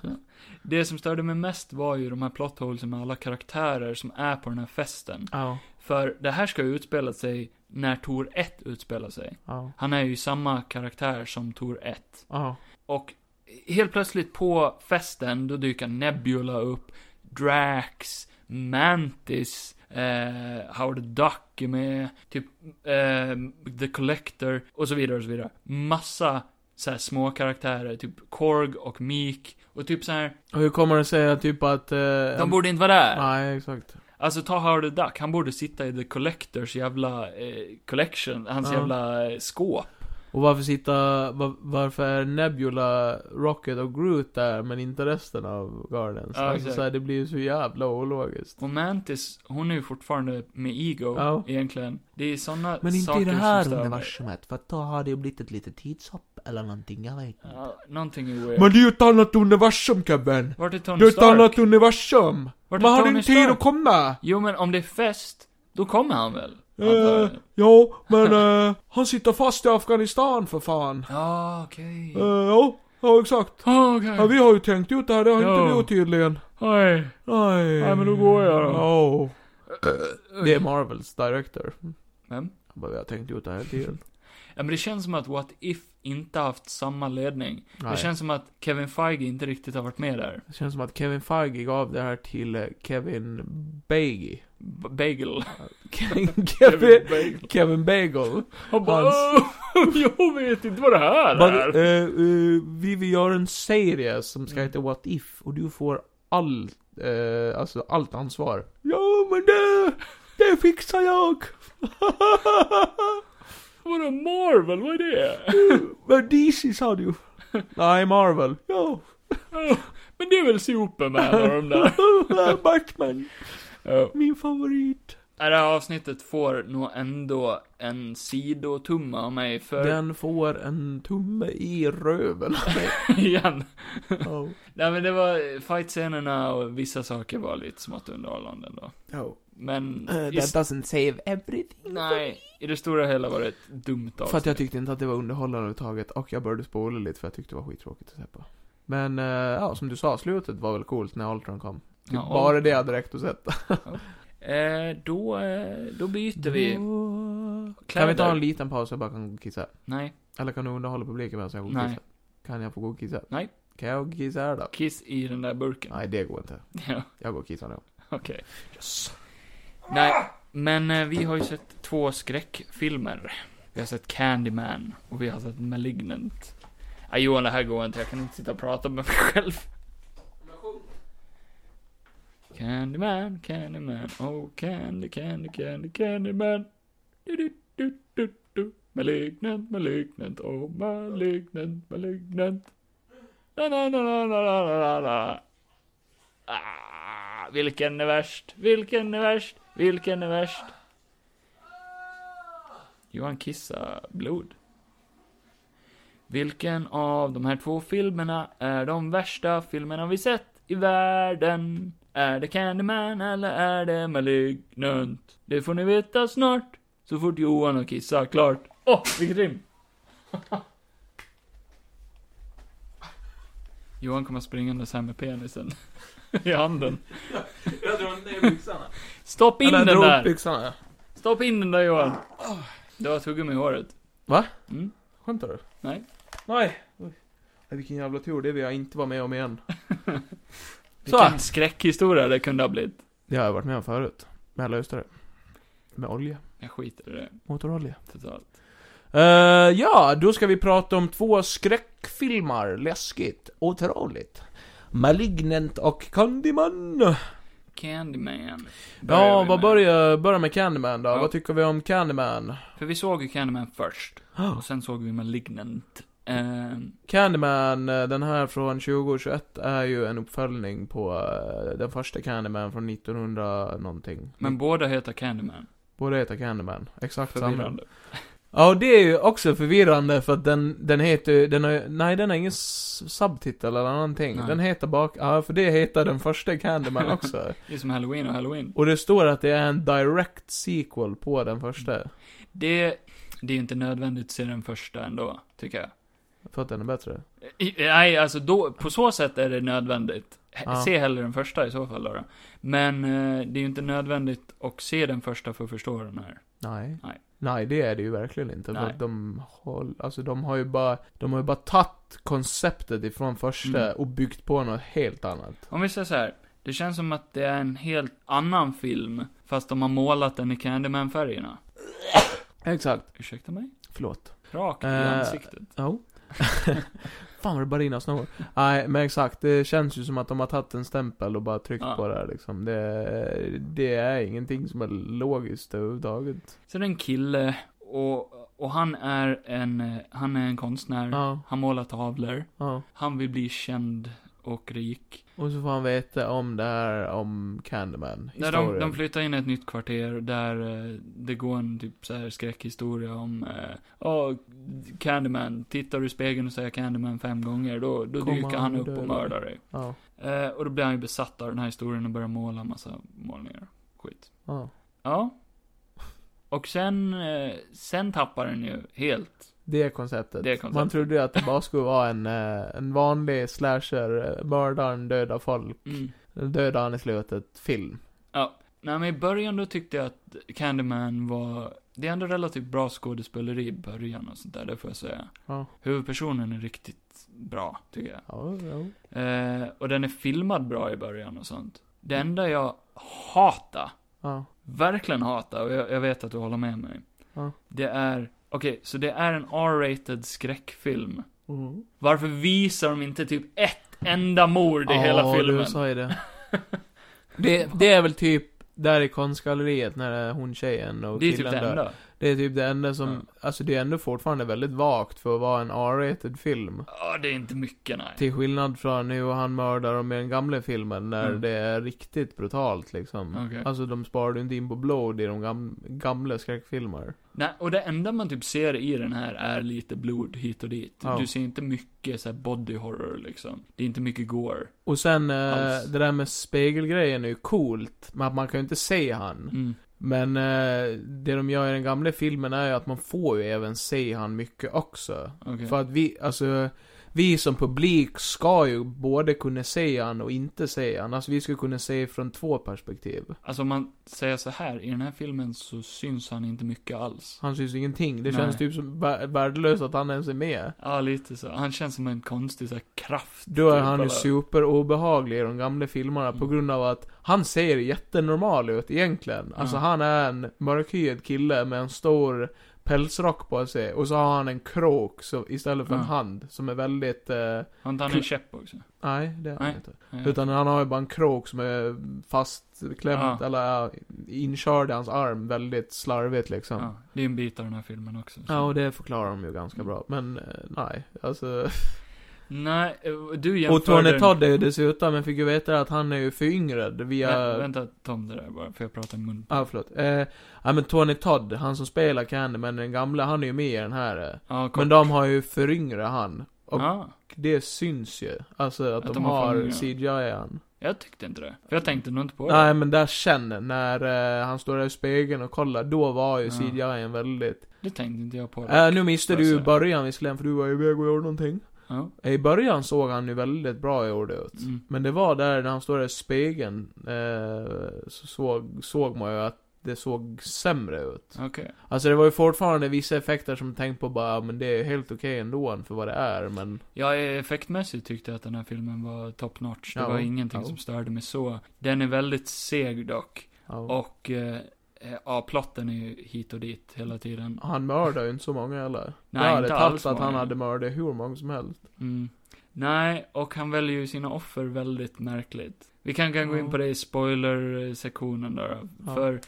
Speaker 1: Det som störde mig mest var ju de här plot holesen med alla karaktärer som är på den här festen.
Speaker 2: Ja,
Speaker 1: För det här ska ju utspela sig när Tor 1 utspelar sig.
Speaker 2: ja,
Speaker 1: Han är ju samma karaktär som Tor 1.
Speaker 2: ja.
Speaker 1: Och helt plötsligt på festen, då dyker Nebula upp, Drax, Mantis, eh, Howard Duck är med, typ eh, The Collector och så vidare och så vidare. Massa så här små karaktärer, typ Korg och Meek. Och typ så här,
Speaker 2: Och hur kommer det sig att typ att... Eh,
Speaker 1: de borde inte vara där.
Speaker 2: Nej, exakt.
Speaker 1: Alltså ta Howard Duck, han borde sitta i The Collectors jävla eh, collection, hans
Speaker 2: Ja.
Speaker 1: jävla eh, skåp.
Speaker 2: Och varför sitta, var, varför är Nebula, Rocket och Groot där men inte resten av Guardians?
Speaker 1: Ja,
Speaker 2: alltså
Speaker 1: exakt.
Speaker 2: så här, det blir ju så jävla ologiskt.
Speaker 1: Och Mantis, hon är ju fortfarande med Ego,
Speaker 2: Ja.
Speaker 1: egentligen. Det är sådana
Speaker 5: Men inte
Speaker 1: saker
Speaker 5: i det här
Speaker 1: som stör mig.
Speaker 5: universumet, för att då har det ju blivit ett litet tidshopp eller någonting, jag vet inte.
Speaker 1: Ja, någonting är weird.
Speaker 2: Men det är ju ett annat universum Kevin!
Speaker 1: Vart är Tony
Speaker 2: Det är ett
Speaker 1: Stark?
Speaker 2: annat universum!
Speaker 1: Vart är
Speaker 2: Man har
Speaker 1: Tony
Speaker 2: inte tid
Speaker 1: Stark?
Speaker 2: att komma!
Speaker 1: Jo men om det är fest, då kommer han väl?
Speaker 2: Eh,
Speaker 1: antagligen.
Speaker 2: ja,
Speaker 1: <laughs>
Speaker 2: men eh, han sitter fast i Afghanistan för fan.
Speaker 1: Ja, okej.
Speaker 2: Eh, ja, ja exakt.
Speaker 1: Åh,
Speaker 2: Ja,
Speaker 1: Okej.
Speaker 2: vi Eh. har ju tänkt ut det här, det har
Speaker 1: Ja.
Speaker 2: inte du gjort tydligen.
Speaker 1: Oj.
Speaker 2: Nej.
Speaker 1: Nej, men då går jag då.
Speaker 2: Ja. Det är Marvels director.
Speaker 1: Vem?
Speaker 2: Han bara, vi har tänkt ut det här hela tiden.
Speaker 1: Ja men det känns som att What If inte haft samma ledning.
Speaker 2: Nej.
Speaker 1: Det känns som att Kevin Feige inte riktigt har varit med där.
Speaker 2: Det känns som att Kevin Feige gav det här till eh, Kevin Bagey.
Speaker 1: <laughs> B- bagel.
Speaker 2: Kevin,
Speaker 1: Bagel.
Speaker 2: <laughs> Kevin Bagel.
Speaker 1: Han bara,
Speaker 2: Hans-
Speaker 1: "Åh, <laughs> jag vet inte vad det här
Speaker 2: Bara,
Speaker 1: är. Mm.
Speaker 2: eh, eh, vi vill göra en serie som ska heta What If och du får all, eh, alltså allt ansvar. Ja men det, det fixar jag. <laughs>
Speaker 1: Vadå Marvel, vad är det?
Speaker 2: men DC
Speaker 1: <laughs>
Speaker 2: sa du. Nej Marvel. Ja.
Speaker 1: Men det är väl Superman och de <laughs> där.
Speaker 2: <laughs> Batman.
Speaker 1: Ja.
Speaker 2: Min favorit.
Speaker 1: Det här avsnittet får nog ändå en sidotumma av mig för...
Speaker 2: Den får en tumme i röven.
Speaker 1: <laughs> igen.
Speaker 2: <laughs> Ja.
Speaker 1: Nej men det var, fightscenerna och vissa saker var lite smått underhållande då.
Speaker 2: Ja.
Speaker 1: Men,
Speaker 2: Eh,
Speaker 1: i,
Speaker 2: that doesn't save everything.
Speaker 1: nej, i det stora hela var det ett dumt avsnitt.
Speaker 2: För att jag tyckte inte att det var underhållande överhuvudtaget och jag började spola lite för jag tyckte det var skittråkigt att se på. Men eh, ja, som du sa, slutet var väl coolt när Ultron kom. Typ
Speaker 1: Ja,
Speaker 2: bara det hade räckt att sätta.
Speaker 1: Eh, då, eh, då byter vi.
Speaker 2: Kan vi ta
Speaker 1: Kläder.
Speaker 2: en liten paus så jag bara kan gå och kissa?
Speaker 1: Nej,
Speaker 2: Eller kan du underhålla publiken medan jag går och
Speaker 1: Nej.
Speaker 2: kissa? Kan jag få gå och kissa?
Speaker 1: Nej.
Speaker 2: Kan jag gå och kissa här då?
Speaker 1: kiss i den där burken.
Speaker 2: Nej, det går inte.
Speaker 1: <laughs> Ja,
Speaker 2: Jag går och kissar nu.
Speaker 1: okej. Nej, men eh, vi har ju sett två skräckfilmer. Vi har sett Candyman och vi har sett Malignant. Nej Johan, det här går inte. Jag kan inte sitta och prata med mig själv. Candyman, Candyman, oh candy, candy, candy, Candyman. Du, du, du, du, du. Malignant, malignant, oh malignant, malignant. Na, na, na, na, na, na, na, na, na. Ah, vilken är värst? Vilken är värst? Vilken är värst? Johan kissa blod. Vilken av de här två filmerna är de värsta filmerna vi sett i världen? Är det Candyman eller är det Malignant? Det får ni veta snart, så fort Johan har kissat klart. Åh, vilket rim! <laughs> Johan kommer springande så här med penisen i handen.
Speaker 2: Jag drar ner byxorna.
Speaker 1: Stopp in
Speaker 4: Eller
Speaker 1: den
Speaker 4: drog upp
Speaker 1: där!
Speaker 4: byxorna, ja.
Speaker 1: Stopp in den där Johan! Du har tuggummi i håret.
Speaker 2: Va?
Speaker 1: Mm.
Speaker 2: Skämtar du?
Speaker 1: Nej.
Speaker 2: Nej. Oj. Nej, vilken jävla tur, det vill jag inte vara med om igen. Så.
Speaker 1: Vilken skräckhistoria det kunde ha blivit.
Speaker 2: Det har jag varit med om förut. Men jag löste det. Med olja.
Speaker 1: Jag skiter i det
Speaker 2: Motorolja.
Speaker 1: totalt.
Speaker 2: Eh, ja, då ska vi prata om två skräckfilmer. Läskigt, otroligt. Malignant och Candyman.
Speaker 1: Candyman. Börjar
Speaker 2: Ja,
Speaker 1: vi
Speaker 2: vad
Speaker 1: med.
Speaker 2: börjar, börjar med Candyman då?
Speaker 1: Ja.
Speaker 2: Vad tycker vi om Candyman?
Speaker 1: För vi såg ju Candyman först. Och sen såg vi Malignant. Ehm,
Speaker 2: Candyman, eh, den här från 2021, är ju en uppföljning på eh, den första Candyman från 1900 någonting.
Speaker 1: men båda heter Candyman.
Speaker 2: Båda heter Candyman. Exakt samma.
Speaker 1: Förvirrande.
Speaker 2: Ja, och det är ju också förvirrande för att den, den heter ju- den har, nej den har ingen s- subtitel eller någonting.
Speaker 1: Nej.
Speaker 2: Den heter bak, ja för det heter den första
Speaker 1: <laughs>
Speaker 2: Candyman också.
Speaker 1: Det är som Halloween och Halloween.
Speaker 2: och det står att det är en direct sequel på den första.
Speaker 1: Det, det är inte nödvändigt att se den första ändå, tycker jag.
Speaker 2: För att den är bättre.
Speaker 1: I- Nej, alltså då, på så sätt är det nödvändigt. He-
Speaker 2: Ja.
Speaker 1: Se hellre den första i så fall då. då. Men eh, det är ju inte nödvändigt att se den första för att förstå den här.
Speaker 2: Nej.
Speaker 1: Nej.
Speaker 2: Nej, det är det ju verkligen inte. För
Speaker 1: Nej.
Speaker 2: att de har, alltså de har ju bara, de har ju bara tagit konceptet ifrån första
Speaker 1: Mm.
Speaker 2: och byggt på något helt annat.
Speaker 1: Om vi säger så här. Det känns som att det är en helt annan film, fast de har målat den i Candyman-färgerna.
Speaker 2: Exakt.
Speaker 1: Ursäkta mig?
Speaker 2: Förlåt.
Speaker 1: Rakt i
Speaker 2: Eh,
Speaker 1: ansiktet.
Speaker 2: Ja. <laughs> Fan vad det bara rinner snor. Nej, men exakt. Det känns ju som att de har tagit en stämpel och bara tryckt
Speaker 1: Ja.
Speaker 2: på det här liksom. Det, det är ingenting som är logiskt överhuvudtaget.
Speaker 1: Så det är en kille, och, och han är en, eh, han är en konstnär.
Speaker 2: Ja,
Speaker 1: Han målar tavlor.
Speaker 2: ja.
Speaker 1: Han vill bli känd och rik.
Speaker 2: Och så får han veta om det här om Candyman.
Speaker 1: När
Speaker 2: historien.
Speaker 1: de, de flyttar in i ett nytt kvarter där eh, det går en typ så här skräckhistoria om, eh, ja, Candyman. Tittar du i spegeln och säger Candyman fem gånger, då, då
Speaker 2: Kommer
Speaker 1: dyker
Speaker 2: han
Speaker 1: han
Speaker 2: och
Speaker 1: upp
Speaker 2: dödar
Speaker 1: och
Speaker 2: dig.
Speaker 1: mördar dig.
Speaker 2: Ja,
Speaker 1: Eh, och då blir han ju besatt av den här historien och börjar måla en massa målningar. Skit.
Speaker 2: ja.
Speaker 1: Ja. Och sen, eh, sen tappar den ju helt.
Speaker 2: Det är konceptet.
Speaker 1: Det är konceptet.
Speaker 2: Man trodde ju att det bara skulle vara en, eh, en vanlig slasher, eh, mördaren dödar folk,
Speaker 1: Mm.
Speaker 2: dödar han i slutet, film.
Speaker 1: Nej men i början då tyckte jag att Candyman var, det är ändå relativt bra skådespeleri i början och sånt där, det får jag säga.
Speaker 2: Ja.
Speaker 1: Huvudpersonen är riktigt bra, tycker jag.
Speaker 2: Ja, ja.
Speaker 1: Eh, och den är filmad bra i början och sånt. Det
Speaker 2: Mm.
Speaker 1: enda jag hatar,
Speaker 2: ja.
Speaker 1: verkligen hatar, och jag, jag vet att du håller med mig.
Speaker 2: Ja.
Speaker 1: Det är, okej, så det är en R-rated skräckfilm.
Speaker 2: Mm.
Speaker 1: Varför visar de inte typ ett enda mord i hela
Speaker 2: du
Speaker 1: filmen?
Speaker 2: sa ju
Speaker 1: <laughs>
Speaker 2: det. det. Det är väl typ där i konstgalleriet när det är hon tjejen och
Speaker 1: Det är typ
Speaker 2: killen
Speaker 1: det
Speaker 2: dör.
Speaker 1: enda.
Speaker 2: Det är typ det enda som, alltså det är ändå fortfarande väldigt vagt för att vara en R-rated film.
Speaker 1: Ja, det är inte mycket nej.
Speaker 2: Till skillnad från nu och han mördar och med den gamla filmen när
Speaker 1: Mm.
Speaker 2: det är riktigt brutalt liksom.
Speaker 1: Okej.
Speaker 2: Alltså de sparade inte in på blod i de gam, gamla skräckfilmer.
Speaker 1: Nej, och det enda man typ ser i den här är lite blod hit och dit.
Speaker 2: Ja.
Speaker 1: Du ser inte mycket så här body horror liksom. Det är inte mycket gore.
Speaker 2: Och sen eh,
Speaker 1: Alls.
Speaker 2: det där med spegelgrejen är ju coolt, men att man kan ju inte se han.
Speaker 1: Mm.
Speaker 2: Men eh, det de gör i den gamla filmen är ju att man får ju även se han mycket också.
Speaker 1: Okej.
Speaker 2: För att vi, alltså, vi som publik ska ju både kunna se han och inte se han. Alltså vi ska kunna se från två perspektiv.
Speaker 1: Alltså om man säger så här, i den här filmen så syns han inte mycket alls.
Speaker 2: Han syns ingenting. Det
Speaker 1: Nej.
Speaker 2: känns typ som vär- värdelöst att han ens är med.
Speaker 1: Ja, lite så. Han känns som en konstig så här kraft.
Speaker 2: Då är
Speaker 1: typ,
Speaker 2: han ju
Speaker 1: eller-
Speaker 2: superobehaglig i de gamla filmerna på
Speaker 1: Mm.
Speaker 2: grund av att han ser jättenormal ut egentligen. Alltså
Speaker 1: Ja.
Speaker 2: han är en mörkhyad kille med en stor pälsrock på sig och så har han en krok så, istället för en
Speaker 1: Ja.
Speaker 2: hand som är väldigt... Eh,
Speaker 1: Har inte han en käpp också?
Speaker 2: nej, det är han
Speaker 1: Nej.
Speaker 2: inte.
Speaker 1: Ja.
Speaker 2: Utan han har ju bara en krok som är fastklämd
Speaker 1: Ja.
Speaker 2: eller eh, inkörd i hans arm väldigt slarvigt liksom. Ja.
Speaker 1: Ja, Mm. det är en bit av den här filmen också. så.
Speaker 2: och det förklarar de ju ganska bra. Men eh, nej, alltså...
Speaker 1: Nej, eh, du
Speaker 2: Och
Speaker 1: jämförde...
Speaker 2: Tony Todd är ju dessutom, men fick ju veta att han är ju föryngrad via...
Speaker 1: Nej, vänta Tom, det där bara, för jag pratar i mun.
Speaker 2: Ja, ah, förlåt. Eh, ja, men Tony Todd, han som spelar Candyman, den gamla, han är ju med i den här. eh.
Speaker 1: Ja, kort.
Speaker 2: Men de har ju föryngrat han. och-
Speaker 1: Ja,
Speaker 2: Det syns ju. Alltså att, de,
Speaker 1: de har
Speaker 2: har
Speaker 1: föryngrat.
Speaker 2: CGI han.
Speaker 1: jag tyckte inte det. För jag tänkte nog inte på det.
Speaker 2: Nej, men där sen, när eh, han står där i spegeln och kollar, då var ju
Speaker 1: Ja.
Speaker 2: CGI en väldigt...
Speaker 1: Det tänkte inte jag på.
Speaker 2: Eh, nu missade
Speaker 1: får jag
Speaker 2: du
Speaker 1: säga.
Speaker 2: början visserligen, för du var ju iväg och gjorde någonting.
Speaker 1: Ja.
Speaker 2: I början såg han ju väldigt bra gjord ut.
Speaker 1: Mm.
Speaker 2: Men det var där när han står där i spegeln, eh, så såg, såg man ju att det såg sämre ut.
Speaker 1: Okej.
Speaker 2: Alltså det var ju fortfarande vissa effekter som tänkte på bara, ja, men det är helt okej ändå för vad det är, men...
Speaker 1: Jag effektmässigt tyckte jag att den här filmen var top notch. Det
Speaker 2: Ja.
Speaker 1: var ingenting
Speaker 2: Ja.
Speaker 1: som störde mig så. Den är väldigt seg dock.
Speaker 2: Ja.
Speaker 1: Och, eh, eh, ja, plotten är ju hit och dit hela tiden.
Speaker 2: Han mördar ju inte så många heller.
Speaker 1: <laughs> Nej,
Speaker 2: jag hade
Speaker 1: inte
Speaker 2: tagit
Speaker 1: alls
Speaker 2: att han
Speaker 1: många.
Speaker 2: hade mördat hur många som helst.
Speaker 1: Mm. Nej, och han väljer ju sina offer väldigt märkligt. Vi kan, kan gå in
Speaker 2: Ja.
Speaker 1: på det i spoiler-sektionen där. då.
Speaker 2: Ja.
Speaker 1: För,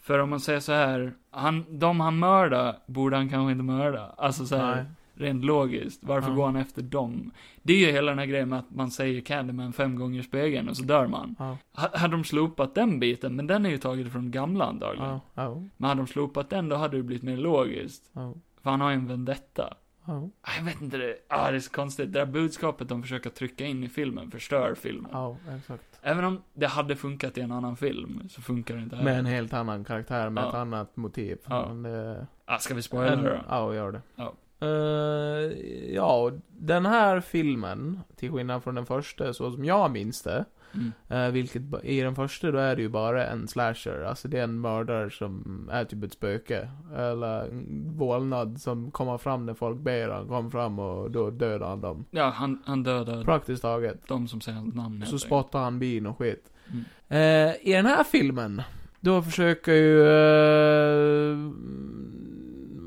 Speaker 1: för om man säger så här, han, de han mördar borde han kanske inte mörda. Alltså så här,
Speaker 2: Nej.
Speaker 1: rent logiskt. Varför
Speaker 2: Ja.
Speaker 1: går han efter dem? Det är ju hela den här grejen med att man säger Candyman fem gånger i spegeln och så dör man.
Speaker 2: Ja.
Speaker 1: H- hade de slopat den biten, men den är ju tagen från gamla antagligen.
Speaker 2: Ja. Ja.
Speaker 1: Men hade de slopat den, då hade det blivit mer logiskt.
Speaker 2: Ja.
Speaker 1: För han har ju en vendetta.
Speaker 2: Ja.
Speaker 1: Ah, Jag vet inte, det, ah, det är så konstigt. Det där budskapet de försöker trycka in i filmen förstör filmen.
Speaker 2: Ja, exakt.
Speaker 1: Även om det hade funkat i en annan film, så funkar det inte här.
Speaker 2: Med en helt annan karaktär, med
Speaker 1: Eh. Ja.
Speaker 2: ett annat motiv.
Speaker 1: Ja.
Speaker 2: Men eh, det...
Speaker 1: Ah, ska vi spoila det då?
Speaker 2: Ja, gör det.
Speaker 1: Ja.
Speaker 2: Eh, ja, den här filmen, till skillnad från den första, så som jag minns det,
Speaker 1: Mm.
Speaker 2: eh, vilket ba- i den första då är det ju bara en slasher, alltså det är en mördare som är typ ett spöke, eller en vålnad som kommer fram när folk ber han komma fram och då dödar han dem.
Speaker 1: Ja, han, han dödar
Speaker 2: Praktiskt taget.
Speaker 1: de som säger hans namn. helt
Speaker 2: Så
Speaker 1: enkelt.
Speaker 2: spottar han bin och skit.
Speaker 1: Mm.
Speaker 2: Eh, I den här filmen, då försöker ju eh,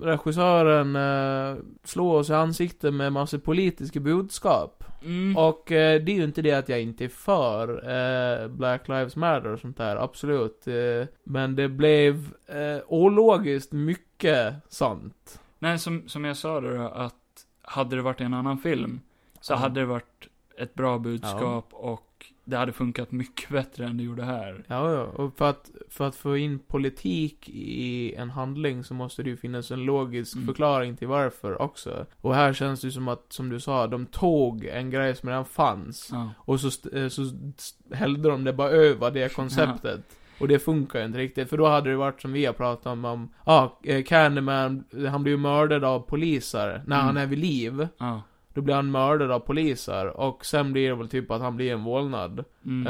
Speaker 2: regissören eh, slå oss i ansiktet med massa politiska budskap.
Speaker 1: Mm.
Speaker 2: Och eh, det är ju inte det att jag inte är för eh, Black Lives Matter och sånt där, absolut. Eh, men det blev eh, ologiskt mycket sant.
Speaker 1: Nej, som, som jag sa då, att hade det varit i en annan film, så
Speaker 2: Ja.
Speaker 1: hade det varit ett bra budskap och det hade funkat mycket bättre än det gjorde här.
Speaker 2: Ja, ja. Och för att, för att få in politik i en handling så måste det ju finnas en logisk
Speaker 1: Mm.
Speaker 2: förklaring till varför också. Och här känns det ju som att, som du sa, de tog en grej som redan fanns.
Speaker 1: Ja.
Speaker 2: Och så, st- eh, så st- hällde de det bara över det konceptet. Och det funkar ju inte riktigt, för då hade det varit som vi har pratat om, om ja, ah, Candyman, han blir ju mördad av poliser när
Speaker 1: Mm.
Speaker 2: han är vid liv.
Speaker 1: ja.
Speaker 2: Då blir han mördad av poliser, och sen blir det väl typ att han blir en vålnad.
Speaker 1: Mm.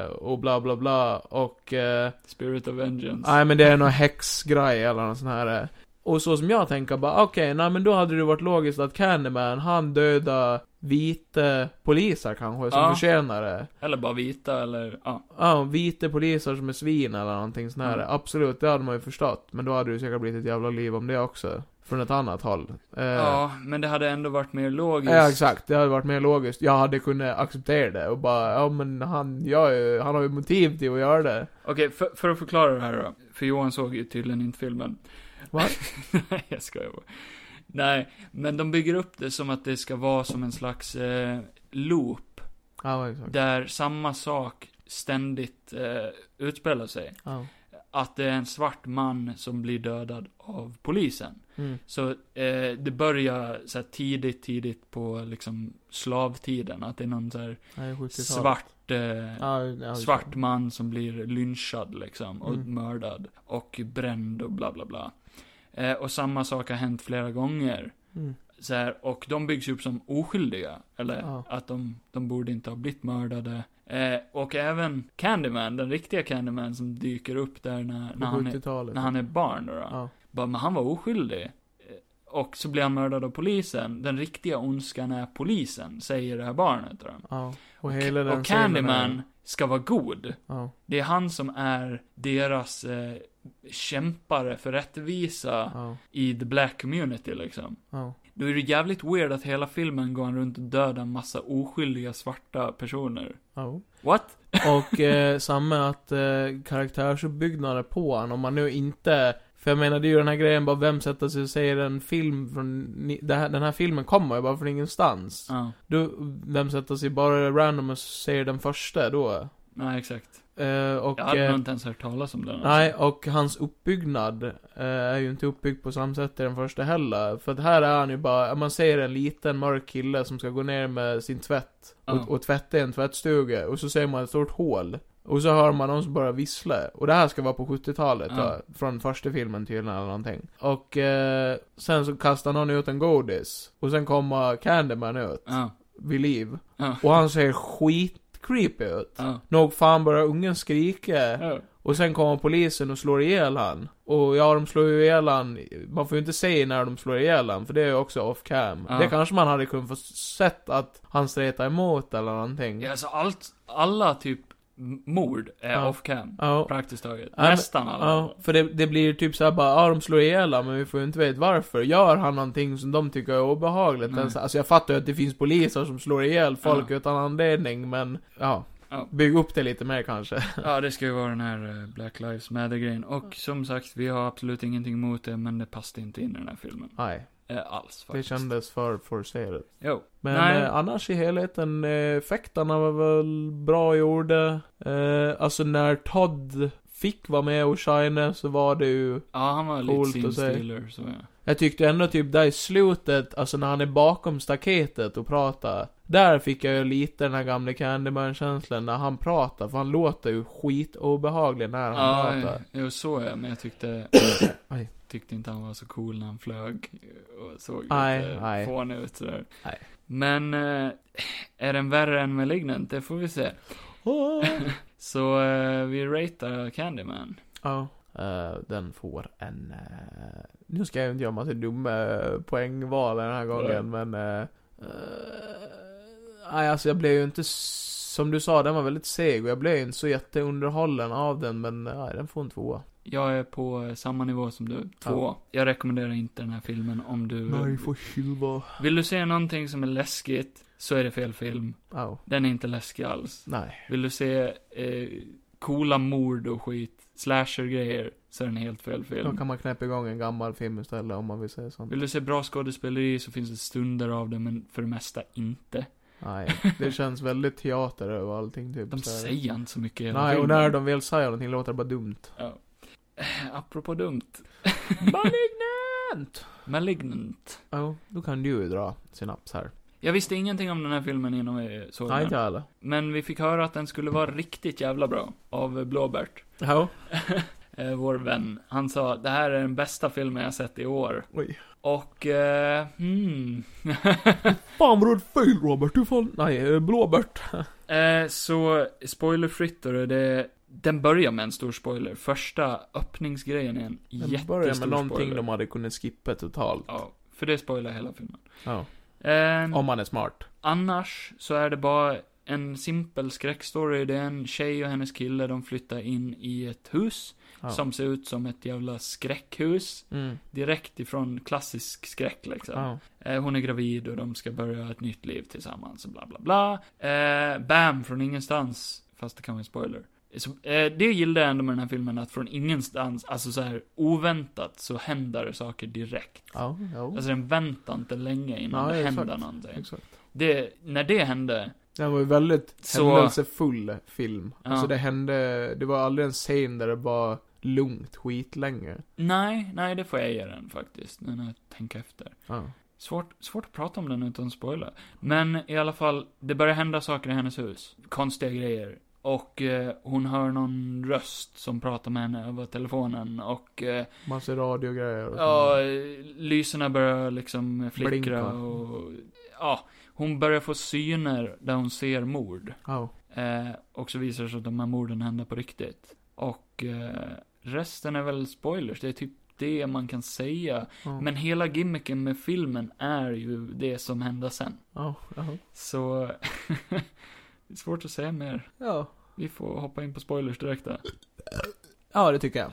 Speaker 2: Eh, och bla bla bla och... eh,
Speaker 1: Spirit of Vengeance.
Speaker 2: Nej men det är någon häxgrej eller någon sån här... eh. Och så som jag tänker bara, okej, nej men då hade det varit logiskt att Candyman, han dödar vita poliser kanske, som
Speaker 1: Ja.
Speaker 2: förtjänar det.
Speaker 1: Eller bara vita, eller ja.
Speaker 2: Ja, vita poliser som är svin eller någonting sånt här.
Speaker 1: Mm.
Speaker 2: Absolut, det hade man ju förstått. Men då hade det säkert blivit ett jävla liv om det också. Från ett annat håll. Eh,
Speaker 1: Ja, men det hade ändå varit mer logiskt.
Speaker 2: Ja, exakt. Det hade varit mer logiskt. Jag hade kunnat acceptera det och bara, ja men han, gör ju, han har ju motiv till att göra det.
Speaker 1: Okej, för, för att förklara det här då. För Johan såg ju tydligen inte filmen.
Speaker 2: Va?
Speaker 1: <laughs> Nej, jag skojar bara. Nej, men de bygger upp det som att det ska vara som en slags eh, loop.
Speaker 2: Ja, exakt.
Speaker 1: Där samma sak ständigt eh, utspelar sig.
Speaker 2: Ja.
Speaker 1: Att det är en svart man som blir dödad av polisen.
Speaker 2: Mm.
Speaker 1: Så eh, det börjar så här, tidigt, tidigt på liksom slavtiden. Att det är någon så här
Speaker 2: Nej, 70-talet.
Speaker 1: svart... Eh,
Speaker 2: Ja, ja,
Speaker 1: svart man som blir lynchad liksom och
Speaker 2: Mm.
Speaker 1: mördad och bränd och bla bla bla. Eh, och samma sak har hänt flera gånger.
Speaker 2: Mm.
Speaker 1: Så här, och de byggs upp som oskyldiga. Eller
Speaker 2: Ja.
Speaker 1: att de, de borde inte ha blivit mördade. Eh, och även Candyman, den riktiga Candyman som dyker upp där när, när,
Speaker 2: På
Speaker 1: han, är,
Speaker 2: 70-talet.
Speaker 1: när han är barn då. då.
Speaker 2: Ja.
Speaker 1: Bara, men han var oskyldig. Eh, Och så blir han mördad av polisen. Den riktiga ondskan är polisen, säger det här barnet då.
Speaker 2: ja. Och hela den
Speaker 1: och
Speaker 2: scenen är-
Speaker 1: Candyman ska vara god.
Speaker 2: Ja.
Speaker 1: Det är han som är deras eh, kämpare för rättvisa
Speaker 2: Ja.
Speaker 1: i the black community liksom.
Speaker 2: Ja.
Speaker 1: Då är det jävligt weird att hela filmen går han runt och dödar en massa oskyldiga svarta personer.
Speaker 2: Ja.
Speaker 1: What? <laughs>
Speaker 2: Och eh, samma att eh, karaktärsuppbyggnader på han, om man nu inte för jag menar, det är ju den här grejen bara, vem sätter sig och säger en film från, ni, det här, den här filmen kommer ju bara från ingenstans.
Speaker 1: Ja,
Speaker 2: Du, vem sätter sig bara random och säger den första då?
Speaker 1: nej exakt.
Speaker 2: Eh, och,
Speaker 1: Jag hade
Speaker 2: eh,
Speaker 1: nog inte ens hört talas om den. alltså.
Speaker 2: Nej, och hans uppbyggnad eh, är ju inte uppbyggd på samma sätt i den första heller. För att här är han ju bara, man ser en liten mörk kille som ska gå ner med sin tvätt och,
Speaker 1: Ja.
Speaker 2: och tvätta i en tvättstuga. Och så ser man ett stort hål. Och så hör man någon som börjar vissla. Och det här ska vara på 70-talet
Speaker 1: Ja.
Speaker 2: då, Från första filmen tydligen eller någonting. Och eh, sen så kastar någon ut en godis. Och sen kommer Candyman ut.
Speaker 1: Ja.
Speaker 2: Vid liv.
Speaker 1: Ja.
Speaker 2: Och han ser skitcreepy ut.
Speaker 1: Ja.
Speaker 2: Nog fan börjar ungen skrika.
Speaker 1: Ja.
Speaker 2: Och sen kommer polisen och slår ihjäl han. Och ja, de slår ju ihjäl han. Man får ju inte se när de slår ihjäl han, för det är ju också off cam.
Speaker 1: Ja.
Speaker 2: Det kanske man hade kunnat få sett att han stretar emot eller någonting.
Speaker 1: Ja, alltså allt, alla typ m- mord är
Speaker 2: Ja.
Speaker 1: off cam.
Speaker 2: Ja.
Speaker 1: Praktiskt taget.
Speaker 2: Ja, men-
Speaker 1: Nästan alla.
Speaker 2: Ja, för det, det blir typ såhär bara, ja de slår ihjäl han, men vi får ju inte veta varför. Gör han någonting som de tycker är obehagligt?
Speaker 1: Nej.
Speaker 2: Alltså, alltså jag fattar ju att det finns poliser som slår ihjäl folk
Speaker 1: Ja.
Speaker 2: utan anledning, men ja.
Speaker 1: Ja.
Speaker 2: Bygg upp det lite mer kanske.
Speaker 1: Ja, det ska ju vara den här eh, Black Lives Matter-grejen. Och som sagt, vi har absolut ingenting emot det, men det passade inte in i den här filmen.
Speaker 2: Nej,
Speaker 1: Eh, alls
Speaker 2: det
Speaker 1: faktiskt.
Speaker 2: kändes för forcerat.
Speaker 1: Jo.
Speaker 2: Men
Speaker 1: Nej.
Speaker 2: eh, annars i helheten, eh, effekterna var väl bra gjorda. Eh, alltså när Todd fick vara med och shine så var det ju...
Speaker 1: Ja, han var lite
Speaker 2: Coolt
Speaker 1: sin
Speaker 2: att säga.
Speaker 1: stealer, så ja.
Speaker 2: Jag tyckte ändå typ där i slutet, alltså när han är bakom staketet och pratar. Där fick jag ju lite den här gamla Candyman-känslan när han pratar, för han låter ju skitobehaglig när han
Speaker 1: Ja,
Speaker 2: pratar.
Speaker 1: jo, så är jag, men jag tyckte...
Speaker 2: <coughs> Aj.
Speaker 1: tyckte inte han var så cool när han flög eh, och såg
Speaker 2: Aj,
Speaker 1: lite
Speaker 2: aj.
Speaker 1: fånig ut sådär.
Speaker 2: Aj.
Speaker 1: Men, eh, är den värre än Malignant? Det får vi se.
Speaker 2: Åh.
Speaker 1: <laughs> Så eh, vi ratear Candyman.
Speaker 2: Ja. Eh, den får en... eh, nu ska jag inte göra massa dumma eh, poängval den här gången,
Speaker 1: Nej.
Speaker 2: men... eh, eh, nej, alltså jag blev ju inte... s- Som du sa, den var väldigt seg och jag blev ju inte så jätteunderhållen av den, men eh, nej, den får en tvåa.
Speaker 1: Jag är på eh, samma nivå som du. Två. Jag rekommenderar inte den här filmen om du...
Speaker 2: tjuva.
Speaker 1: Vill du se någonting som är läskigt, så är det fel film.
Speaker 2: Ja,
Speaker 1: Den är inte läskig alls.
Speaker 2: nej.
Speaker 1: Vill du se eh, coola mord och skit, slasher-grejer, så är den helt fel
Speaker 2: Då
Speaker 1: film.
Speaker 2: kan man knäppa igång en gammal film istället om man vill säga sånt.
Speaker 1: Vill du se bra skådespeleri så finns det stunder av det, men för det mesta inte.
Speaker 2: Nej, det känns väldigt teater över allting typ.
Speaker 1: De
Speaker 2: så här.
Speaker 1: säger inte så mycket i hela
Speaker 2: Nej, och
Speaker 1: filmen.
Speaker 2: när de väl säger någonting låter det bara dumt.
Speaker 1: Ja. Eh, Apropå dumt.
Speaker 2: Malignant!
Speaker 1: Malignant.
Speaker 2: Ja, då kan du ju dra synaps här.
Speaker 1: Jag visste ingenting om den här filmen innan vi såg
Speaker 2: Nej,
Speaker 1: den.
Speaker 2: inte jag heller.
Speaker 1: Men vi fick höra att den skulle vara riktigt jävla bra av Blåbärt. <laughs>
Speaker 2: Ja.
Speaker 1: Eh, Vår vän. Han sa det här är den bästa filmen jag sett i år.
Speaker 2: Oj.
Speaker 1: Och, eh, hmm. <laughs>
Speaker 2: Fan vad du hade fel Robert, du fan... Nej, eh, Blåbärt.
Speaker 1: eh, så, spoilerfritt då, det, den börjar med en stor spoiler. Första öppningsgrejen är en
Speaker 2: Den
Speaker 1: jättestor
Speaker 2: börjar med någonting
Speaker 1: spoiler.
Speaker 2: de hade kunnat skippa totalt.
Speaker 1: Ja, för det spoilar hela filmen.
Speaker 2: Ja.
Speaker 1: Eh,
Speaker 2: Om man är smart.
Speaker 1: Annars så är det bara en simpel skräckstory. Det är en tjej och hennes kille, de flyttar in i ett hus
Speaker 2: Ja.
Speaker 1: som ser ut som ett jävla skräckhus.
Speaker 2: Mm.
Speaker 1: Direkt ifrån klassisk skräck liksom.
Speaker 2: Ja.
Speaker 1: Eh, hon är gravid och de ska börja ett nytt liv tillsammans och bla bla bla. Eh, bam, från ingenstans. Fast det kan vara en spoiler. Så, eh, det gillade jag ändå med den här filmen, att från ingenstans, alltså så här oväntat, så händer saker direkt.
Speaker 2: Ja, ja.
Speaker 1: Alltså den väntar inte länge innan
Speaker 2: Nej,
Speaker 1: det
Speaker 2: exakt.
Speaker 1: händer någonting.
Speaker 2: Exakt.
Speaker 1: Det, när det hände,
Speaker 2: Den var ju väldigt
Speaker 1: Så-
Speaker 2: händelsefull film.
Speaker 1: Ja.
Speaker 2: Alltså det hände, det var aldrig en scen där det var lugnt skitlänge.
Speaker 1: nej, nej det får jag ge den faktiskt, nu när jag tänker efter.
Speaker 2: Ja.
Speaker 1: Svårt, svårt att prata om den utan spoiler. Men i alla fall, det börjar hända saker i hennes hus. Konstiga grejer. Och eh, hon hör någon röst som pratar med henne över telefonen. Och eh,
Speaker 2: Massa radiogrejer och
Speaker 1: ja,
Speaker 2: sånt.
Speaker 1: lyserna börjar liksom flickra
Speaker 2: Blinka.
Speaker 1: och... Ja, hon börjar få syner där hon ser mord.
Speaker 2: Ja.
Speaker 1: Eh, och så visar det sig att de här morden händer på riktigt. Och eh, resten är väl spoilers. Det är typ det man kan säga.
Speaker 2: Ja.
Speaker 1: Men hela gimmicken med filmen är ju det som hände sen.
Speaker 2: Ja. Ja.
Speaker 1: Så... <laughs> det är svårt att säga mer.
Speaker 2: Ja.
Speaker 1: Vi får hoppa in på spoilers direkt där.
Speaker 2: Ja, det tycker jag.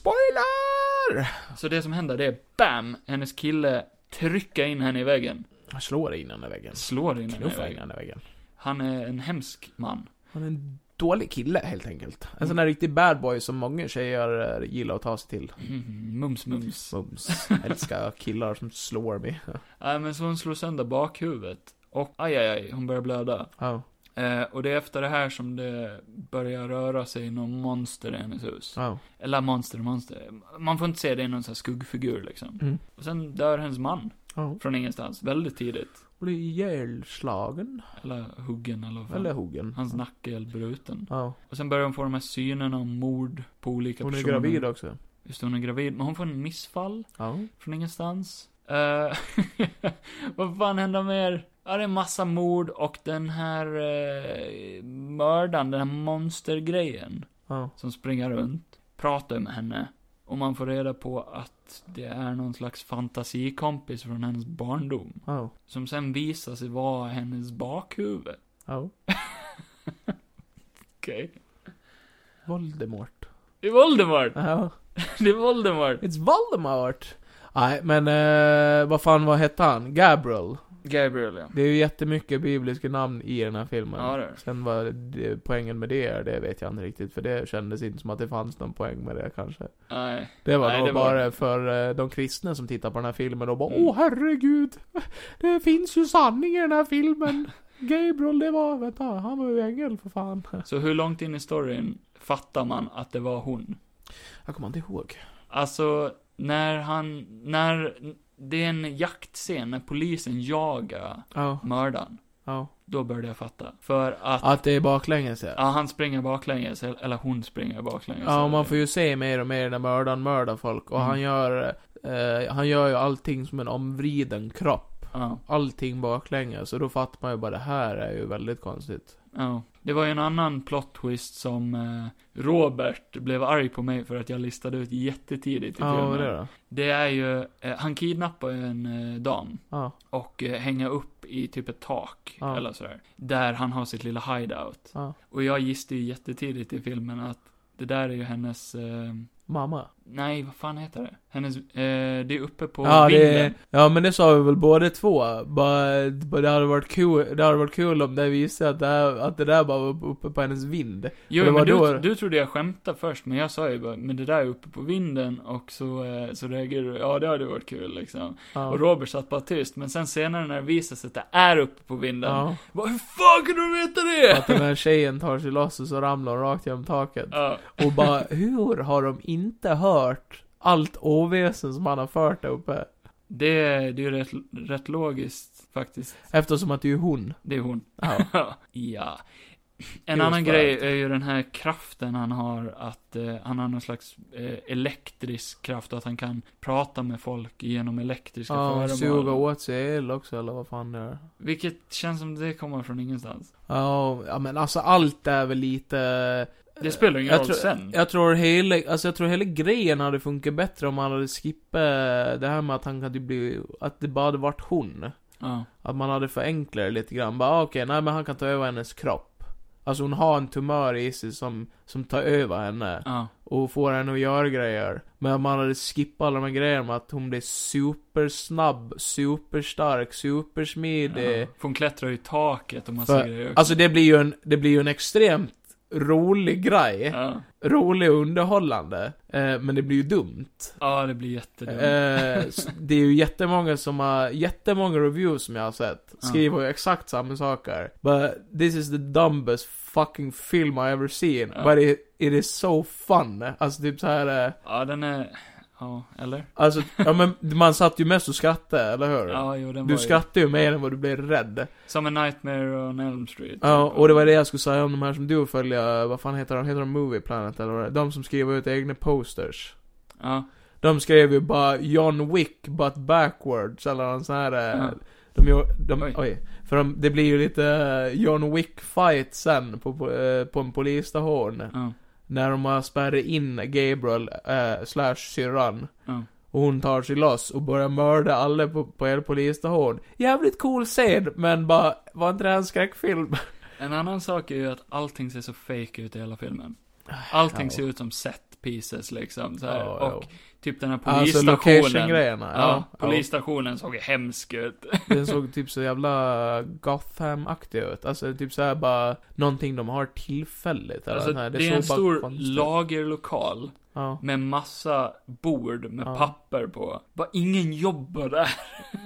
Speaker 2: Spoiler!
Speaker 1: Så det som händer det är BAM! Hennes kille trycker in henne i väggen.
Speaker 2: Jag slår in den där väggen.
Speaker 1: Slår in henne i
Speaker 2: Knuffar in
Speaker 1: väggen.
Speaker 2: den där väggen.
Speaker 1: Han är en hemsk man.
Speaker 2: Han är en dålig kille helt enkelt. En sån där riktig bad boy som många tjejer eh, gillar att ta sig till.
Speaker 1: Mm, mums mums.
Speaker 2: <laughs> Mums. Älskar killar som slår mig.
Speaker 1: Nej Äh, men så hon slår sönder bakhuvudet. Och aj, aj, aj hon börjar blöda.
Speaker 2: Ja.
Speaker 1: Eh, och det är efter det här som det börjar röra sig någon monster i hennes hus.
Speaker 2: Ja.
Speaker 1: Eller monster, monster. Man får inte se det i någon sån här skuggfigur liksom.
Speaker 2: Mm.
Speaker 1: Och sen dör hennes man.
Speaker 2: Ja.
Speaker 1: Från ingenstans, väldigt tidigt.
Speaker 2: Blir ihjälslagen.
Speaker 1: Eller huggen eller vad fan.
Speaker 2: Eller huggen.
Speaker 1: Hans nacke är bruten.
Speaker 2: Ja.
Speaker 1: Och sen börjar hon få de här synerna om mord på olika
Speaker 2: Hon är
Speaker 1: personer.
Speaker 2: gravid också.
Speaker 1: Just det, hon är gravid. Men hon får en missfall
Speaker 2: Ja.
Speaker 1: från ingenstans. Eh, <laughs> vad fan händer mer? Ja, det är massa mord och den här uh, mördaren, den här monstergrejen
Speaker 2: Ja.
Speaker 1: som springer runt, pratar med henne. Och man får reda på att det är någon slags fantasikompis från hennes barndom.
Speaker 2: Ja.
Speaker 1: Som sen visar sig vara hennes bakhuvud.
Speaker 2: Ja.
Speaker 1: Okej.
Speaker 2: Voldemort.
Speaker 1: Det är Voldemort! <laughs>
Speaker 2: Ja.
Speaker 1: Det är Voldemort!
Speaker 2: It's Voldemort! Nej, men eh, vad fan, vad hette han? Gabriel.
Speaker 1: Gabriel, ja.
Speaker 2: Det är ju jättemycket bibliska namn i den här filmen.
Speaker 1: Ja, det är det.
Speaker 2: Sen vad det, poängen med det är, det vet jag inte riktigt. För det kändes inte som att det fanns någon poäng med det kanske.
Speaker 1: Nej.
Speaker 2: Det var
Speaker 1: Nej,
Speaker 2: nog
Speaker 1: det var-
Speaker 2: bara för eh, de kristna som tittar på den här filmen och bara
Speaker 1: Mm.
Speaker 2: Åh herregud! Det finns ju sanning i den här filmen! Gabriel, det var, vänta, han var ju ängel för fan.
Speaker 1: Så hur långt in i storyn fattar man att det var hon?
Speaker 2: Jag kommer inte ihåg.
Speaker 1: Alltså, när han, när, det är en jaktscen när polisen jagar
Speaker 2: Ja,
Speaker 1: mördaren.
Speaker 2: ja.
Speaker 1: Då började jag fatta. För att,
Speaker 2: Att det är baklänges ja.
Speaker 1: ja, han springer baklänges, eller hon springer baklänges.
Speaker 2: Ja, och man får ju se mer och mer när mördaren mördar folk. Och
Speaker 1: Mm.
Speaker 2: han gör, eh, han gör ju allting som en omvriden kropp.
Speaker 1: Ja,
Speaker 2: Allting baklänges. Och då fattar man ju bara, det här är ju väldigt konstigt.
Speaker 1: ja. Det var ju en annan plot twist som eh, Robert blev arg på mig för att jag listade ut jättetidigt i
Speaker 2: Ja,
Speaker 1: filmen.
Speaker 2: vad är det då?
Speaker 1: Det är ju, eh, han kidnappar ju en eh, dam
Speaker 2: Ja,
Speaker 1: och eh, hänger upp i typ ett tak
Speaker 2: Ja.
Speaker 1: eller sådär. Där han har sitt lilla hideout.
Speaker 2: Ja.
Speaker 1: Och jag gissade ju jättetidigt i filmen att det där är ju hennes, eh,
Speaker 2: mamma.
Speaker 1: nej vad fan heter det? Hennes, eh, det är uppe på
Speaker 2: Ja, det,
Speaker 1: vinden.
Speaker 2: ja, men det sa vi väl båda två. Bara, bara det, hade varit kul, det hade varit kul om det visade att det, här, att det där bara var uppe på hennes vind.
Speaker 1: Jo,
Speaker 2: och det
Speaker 1: men
Speaker 2: var
Speaker 1: du,
Speaker 2: då-
Speaker 1: du trodde jag skämtade först, men jag sa ju bara, men det där är uppe på vinden och så, eh, så reagerade du, ja det hade varit kul liksom.
Speaker 2: Ja.
Speaker 1: Och Robert satt bara tyst, men sen senare när det visar sig att det är uppe på vinden,
Speaker 2: ja.
Speaker 1: bara, hur fan kunde du veta det?
Speaker 2: Att den här tjejen tar sig loss och så ramlar hon rakt genom taket.
Speaker 1: Ja,
Speaker 2: Och bara, hur har de inte hört allt oväsen som han har fört där uppe?
Speaker 1: det, det är ju rätt, rätt logiskt faktiskt.
Speaker 2: Eftersom att det är ju hon.
Speaker 1: Det är hon.
Speaker 2: Ja.
Speaker 1: <laughs> ja. En
Speaker 2: Just
Speaker 1: annan
Speaker 2: för
Speaker 1: grej är ju den här kraften han har, att eh, han har någon slags eh, elektrisk kraft och att han kan prata med folk genom elektriska
Speaker 2: Ja, suga
Speaker 1: föremål.
Speaker 2: åt sig el också eller vad fan det är.
Speaker 1: Vilket känns som det kommer från ingenstans.
Speaker 2: Ja, ja, men alltså allt är väl lite...
Speaker 1: Det spelar ingen
Speaker 2: Jag
Speaker 1: roll
Speaker 2: tror-
Speaker 1: sen.
Speaker 2: Jag tror hela, alltså jag tror hela grejen hade funkat bättre om han hade skippat det här med att han hade bli, att det bara hade varit hon.
Speaker 1: Ja.
Speaker 2: Att man hade förenklat det lite grann. Bara ah, okej, nej men han kan ta över hennes kropp. Alltså hon har en tumör i sig som, som tar över henne.
Speaker 1: ja.
Speaker 2: Och får henne att göra grejer. Men om man hade skippat alla de här grejerna med att hon blir supersnabb, superstark, supersmidig.
Speaker 1: ja. För hon klättrar i taket och massa
Speaker 2: För-
Speaker 1: grejer också.
Speaker 2: Alltså det blir ju en, det blir ju en extremt rolig grej
Speaker 1: ja.
Speaker 2: rolig och underhållande, eh, men det blir ju dumt.
Speaker 1: ja, det blir jättedumt.
Speaker 2: Eh, s- det är ju jättemånga som har, jättemånga reviews som jag har sett,
Speaker 1: Ja.
Speaker 2: skriver ju exakt samma saker. But this is the dumbest fucking film I ever seen,
Speaker 1: Ja.
Speaker 2: but it, it is so fun. Alltså typ så här. Eh,
Speaker 1: <laughs> Ja, den är... Ja, eller?
Speaker 2: alltså, ja men man satt ju mest och skrattade, eller hur?
Speaker 1: Ja, jo, den
Speaker 2: Du
Speaker 1: var ju...
Speaker 2: skrattade ju mer än vad du blev rädd.
Speaker 1: Som en Nightmare on Elm Street.
Speaker 2: Ja, och det var det jag skulle säga om de här som du följer, vad fan heter de? Heter de Movie Planet eller vad det är? De som skriver ut egna posters.
Speaker 1: Ja.
Speaker 2: De skrev ju bara John Wick but backwards eller någon sån här... eh,
Speaker 1: Ja.
Speaker 2: De gör, de,
Speaker 1: Oj.
Speaker 2: oj. För de, det blir ju lite eh, John Wick fight sen på, på, eh, på en polisstation.
Speaker 1: ja.
Speaker 2: När de har spärrat in Gabriel eh, slash syrran.
Speaker 1: Ja.
Speaker 2: Och hon tar sig loss och börjar mörda alla på, på er polisstation. Jävligt cool scen, men bara, var inte det här en skräckfilm?
Speaker 1: En annan sak är ju att allting ser så fake ut i hela filmen. Allting
Speaker 2: Ja.
Speaker 1: ser ut som set pieces liksom. Så här.
Speaker 2: Ja, ja.
Speaker 1: och typ den här
Speaker 2: Alltså
Speaker 1: polisstationen.
Speaker 2: location-grejerna.
Speaker 1: ja,
Speaker 2: Ja, ja.
Speaker 1: polisstationen såg hemsk ut.
Speaker 2: Den såg typ så jävla Gotham-aktig ut. Alltså typ såhär bara, någonting de har tillfälligt. Eller
Speaker 1: Alltså,
Speaker 2: så
Speaker 1: det,
Speaker 2: här.
Speaker 1: är
Speaker 2: såg
Speaker 1: en
Speaker 2: bara
Speaker 1: stor
Speaker 2: konstigt ut.
Speaker 1: lagerlokal
Speaker 2: Ja,
Speaker 1: med massa bord med
Speaker 2: Ja.
Speaker 1: papper på. Bara ingen jobbar där.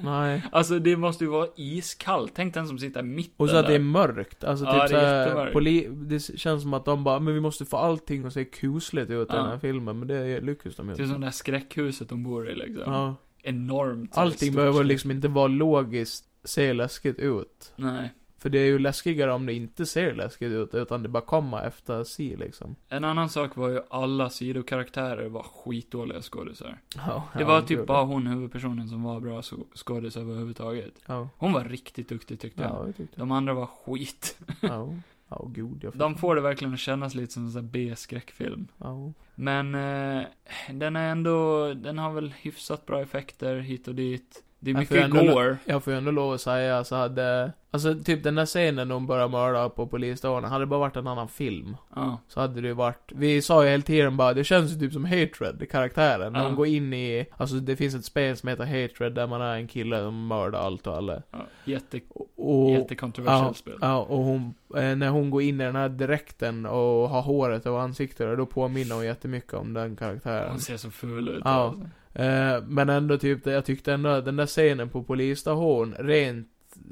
Speaker 2: nej.
Speaker 1: Alltså det måste ju vara iskallt. Tänk den som sitter mitt
Speaker 2: Och så
Speaker 1: där.
Speaker 2: att det är mörkt. Alltså
Speaker 1: Ja,
Speaker 2: typ
Speaker 1: det är
Speaker 2: såhär,
Speaker 1: jättemörkt.
Speaker 2: poli- det känns som att de bara, men vi måste få allting att se kusligt ut i
Speaker 1: Ja.
Speaker 2: den här filmen. Men det lyckas de ju
Speaker 1: Typ Det är
Speaker 2: inte.
Speaker 1: som det här skräckhuset de bor i liksom.
Speaker 2: Ja.
Speaker 1: enormt.
Speaker 2: Allting
Speaker 1: stort.
Speaker 2: behöver liksom inte vara logiskt, se läskigt ut.
Speaker 1: Nej.
Speaker 2: För det är ju läskigare om det inte ser läskigt ut, utan det bara kommer efter si liksom.
Speaker 1: En annan sak var ju alla sidokaraktärer var skitdåliga skådisar.
Speaker 2: Ja,
Speaker 1: Det var typ bara hon, huvudpersonen, som var bra sk- skådis överhuvudtaget.
Speaker 2: Ja,
Speaker 1: Hon var riktigt duktig tyckte jag.
Speaker 2: ja, jag tyckte det.
Speaker 1: De andra var skit.
Speaker 2: Ja, ja, gud
Speaker 1: De
Speaker 2: jag förstår.
Speaker 1: får det verkligen att kännas lite som en sån här B-skräckfilm.
Speaker 2: Ja.
Speaker 1: Men eh, den är ändå, den har väl hyfsat bra effekter hit och dit. Det är
Speaker 2: Ja, för
Speaker 1: mycket
Speaker 2: ändå-
Speaker 1: gore.
Speaker 2: Jag får ju ändå lov att säga, alltså hade... Alltså typ den där scenen när hon började mörda på polisstationen, hade det bara varit en annan film.
Speaker 1: Ja.
Speaker 2: Så hade det ju varit, vi sa ju hela tiden bara, det känns ju typ som Hatred, karaktären. När
Speaker 1: Ja.
Speaker 2: de går in i, alltså det finns ett spel som heter Hatred där man är en kille som mördar allt och alla.
Speaker 1: ja. Jätte,
Speaker 2: Och,
Speaker 1: jättekontroversiellt
Speaker 2: ja,
Speaker 1: spel.
Speaker 2: ja, och hon, eh, när hon går in i den här dräkten och har håret över ansiktet, då påminner hon jättemycket om den karaktären.
Speaker 1: Hon ser så ful ut.
Speaker 2: Ja.
Speaker 1: alltså.
Speaker 2: Eh, men ändå typ, det- jag tyckte ändå att den där scenen på polisstation, rent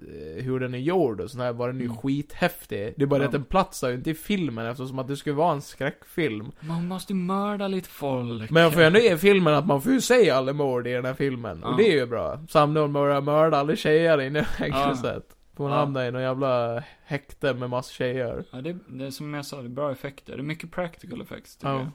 Speaker 2: eh, hur den är gjord och sådär, var den ju
Speaker 1: Mm.
Speaker 2: skithäftig. Det är bara det
Speaker 1: Ja.
Speaker 2: att den platsar ju inte i filmen eftersom att det skulle vara en skräckfilm.
Speaker 1: Man måste ju mörda lite folk.
Speaker 2: Men jag får ju ändå ge filmen att man får ju se alla mord i den här filmen.
Speaker 1: Ja.
Speaker 2: Och det är ju bra. Samt när hon börjar mörda alla tjejer inne i fängelset. Hon
Speaker 1: Ja.
Speaker 2: hamnar i någon jävla häkte med massa tjejer.
Speaker 1: Ja, det, det är som jag sa, det är bra effekter. Det är mycket practical effects, tycker
Speaker 2: Ja.
Speaker 1: jag.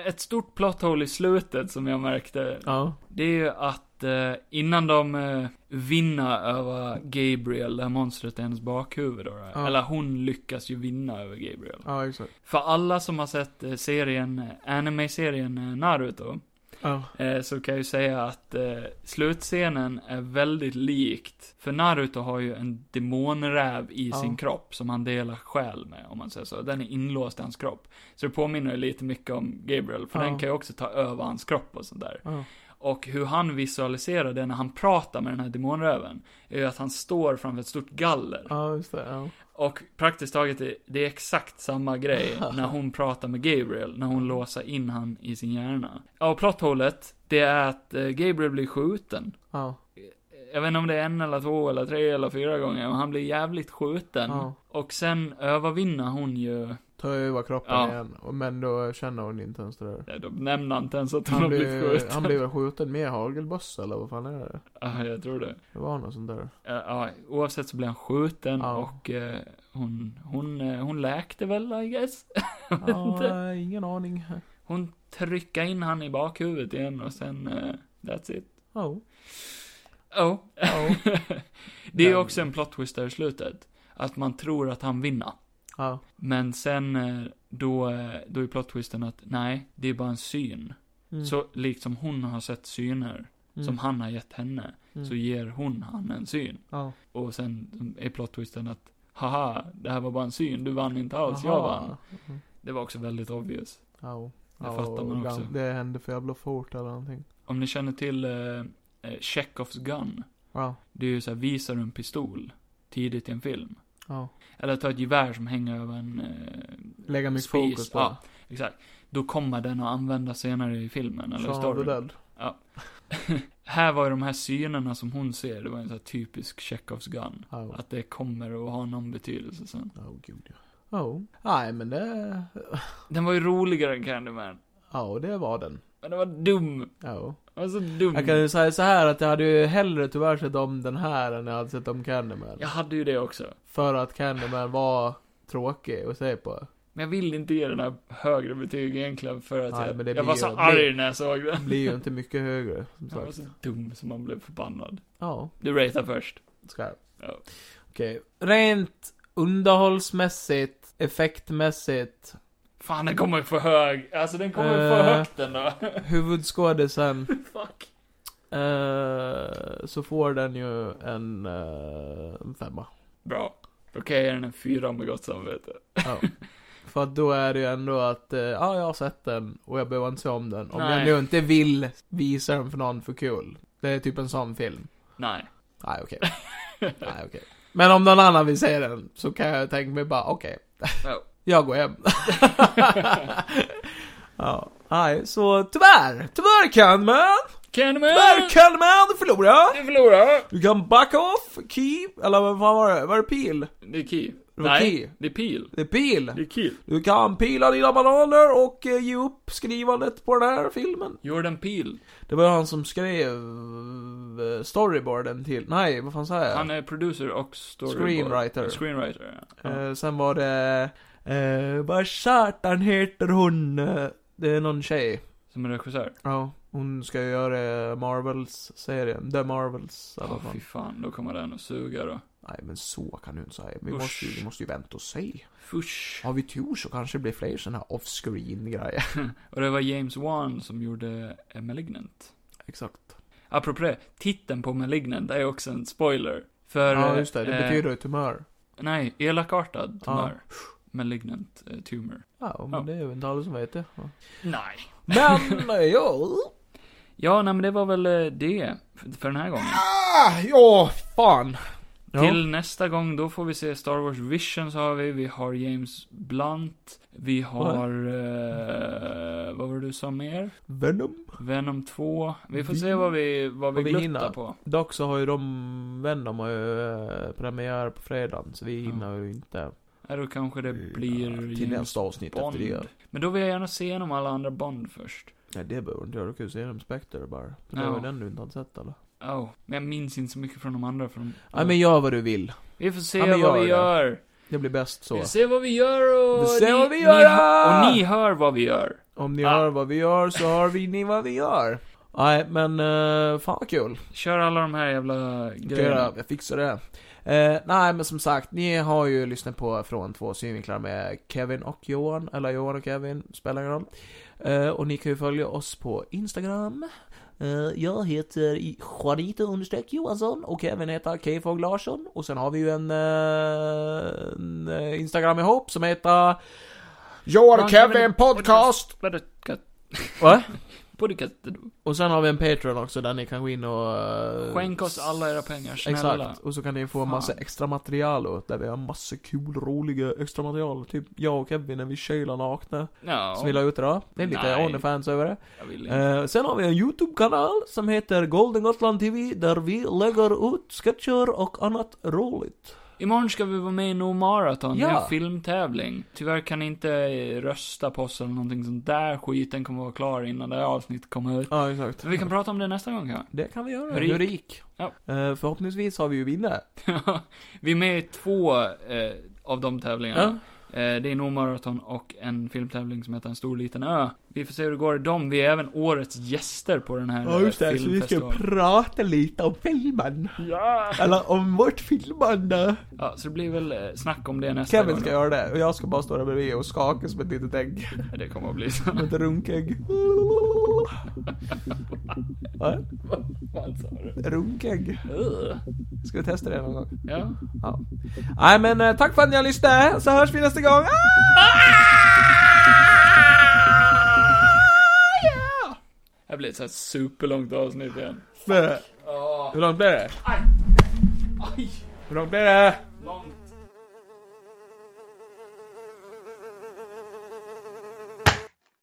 Speaker 1: Eh, Ett stort plot hole i slutet som jag märkte,
Speaker 2: Ja.
Speaker 1: det är ju att eh, innan de eh, vinner över Gabriel, det här monstret i hennes bakhuvud då, då
Speaker 2: Ja.
Speaker 1: eller hon lyckas ju vinna över Gabriel.
Speaker 2: Ja, exakt.
Speaker 1: För alla som har sett eh, serien, eh, anime-serien eh, Naruto,
Speaker 2: Ja.
Speaker 1: eh, så kan jag ju säga att eh, slutscenen är väldigt likt. För Naruto har ju en demonräv i
Speaker 2: Ja.
Speaker 1: sin kropp som han delar själ med, om man säger så. Den är inlåst i hans kropp. Så det påminner ju lite mycket om Gabriel, för
Speaker 2: Ja.
Speaker 1: den kan ju också ta över hans kropp och sånt där.
Speaker 2: Ja.
Speaker 1: Och hur han visualiserar det när han pratar med den här demonröven, är ju att han står framför ett stort galler.
Speaker 2: Ja, just det. Ja.
Speaker 1: Och praktiskt taget, är- det är exakt samma
Speaker 2: <laughs>
Speaker 1: grej när hon pratar med Gabriel, när hon låser in han i sin hjärna. Ja, och plotthålet, det är att eh, Gabriel blir skjuten.
Speaker 2: Ja.
Speaker 1: Jag vet inte om det är en eller två eller tre eller fyra gånger, men han blir jävligt skjuten.
Speaker 2: ja.
Speaker 1: Och sen övervinner hon ju,
Speaker 2: Tar över kroppen
Speaker 1: Ja.
Speaker 2: igen. Och- Men då känner hon inte ens det där.
Speaker 1: ja, de nämner inte ens <laughs> att hon
Speaker 2: Han
Speaker 1: har blivit
Speaker 2: blev,
Speaker 1: skjuten.
Speaker 2: han blev väl skjuten med hagelbössa eller vad fan är det?
Speaker 1: Ja, jag tror det.
Speaker 2: Det var något
Speaker 1: <laughs>
Speaker 2: sånt där.
Speaker 1: Eh, Ja, oavsett så blir han skjuten
Speaker 2: Ja.
Speaker 1: och eh, hon, hon, eh, hon läkte väl, I guess.
Speaker 2: Ja, eh, ingen aning. <laughs>
Speaker 1: Hon tryckade in han i bakhuvudet igen och sen, eh, that's it.
Speaker 2: Oh.
Speaker 1: Oh.
Speaker 2: Ja.
Speaker 1: <laughs> det är ju
Speaker 2: Den-
Speaker 1: också en plot twist där i slutet. Att man tror att han vinner.
Speaker 2: Ja.
Speaker 1: Men sen eh, då, eh, då är plot twisten att nej, det är bara en syn.
Speaker 2: Mm.
Speaker 1: Så liksom hon har sett syner
Speaker 2: Mm.
Speaker 1: som han har gett henne,
Speaker 2: Mm.
Speaker 1: så ger hon han en syn.
Speaker 2: Ja.
Speaker 1: Och sen är plot twisten att haha, det här var bara en syn, du vann inte alls, jag vann.
Speaker 2: Mm.
Speaker 1: Det var också väldigt obvious.
Speaker 2: Ja.
Speaker 1: Det fattar man
Speaker 2: och
Speaker 1: också.
Speaker 2: gam- Det hände för jävla fort eller någonting.
Speaker 1: Om ni känner till eh, eh, Chekhovs gun,
Speaker 2: Ja.
Speaker 1: det är ju såhär, visar du en pistol tidigt i en film?
Speaker 2: Ja.
Speaker 1: Eller ta ett gevär som hänger över en... Eh,
Speaker 2: Lägga mycket
Speaker 1: spis.
Speaker 2: fokus på
Speaker 1: Ja, exakt. Då kommer den att användas senare i filmen,
Speaker 2: det.
Speaker 1: eller i
Speaker 2: Shaun of the
Speaker 1: storyn.
Speaker 2: Dead.
Speaker 1: <laughs> Här var ju de här synerna som hon ser, det var en sån här typisk Chekhovs gun.
Speaker 2: Ja.
Speaker 1: Att det kommer att ha någon betydelse sen.
Speaker 2: Ja, gud ja. Oh. Nej, men det...
Speaker 1: Den var ju roligare än Candyman.
Speaker 2: Ja, det var den.
Speaker 1: Men den var dum.
Speaker 2: Ja.
Speaker 1: Den var så dum.
Speaker 2: Jag kan ju säga så här att jag hade ju hellre tyvärr sett om den här än jag hade sett om Candyman.
Speaker 1: Jag hade ju det också.
Speaker 2: För att Candyman var tråkig att se på.
Speaker 1: Men jag vill inte ge den här högre betyg egentligen för att
Speaker 2: Nej, men det
Speaker 1: jag, jag
Speaker 2: blir
Speaker 1: var
Speaker 2: ju-
Speaker 1: så
Speaker 2: det-
Speaker 1: arg när jag såg den.
Speaker 2: Blir ju inte mycket högre,
Speaker 1: <laughs>
Speaker 2: som
Speaker 1: Den var
Speaker 2: sagt.
Speaker 1: så dum som man blev förbannad.
Speaker 2: Ja,
Speaker 1: Du ratear först.
Speaker 2: ska jag.
Speaker 1: Ja.
Speaker 2: Okej. Rent underhållsmässigt, effektmässigt,
Speaker 1: Fan, den kommer för hög. Alltså den kommer för
Speaker 2: Eh.
Speaker 1: högt ändå.
Speaker 2: <laughs> huvudskådisen,
Speaker 1: Fuck.
Speaker 2: eh, så får den ju en, eh, en femma.
Speaker 1: Bra. Då kan jag ge den en fyra med gott samvete. <laughs>
Speaker 2: Ja. För att då är det ju ändå att, eh, ja, jag har sett den och jag behöver inte se om den. Om
Speaker 1: Nej.
Speaker 2: jag nu inte vill visa den för någon för kul. Det är typ en sån film.
Speaker 1: Nej.
Speaker 2: Nej,
Speaker 1: <laughs>
Speaker 2: okej. Nej, okej. Men om någon annan vill se den så kan jag tänka mig bara, okej.
Speaker 1: Ja.
Speaker 2: <laughs> Jag går hem. ja, nej, så tyvärr. Tyvärr Candyman. Tyvärr
Speaker 1: Candyman!
Speaker 2: Candyman, du förlorar.
Speaker 1: Du förlorar!
Speaker 2: Du kan backa off, Key, eller vad fan var det? Var det Pil?
Speaker 1: Det är Key. Nej,
Speaker 2: Rocky.
Speaker 1: det är pil.
Speaker 2: Det är pil.
Speaker 1: Det är kill.
Speaker 2: Du kan pila dina bananer och eh, ge upp skrivandet på den här filmen.
Speaker 1: Jordan Peel.
Speaker 2: Det var han som skrev eh, storyboarden till, nej vad fan sa jag?
Speaker 1: Han är producer och storyboard.
Speaker 2: Screenwriter.
Speaker 1: Screenwriter, ja.
Speaker 2: Eh, sen var det, eh, vad satan heter hon? Eh, Det är någon tjej.
Speaker 1: Som är regissör.
Speaker 2: Ja, hon ska ju göra Marvels-serien, The Marvels i
Speaker 1: Åh
Speaker 2: alla fall.
Speaker 1: fy fan, då kommer den att suga då.
Speaker 2: Nej men så kan du inte säga, vi
Speaker 1: Usch.
Speaker 2: måste, ju, vi måste ju vänta och se.
Speaker 1: Fush.
Speaker 2: Har vi tur så kanske det blir fler sådana här off-screen grejer.
Speaker 1: Och det var James Wan som gjorde eh, Malignant.
Speaker 2: <laughs> Exakt.
Speaker 1: Apropå det, titeln på Malignant är också en spoiler. För...
Speaker 2: Ja just det, det
Speaker 1: eh,
Speaker 2: betyder ju tumör.
Speaker 1: Nej, elakartad tumör. Malignant eh, tumor.
Speaker 2: Ja, men
Speaker 1: ja.
Speaker 2: det är ju inte alla som vet det. <laughs> Ja.
Speaker 1: Nej.
Speaker 2: Men, eh, ja.
Speaker 1: Ja, nej men det var väl eh, det för för den här gången.
Speaker 4: Ah, ja, fan.
Speaker 1: Till nästa gång, då får vi se Star Wars Visions har vi, vi har James Blunt, vi har... Eh, vad var det du sa mer?
Speaker 2: Venom.
Speaker 1: Venom 2. Vi får se vad vi, vad vi,
Speaker 2: Vad vi
Speaker 1: gluttar
Speaker 2: hinner.
Speaker 1: på.
Speaker 2: Dock så har ju de, Venom har ju eh, premiär på fredagen, så vi
Speaker 1: Ja.
Speaker 2: hinner ju inte.
Speaker 1: Äh, då kanske det blir
Speaker 2: Eh, Till
Speaker 1: James
Speaker 2: nästa avsnitt efter det.
Speaker 1: Bond. Men då vill jag gärna se igenom alla andra Bond först.
Speaker 2: Nej det behöver du inte göra, du kan ju se dem Spectre bara. För det
Speaker 1: Ja.
Speaker 2: var ju den du inte hade sett eller?
Speaker 1: Oh, men jag minns inte så mycket från de andra. Från...
Speaker 2: Nej men gör vad du vill.
Speaker 1: Vi får se
Speaker 2: Ja, men
Speaker 1: vad vi
Speaker 2: gör
Speaker 1: gör.
Speaker 2: Det blir bäst
Speaker 1: Vi
Speaker 2: så.
Speaker 1: får se vad vi gör och...
Speaker 2: Vi ser vad vi gör!
Speaker 1: Ni, hö- och ni hör vad vi gör.
Speaker 2: Om ni
Speaker 1: Ah.
Speaker 2: hör vad vi gör så hör vi ni vad vi gör. Nej men, eh, fan vad kul.
Speaker 1: Kör alla de här jävla
Speaker 2: Göra,
Speaker 1: grejerna.
Speaker 2: jag fixar det. Eh, nej men som sagt, ni har ju lyssnat på Från två synvinklar med Kevin och Johan, eller Johan och Kevin, spelar ingen roll. Eh, och ni kan ju följa oss på Instagram.
Speaker 5: Eh, jag heter Juanito understreck Johansson och Kevin heter K-Fog Larsson.
Speaker 2: Och sen har vi ju en, eh, en eh, Instagram ihop som heter...
Speaker 4: Your
Speaker 1: Man
Speaker 4: Kevin
Speaker 1: kan-
Speaker 4: Podcast.
Speaker 1: Podcast.
Speaker 2: Va?
Speaker 1: <laughs> Podcast.
Speaker 2: Och sen har vi en Patreon också där ni kan gå in och... eh,
Speaker 1: Skänk oss alla era pengar, snälla.
Speaker 2: Exakt, och så kan ni få
Speaker 1: Fan.
Speaker 2: massa extra material och där vi har massa kul, roliga extra material. Typ jag och Kevin när vi kylar nakna.
Speaker 1: Ja,
Speaker 2: Som vi la ut idag. Det är lite
Speaker 1: Nej.
Speaker 2: Onlyfans över det.
Speaker 1: jag vill inte.
Speaker 2: Eh, sen har vi en YouTube-kanal som heter Golden Gotland TV där vi lägger ut sketcher och annat roligt.
Speaker 1: Imorgon ska vi vara med i No Marathon, det är
Speaker 2: Ja.
Speaker 1: en filmtävling. Tyvärr kan ni inte eh, rösta på oss eller någonting sånt där skiten kommer vara klar innan det här avsnittet kommer ut.
Speaker 2: Ja, exakt.
Speaker 1: Men vi kan prata om det nästa gång kanske.
Speaker 2: Det kan vi göra.
Speaker 1: Rik.
Speaker 2: Du är rik.
Speaker 1: Ja.
Speaker 2: Eh, förhoppningsvis har vi ju vinnare.
Speaker 1: vi är med i två eh, av de tävlingarna. Eh, det är No Marathon och en filmtävling som heter En stor liten ö. Vi får se hur det går i dem. Vi är även årets gäster på den här eh,
Speaker 2: Ja, just det. Så vi ska
Speaker 1: filmfestivalen.
Speaker 2: prata lite om filmen. Eller om vårt filmande.
Speaker 1: Ja, så det blir väl eh, snack om det nästa
Speaker 2: Kevin
Speaker 1: gång.
Speaker 2: ska
Speaker 1: då.
Speaker 2: göra det och jag ska bara stå där bredvid och skaka som ett litet ägg.
Speaker 1: Ja, Det kommer att bli så.
Speaker 2: <laughs> Ett runkägg. Va?
Speaker 1: Vad sa du?
Speaker 2: Runkägg.
Speaker 1: Ugh.
Speaker 2: Ska vi testa det någon gång?
Speaker 1: Ja.
Speaker 2: Ja. Nej men eh, tack för att ni har lyssnat, så hörs vi nästa gång. Ah!
Speaker 1: Det här blir ett sånt här superlångt avsnitt igen.
Speaker 2: Ah! Blir det? Hur långt blir det? Hur långt blir det?